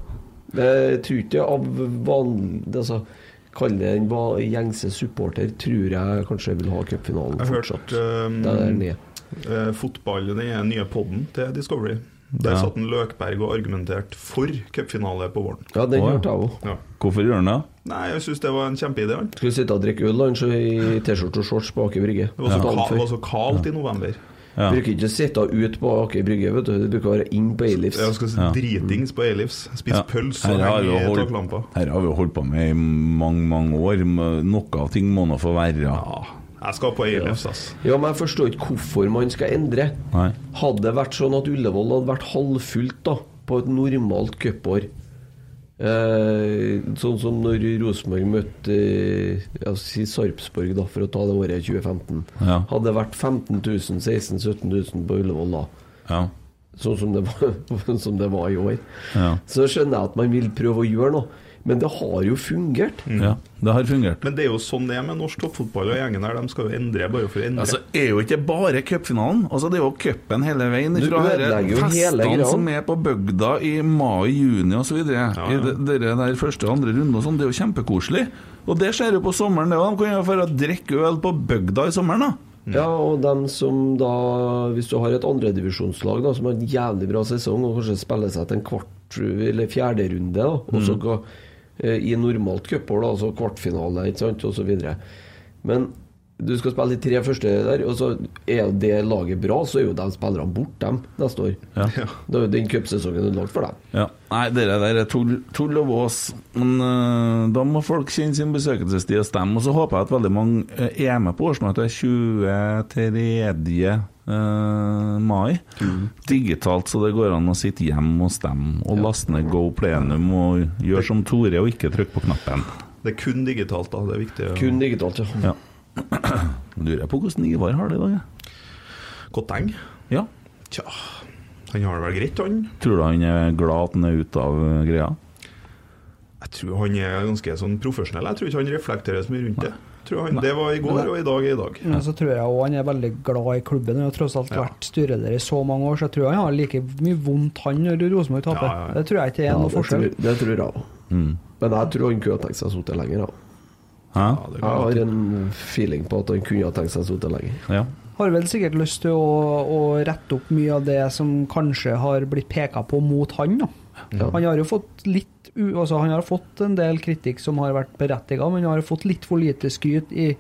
C: det. Jeg tror ikke av vanlig altså, Kall det en va- gjengse supporter, tror jeg kanskje vil ha cupfinalen
D: Jeg har
C: fortsatt.
D: hørt ehm,
C: Det er ned.
D: eh, fotball, den nye podden til Discovery. Der
A: Ja.
D: satt en Løkberg og argumenterte for cupfinale på våren.
C: Ja, den
A: Å, ja.
C: hørte jeg òg.
D: Ja.
A: hvorfor gjør han det?
D: Nei, jeg syns det var en kjempeidé. han.
C: Skulle sitte og drikke øl og i T-skjorte og shorts på Aker Brygge.
D: Det var så,
C: Dagen
D: ka
C: før.
D: det var så kaldt i november.
A: Ja.
C: Bruker ikke å sitte ut på Aker Brygge, vet du. Du bruker å være inn på Eilifs.
D: Jeg skal si dritings på Elifs. Spise
A: Ja.
D: pølse
A: Her
D: og
A: har vi
D: henge i
A: holdt-
D: taklampa.
A: Her har vi jo holdt på med i mange, mange år. men Noe av ting må nå få være.
D: Jeg skal på Elifs, ass.
C: Ja, men jeg forstår ikke hvorfor man skal endre.
A: Nei.
C: Hadde det vært sånn at Ullevål hadde vært halvfullt da, på et normalt cupår eh, Sånn som når Rosenborg møtte eh, ja, si Sarpsborg, da, for å ta det året 2015.
A: Ja.
C: Hadde det vært 15 000, 16 000-17 000 på Ullevål da,
A: Ja.
C: sånn som det var, [LAUGHS] sånn som det var i år,
A: Ja.
C: så skjønner jeg at man vil prøve å gjøre noe. Men det har jo fungert.
A: ja. Det har fungert.
D: Men det er jo sånn det er med norsk toppfotball og gjengen der. De skal jo endre bare for å endre.
A: Altså, er jo ikke bare cupfinalen. Altså, det er jo cupen hele veien.
C: Du
A: Fra dere
C: ødelegger jo hele
A: festene
C: greia.
A: som er på bygda i mai, juni osv. Ja,
D: ja.
A: Dere der første og andre runde og sånn. Det er jo kjempekoselig. Og det skjer jo på sommeren, det òg. De kan jo dra og drikke øl på bygda i sommeren, da.
C: Ja,
D: Mm.
C: og dem som da Hvis du har et andredivisjonslag da, som har en jævlig bra sesong og kanskje spiller seg til en kvart eller fjerde runde, da, og
D: Mm.
C: så ga- eh, i normalt cupår, da, altså kvartfinale ikke sant, og så videre Men du skal spille de tre første der, og så er det laget bra, så er jo de spillerne borte dem neste år. [LAUGHS]
A: Ja.
C: Det er jo den cupsesongen du lagde for dem.
A: Ja. Nei, dere der er tull, tull og vås. Men eh, da må folk kjenne sin besøkelsestid og stemme. Og så håper jeg at veldig mange eh, er med på årsmøtet 23. eh, mai. Digitalt, så det går an å sitte hjemme og stemme. Og laste ned Go Plenum og gjøre som Tore og ikke trykke på knappen.
D: Det er kun digitalt, da. Det er viktig. å-
C: Kun digitalt, ja.
A: Ja. [CLEARS THROAT] Lurer jeg på hvordan Ivar har det i dag, jeg.
D: Kotteng.
A: Ja.
D: Tja, han har det vel greit, han.
A: Tror du han er glad at han er ute av eh, greia?
D: Jeg tror han er ganske sånn profesjonell. Jeg tror ikke han reflekterer så mye rundt det. Jeg Tror han, det var i går, og i dag er i dag.
B: Men så tror jeg også han er veldig glad i klubben. Han har tross alt vært styreleder i så mange år, så jeg tror han har like mye vondt han når Rosenborg taper.
D: Ja, Mm. ja, ja.
B: Det tror jeg ikke er
C: Ja,
B: noe
C: det,
B: forskjell.
C: tror, det tror jeg òg. Men jeg tror han kunne tenkt seg å sitte lenger, da.
A: Hæ?
D: det
C: Jeg har en feeling på at han kunne ha tenkt seg å sitte lenger.
A: Ja.
B: Har vel sikkert lyst til å, å rette opp mye av det som kanskje har blitt peka på mot han. Da.
C: Ja.
B: Han har jo fått litt u- altså Han har fått en del kritikk som har vært berettiga, men han har jo fått litt for lite skryt i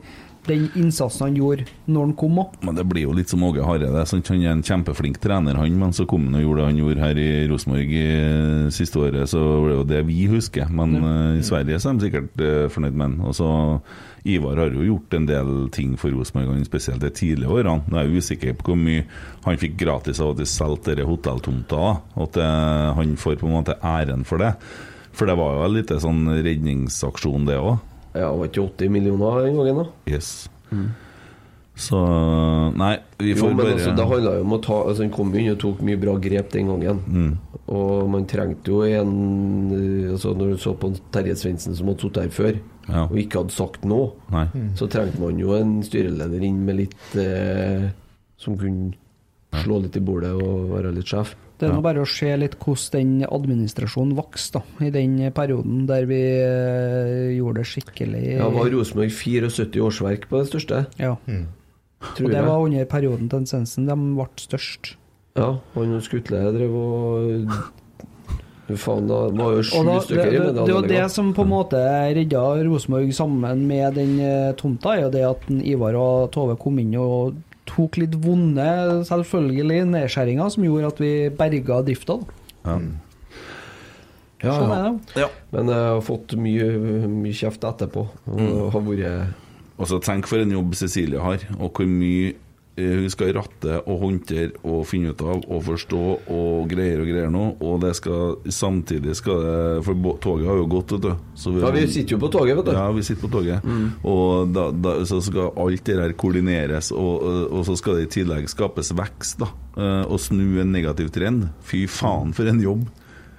B: den innsatsen han gjorde når han kom òg.
A: Men det blir jo litt som Åge Hareide. sant? Han er en kjempeflink trener, han, men så kom han og gjorde det han gjorde her i Rosenborg eh, siste året, så var det jo det vi husker. Men eh, i Sverige så er de sikkert eh, fornøyd med han. Og så Ivar har jo gjort en del ting for Rosenborg, han spesielt de tidligere årene. Nå er jeg usikker på hvor mye han fikk gratis av at de solgte denne hotelltomta, da. at eh, han får på en måte æren for det. For det var jo en liten sånn redningsaksjon, det òg.
C: Ja, var ikke 80 millioner den gangen, da?
A: Yes. Så Nei, vi
C: Mm. Jo,
A: får
C: men
A: bare
C: altså, det handla jo om å ta altså, Han kom inn og tok mye bra grep den gangen.
A: Mm.
C: Og man trengte jo en eh, altså, Når du så på Terje Svendsen som hadde sittet her før,
A: Ja.
C: og ikke hadde sagt noe,
A: Nei.
C: så trengte man jo en styreleder inn med litt eh, Som kunne slå litt i bordet og være litt sjef.
B: Det er nå bare å se litt hvordan den administrasjonen vokste da, i den perioden der vi eh, gjorde det skikkelig.
C: Ja, var Mm. Rosenborg 74 årsverk på det største?
B: Ja.
C: Tror
B: Og det
C: jeg.
B: var under perioden til Sensen de ble størst.
C: Ja, han og Skutle drev og Faen, da var jo sju
B: Og da, det,
C: stykker
B: det,
C: inne. da,
B: det var
C: eller
B: det
C: hva?
B: som
A: Mm.
B: på en måte redda Rosenborg sammen med den eh, tomta, er jo det at en Ivar og Tove kom inn og tok litt vonde, selvfølgelig, nedskjæringer som gjorde at vi berga drifta. da.
C: Ja,
B: Sånn
C: ja.
B: er det.
C: Men jeg har fått mye, mye kjeft etterpå. Og har vært
A: Og så Altså, tenk for en jobb Cecilie har, og hvor mye eh, hun skal ratte og håndtere og finne ut av og forstå og greier og greier nå. Og det skal samtidig skal det For bå- toget har jo gått, vet du. Så
C: Ja, vi sitter jo på Mm. toget, vet du.
A: Ja, vi sitter på toget. Og da, da, så skal alt det der koordineres, og, og, og så skal det i tillegg skapes vekst, da. eh, Og snu en negativ trend. Fy faen, for en jobb.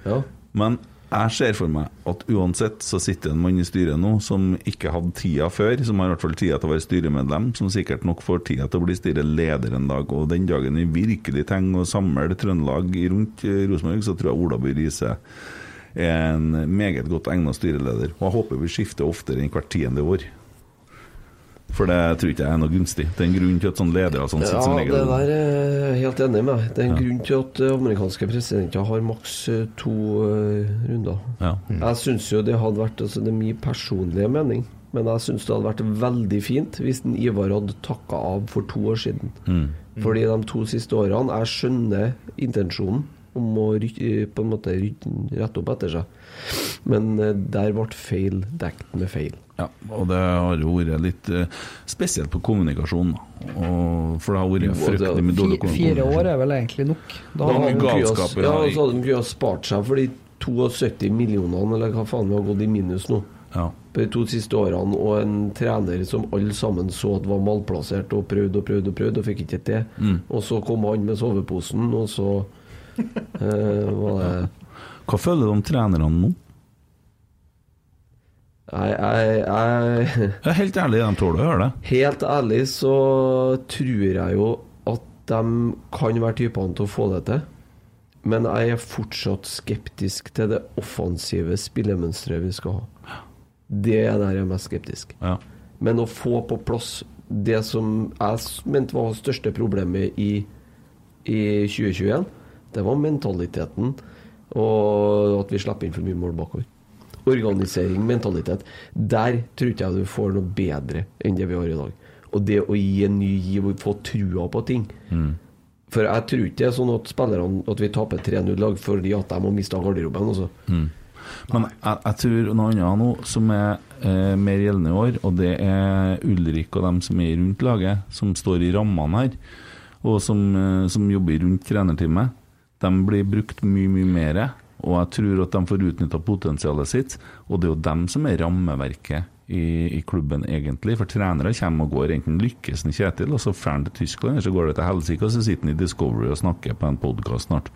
C: Ja.
A: Men jeg ser for meg at uansett så sitter en mann i styret nå som ikke hadde tida før, som har i hvert fall tida til å være styremedlem, som sikkert nok får tida til å bli styreleder en dag. Og den dagen vi virkelig trenger å samle Trøndelag rundt eh, Rosenborg, så tror jeg Ola By Riise er en meget godt egnet styreleder. Og jeg håper vi skifter oftere enn hvert tiende år. For det tror ikke jeg er noe gunstig. Det er en grunn til at sånne ledere sånn sitter
C: ja,
A: som
C: det
A: regel
C: der er jeg helt enig med. Det er en grunn til at eh, amerikanske presidenter har maks eh, to eh, runder.
A: Ja.
C: Jeg syns jo det hadde vært altså, Det er min personlige mening, men jeg syns det hadde vært veldig fint hvis en Ivar hadde takka av for to år siden. Fordi de to siste årene Jeg skjønner intensjonen om å ry- eh, på en måte rydde- rette opp etter seg, men eh, der ble feil dekt med feil.
A: Ja, og det har jo vært litt eh, spesielt på kommunikasjon, da. Og, for det har vært
C: Jo, og det-
A: fryktelig mye dårlig
B: Fi- Fire
A: kommunikasjon.
B: år er vel egentlig nok. Da
C: Da
B: har
A: mye
C: hadde
B: vi-
C: de
A: galskap i
C: kunnet- Ja,
A: det.
C: så hadde de kunnet spart seg for de 72 millionene, eller hva faen vi har gått i minus nå,
A: Ja.
C: på de to siste årene, og en trener som alle sammen så at var malplassert, og prøvde og prøvde og prøvde, og fikk ikke til. Og så kom han med soveposen, og så eh, var det
A: Hva føler du om trenerne nå?
C: Jeg, jeg, jeg
A: Jeg er helt ærlig, de tåler å høre det.
C: Helt ærlig så tror jeg jo at de kan være typene til å få det til. Men jeg er fortsatt skeptisk til det offensive spillemønsteret vi skal ha. Det er der jeg er mest skeptisk.
A: Ja.
C: Men å få på plass det som jeg s- mente var det største problemet i, i 2021, det var mentaliteten og at vi slipper inn for mye mål bakover. Organisering, mentalitet. Der tror ikke jeg du får noe bedre enn det vi har i dag. Og det å gi en ny giv og få trua på ting. For jeg tror ikke det er sånn at spillerne At vi taper 3-0 lag fordi at de har mista garderoben. Altså.
A: Mm. Men jeg, jeg tror noe annet nå som er eh, mer gjeldende i år, og det er Ulrik og dem som er rundt laget, som står i rammene her, og som, eh, som jobber rundt trenerteamet, de blir brukt mye, mye mer. Og jeg tror at de får utnytta potensialet sitt, og det er jo dem som er rammeverket i, i klubben, egentlig. For trenere kommer og går, enten lykkes en Kjetil, og så drar han til Tyskland, eller så går det til helsike, og så sitter han i Discovery og snakker på en podkast snart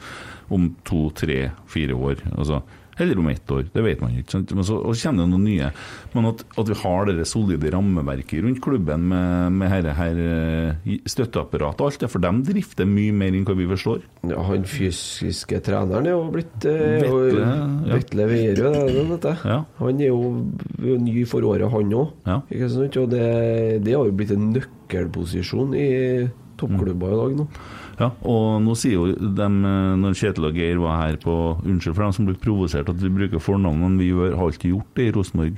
A: om to, tre, fire år. Altså, eller om ett år, det vet man ikke. Sant? Men så, og så kommer det noen nye. Men at, at vi har det der solide rammeverket rundt klubben med, med her, her eh, støtteapparatet og alt det, for de drifter mye mer enn hva vi forstår.
C: Ja, han fysiske treneren er jo blitt eh,
A: Vetle,
C: og-
A: ja.
C: Vetle Veierød, er det han heter?
A: Ja.
C: Han er jo, er jo ny for året, han òg.
A: Ja.
C: Og det, det har jo blitt en nøkkelposisjon i toppklubber i dag nå.
A: Ja, og nå sier jo de, når Kjetil og Geir var her på Unnskyld for dem som blir provosert at vi bruker fornavnene. Vi gjør, har alltid gjort det i Rosenborg.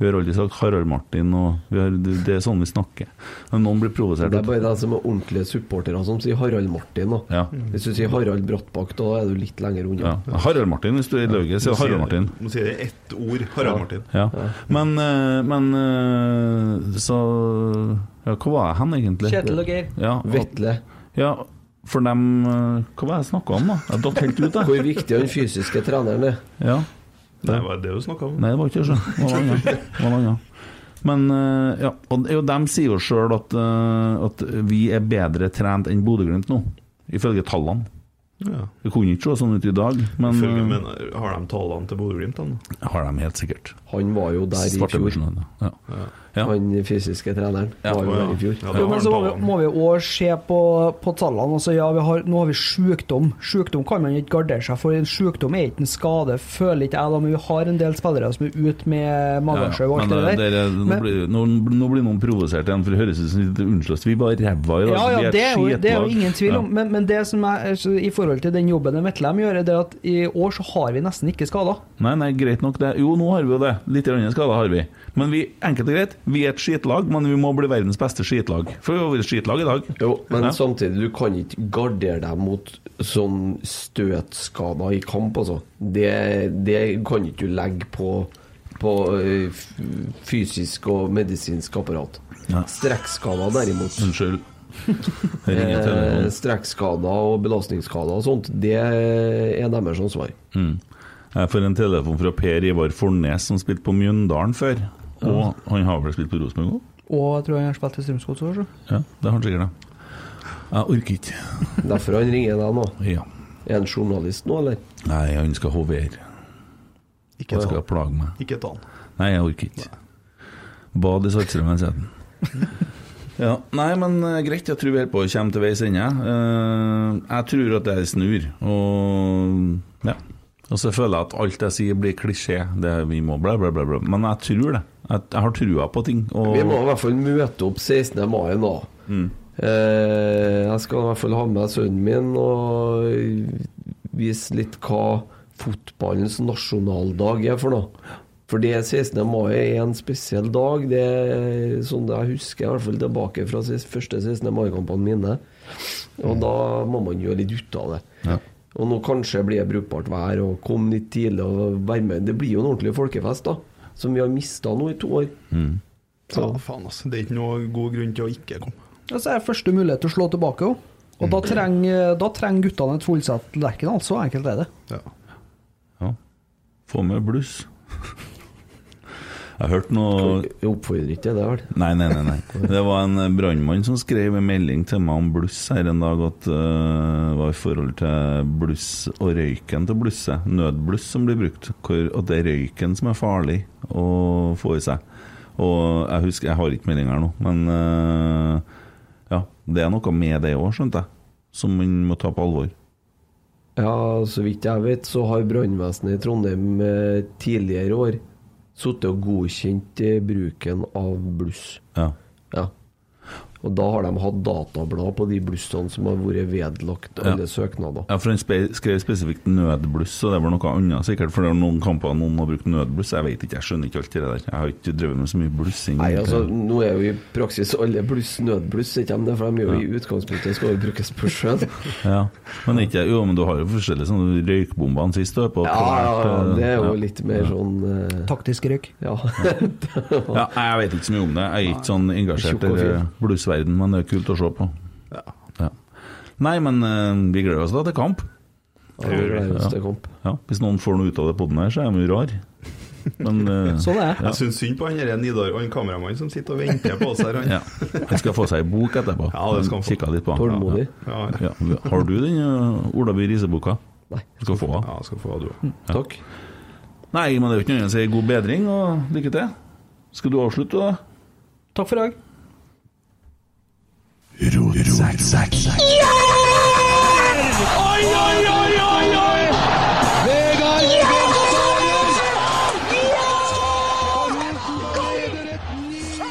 A: Vi har alltid sagt Harald Martin, og vi har, det det er sånn vi snakker. Men noen blir provosert.
C: Det er bare de som er ordentlige supportere som sier Harald Martin. Da.
A: Ja.
C: Hvis du sier Harald Brattbakk, da er du litt lenger unna.
A: Ja. Harald Martin, hvis du er i lauget, så er det Harald Martin.
D: Nå sier det ett ord. Harald Martin.
A: Ja. Men, eh, men eh, så ja, Hva var jeg hen, egentlig?
B: Kjetil og Geir.
A: Ja, at-
C: Vetle.
A: ja, for dem eh, Hva var det jeg snakka om, da? Jeg datt helt ut, jeg.
C: Hvor viktig den fysiske treneren
A: [LAUGHS]
C: er.
A: Ja.
D: Det var det du snakka om.
A: Nei, det var ikke det. Det var noe annet. Det var noe annet. Men eh, ja, og jo, de sier jo sjøl at, eh, at vi er bedre trent enn Bodø-Glimt nå, ifølge tallene.
D: Ja.
A: Det kunne ikke se sånn ut i dag, men
D: Følger,
A: eh,
D: men har de tallene til Bodø-Glimt, da? nå?
A: har de helt sikkert.
C: Han var jo der i fjor.
A: Svartebørsen, ja. Ja.
C: Han fysiske treneren
A: Ja,
C: var jo
D: Å, ja.
C: der i
D: Ja,
C: fjor.
D: da
B: Jo, men
D: har
B: så
D: de
B: må vi,
D: tallene.
B: må vi også se på, på tallene. Altså, ja, vi har, nå har vi sykdom. Sykdom kan man ikke gardere seg for. En sykdom er ikke en skade, føler ikke jeg da, men vi har en del spillere som er ute med
A: Ja, ja.
B: magesjau og alt
A: Men, eh,
B: det der.
A: dere, nå,
B: Men-
A: blir, nå, nå blir noen provosert igjen, for det høres ut som de unnskyld oss, vi var ræva i dag.
B: Ja,
A: vi
B: ja,
A: et
B: det er, jo, det er jo
A: skitlag.
B: ingen tvil
A: Ja.
B: om. Men, men det som er, så i forhold til den jobben en Vetlem gjør, er det at i år så har vi nesten ikke skader.
A: Nei, nei, greit nok det. Jo, nå har vi jo det. Litt andre skader har vi. Men vi, enkelt og greit, vi er et skitlag, men vi må bli verdens beste skitlag. For vi har vært skitlag i dag.
C: Jo, men
A: Ja.
C: samtidig, du kan ikke gardere deg mot sånn støtskader i kamp, altså. Det, det kan ikke du legge på, på eh, f- fysisk og medisinsk apparat.
A: Ja. Mm.
C: Strekkskader, derimot.
A: Unnskyld. Jeg ringer
C: Eh,
A: telefonen.
C: Strekkskader og belastningsskader og sånt, det er deres ansvar.
A: Jeg får en telefon fra Per Ivar Fornes, som spilte på Mjøndalen før. Og han har vel spilt på Rosenborg òg?
B: Og jeg tror han har spilt i Strømsgodt også. så.
A: Ja, det har han sikkert, det. Jeg orker ikke.
C: Derfor han ringer deg nå.
A: Ja.
C: Er han journalist nå, eller?
A: Nei, han skal hovere.
D: Ikke
A: Han
D: et
A: skal
D: tall.
A: plage meg.
D: Ikke et tall.
A: Nei, jeg orker ikke. Bad i Saltstraumen, sier den.
C: [LAUGHS]
A: Ja, nei, men eh, greit, jeg tror vi holder på å komme til veis ende. Eh, jeg tror at jeg snur, og ja. Og så føler jeg at alt jeg sier blir klisjé. Det vi må bla, bla, bla, bla. Men jeg tror det. Jeg, jeg har trua på ting. Og,
C: Vi må i hvert fall møte opp 16. mai nå. Eh, jeg skal i hvert fall ha med sønnen min og vise litt hva fotballens nasjonaldag er for noe. For det 16. mai er en spesiell dag. Det er sånn jeg husker i hvert fall tilbake fra ses- første 16. mai-kampene mine. Og da må man gjøre litt ut av det. Og nå kanskje blir det brukbart vær, og kom litt tidlig og være med. Det blir jo en ordentlig folkefest, da. Som vi har mista nå i to år.
D: Ja, faen, altså. Det er ikke noe god grunn til å ikke komme.
B: Ja, så er det første mulighet til å slå tilbake jo. Og da trenger, da trenger guttene et fullsatt Lerken, altså. Enkelt er det.
D: Ja.
A: ja. Få med bluss. [LAUGHS] jeg hørte noe
C: Jeg oppfordrer ikke til det, vel?
A: Nei, nei, nei. nei. Det var en eh, brannmann som skrev en melding til meg om bluss her en dag, at eh, det var i forhold til bluss og røyken til blusset, nødbluss som blir brukt, hvor, at det er røyken som er farlig å få i seg. Og jeg husker, jeg har ikke melding her nå, men eh, ja, det er noe med det òg, skjønte jeg, som man må ta på alvor.
C: Ja, så vidt jeg vet, så har brannvesenet i Trondheim eh, tidligere år sittet og godkjent eh, bruken av bluss.
A: Ja.
C: Ja. Og da har de hatt datablad på de blussene som har vært vedlagt
A: Ja.
C: alle søknader.
A: Ja, for Han spe skrev spesifikt nødbluss, så det var noe annet sikkert. For det er noen kamper noen har brukt nødbluss. Jeg vet ikke, jeg skjønner ikke alt det der. Jeg har ikke drevet med så mye blussing.
C: Nei, altså, nå er jo i praksis alle bluss nødbluss, ikke de det? For de er jo i utgangspunktet skal jo brukes på sjøen.
A: Ja, men ikke Jo, men du har jo forskjellige sånne røykbombene sist du er på.
C: Ja, ja, ja, det er jo
A: Ja.
C: litt mer sånn eh,
B: Taktisk røyk.
C: Ja. [LAUGHS]
A: Ja, jeg vet ikke så mye om det. Jeg er ikke sånn engasjert
C: Tjukk og
A: i
C: fin.
A: bluesverden, men det er kult å se på. Ja. Nei, men eh, vi gleder oss da til kamp.
C: Ja, det er jo stekamp.
A: Ja, hvis noen får noe ut av det podden her, så er de jo rar. Men
D: [LAUGHS]
A: eh,
B: Sånn er det.
D: Jeg syns synd på han der Nidar og han kameramannen som sitter og venter på oss her. Han.
A: ja. Han skal få seg ei bok etterpå.
D: Ja, det skal han få.
A: Kikket litt på. han.
C: Tålmodig.
D: Ja,
A: Ja. Ja. Har du den uh, Olaby Riise-boka?
C: Nei.
A: Du skal få den.
B: Mm.
D: ja skal få ha du òg.
C: Takk.
A: Nei, men det er jo ikke noe annet enn å si god bedring og lykke til. Skal du avslutte, da?
B: Takk for i dag.
F: Oi, oi, oi, oi, oi! Vegard Eggen skårer! Og Rosenborg leder et nydelig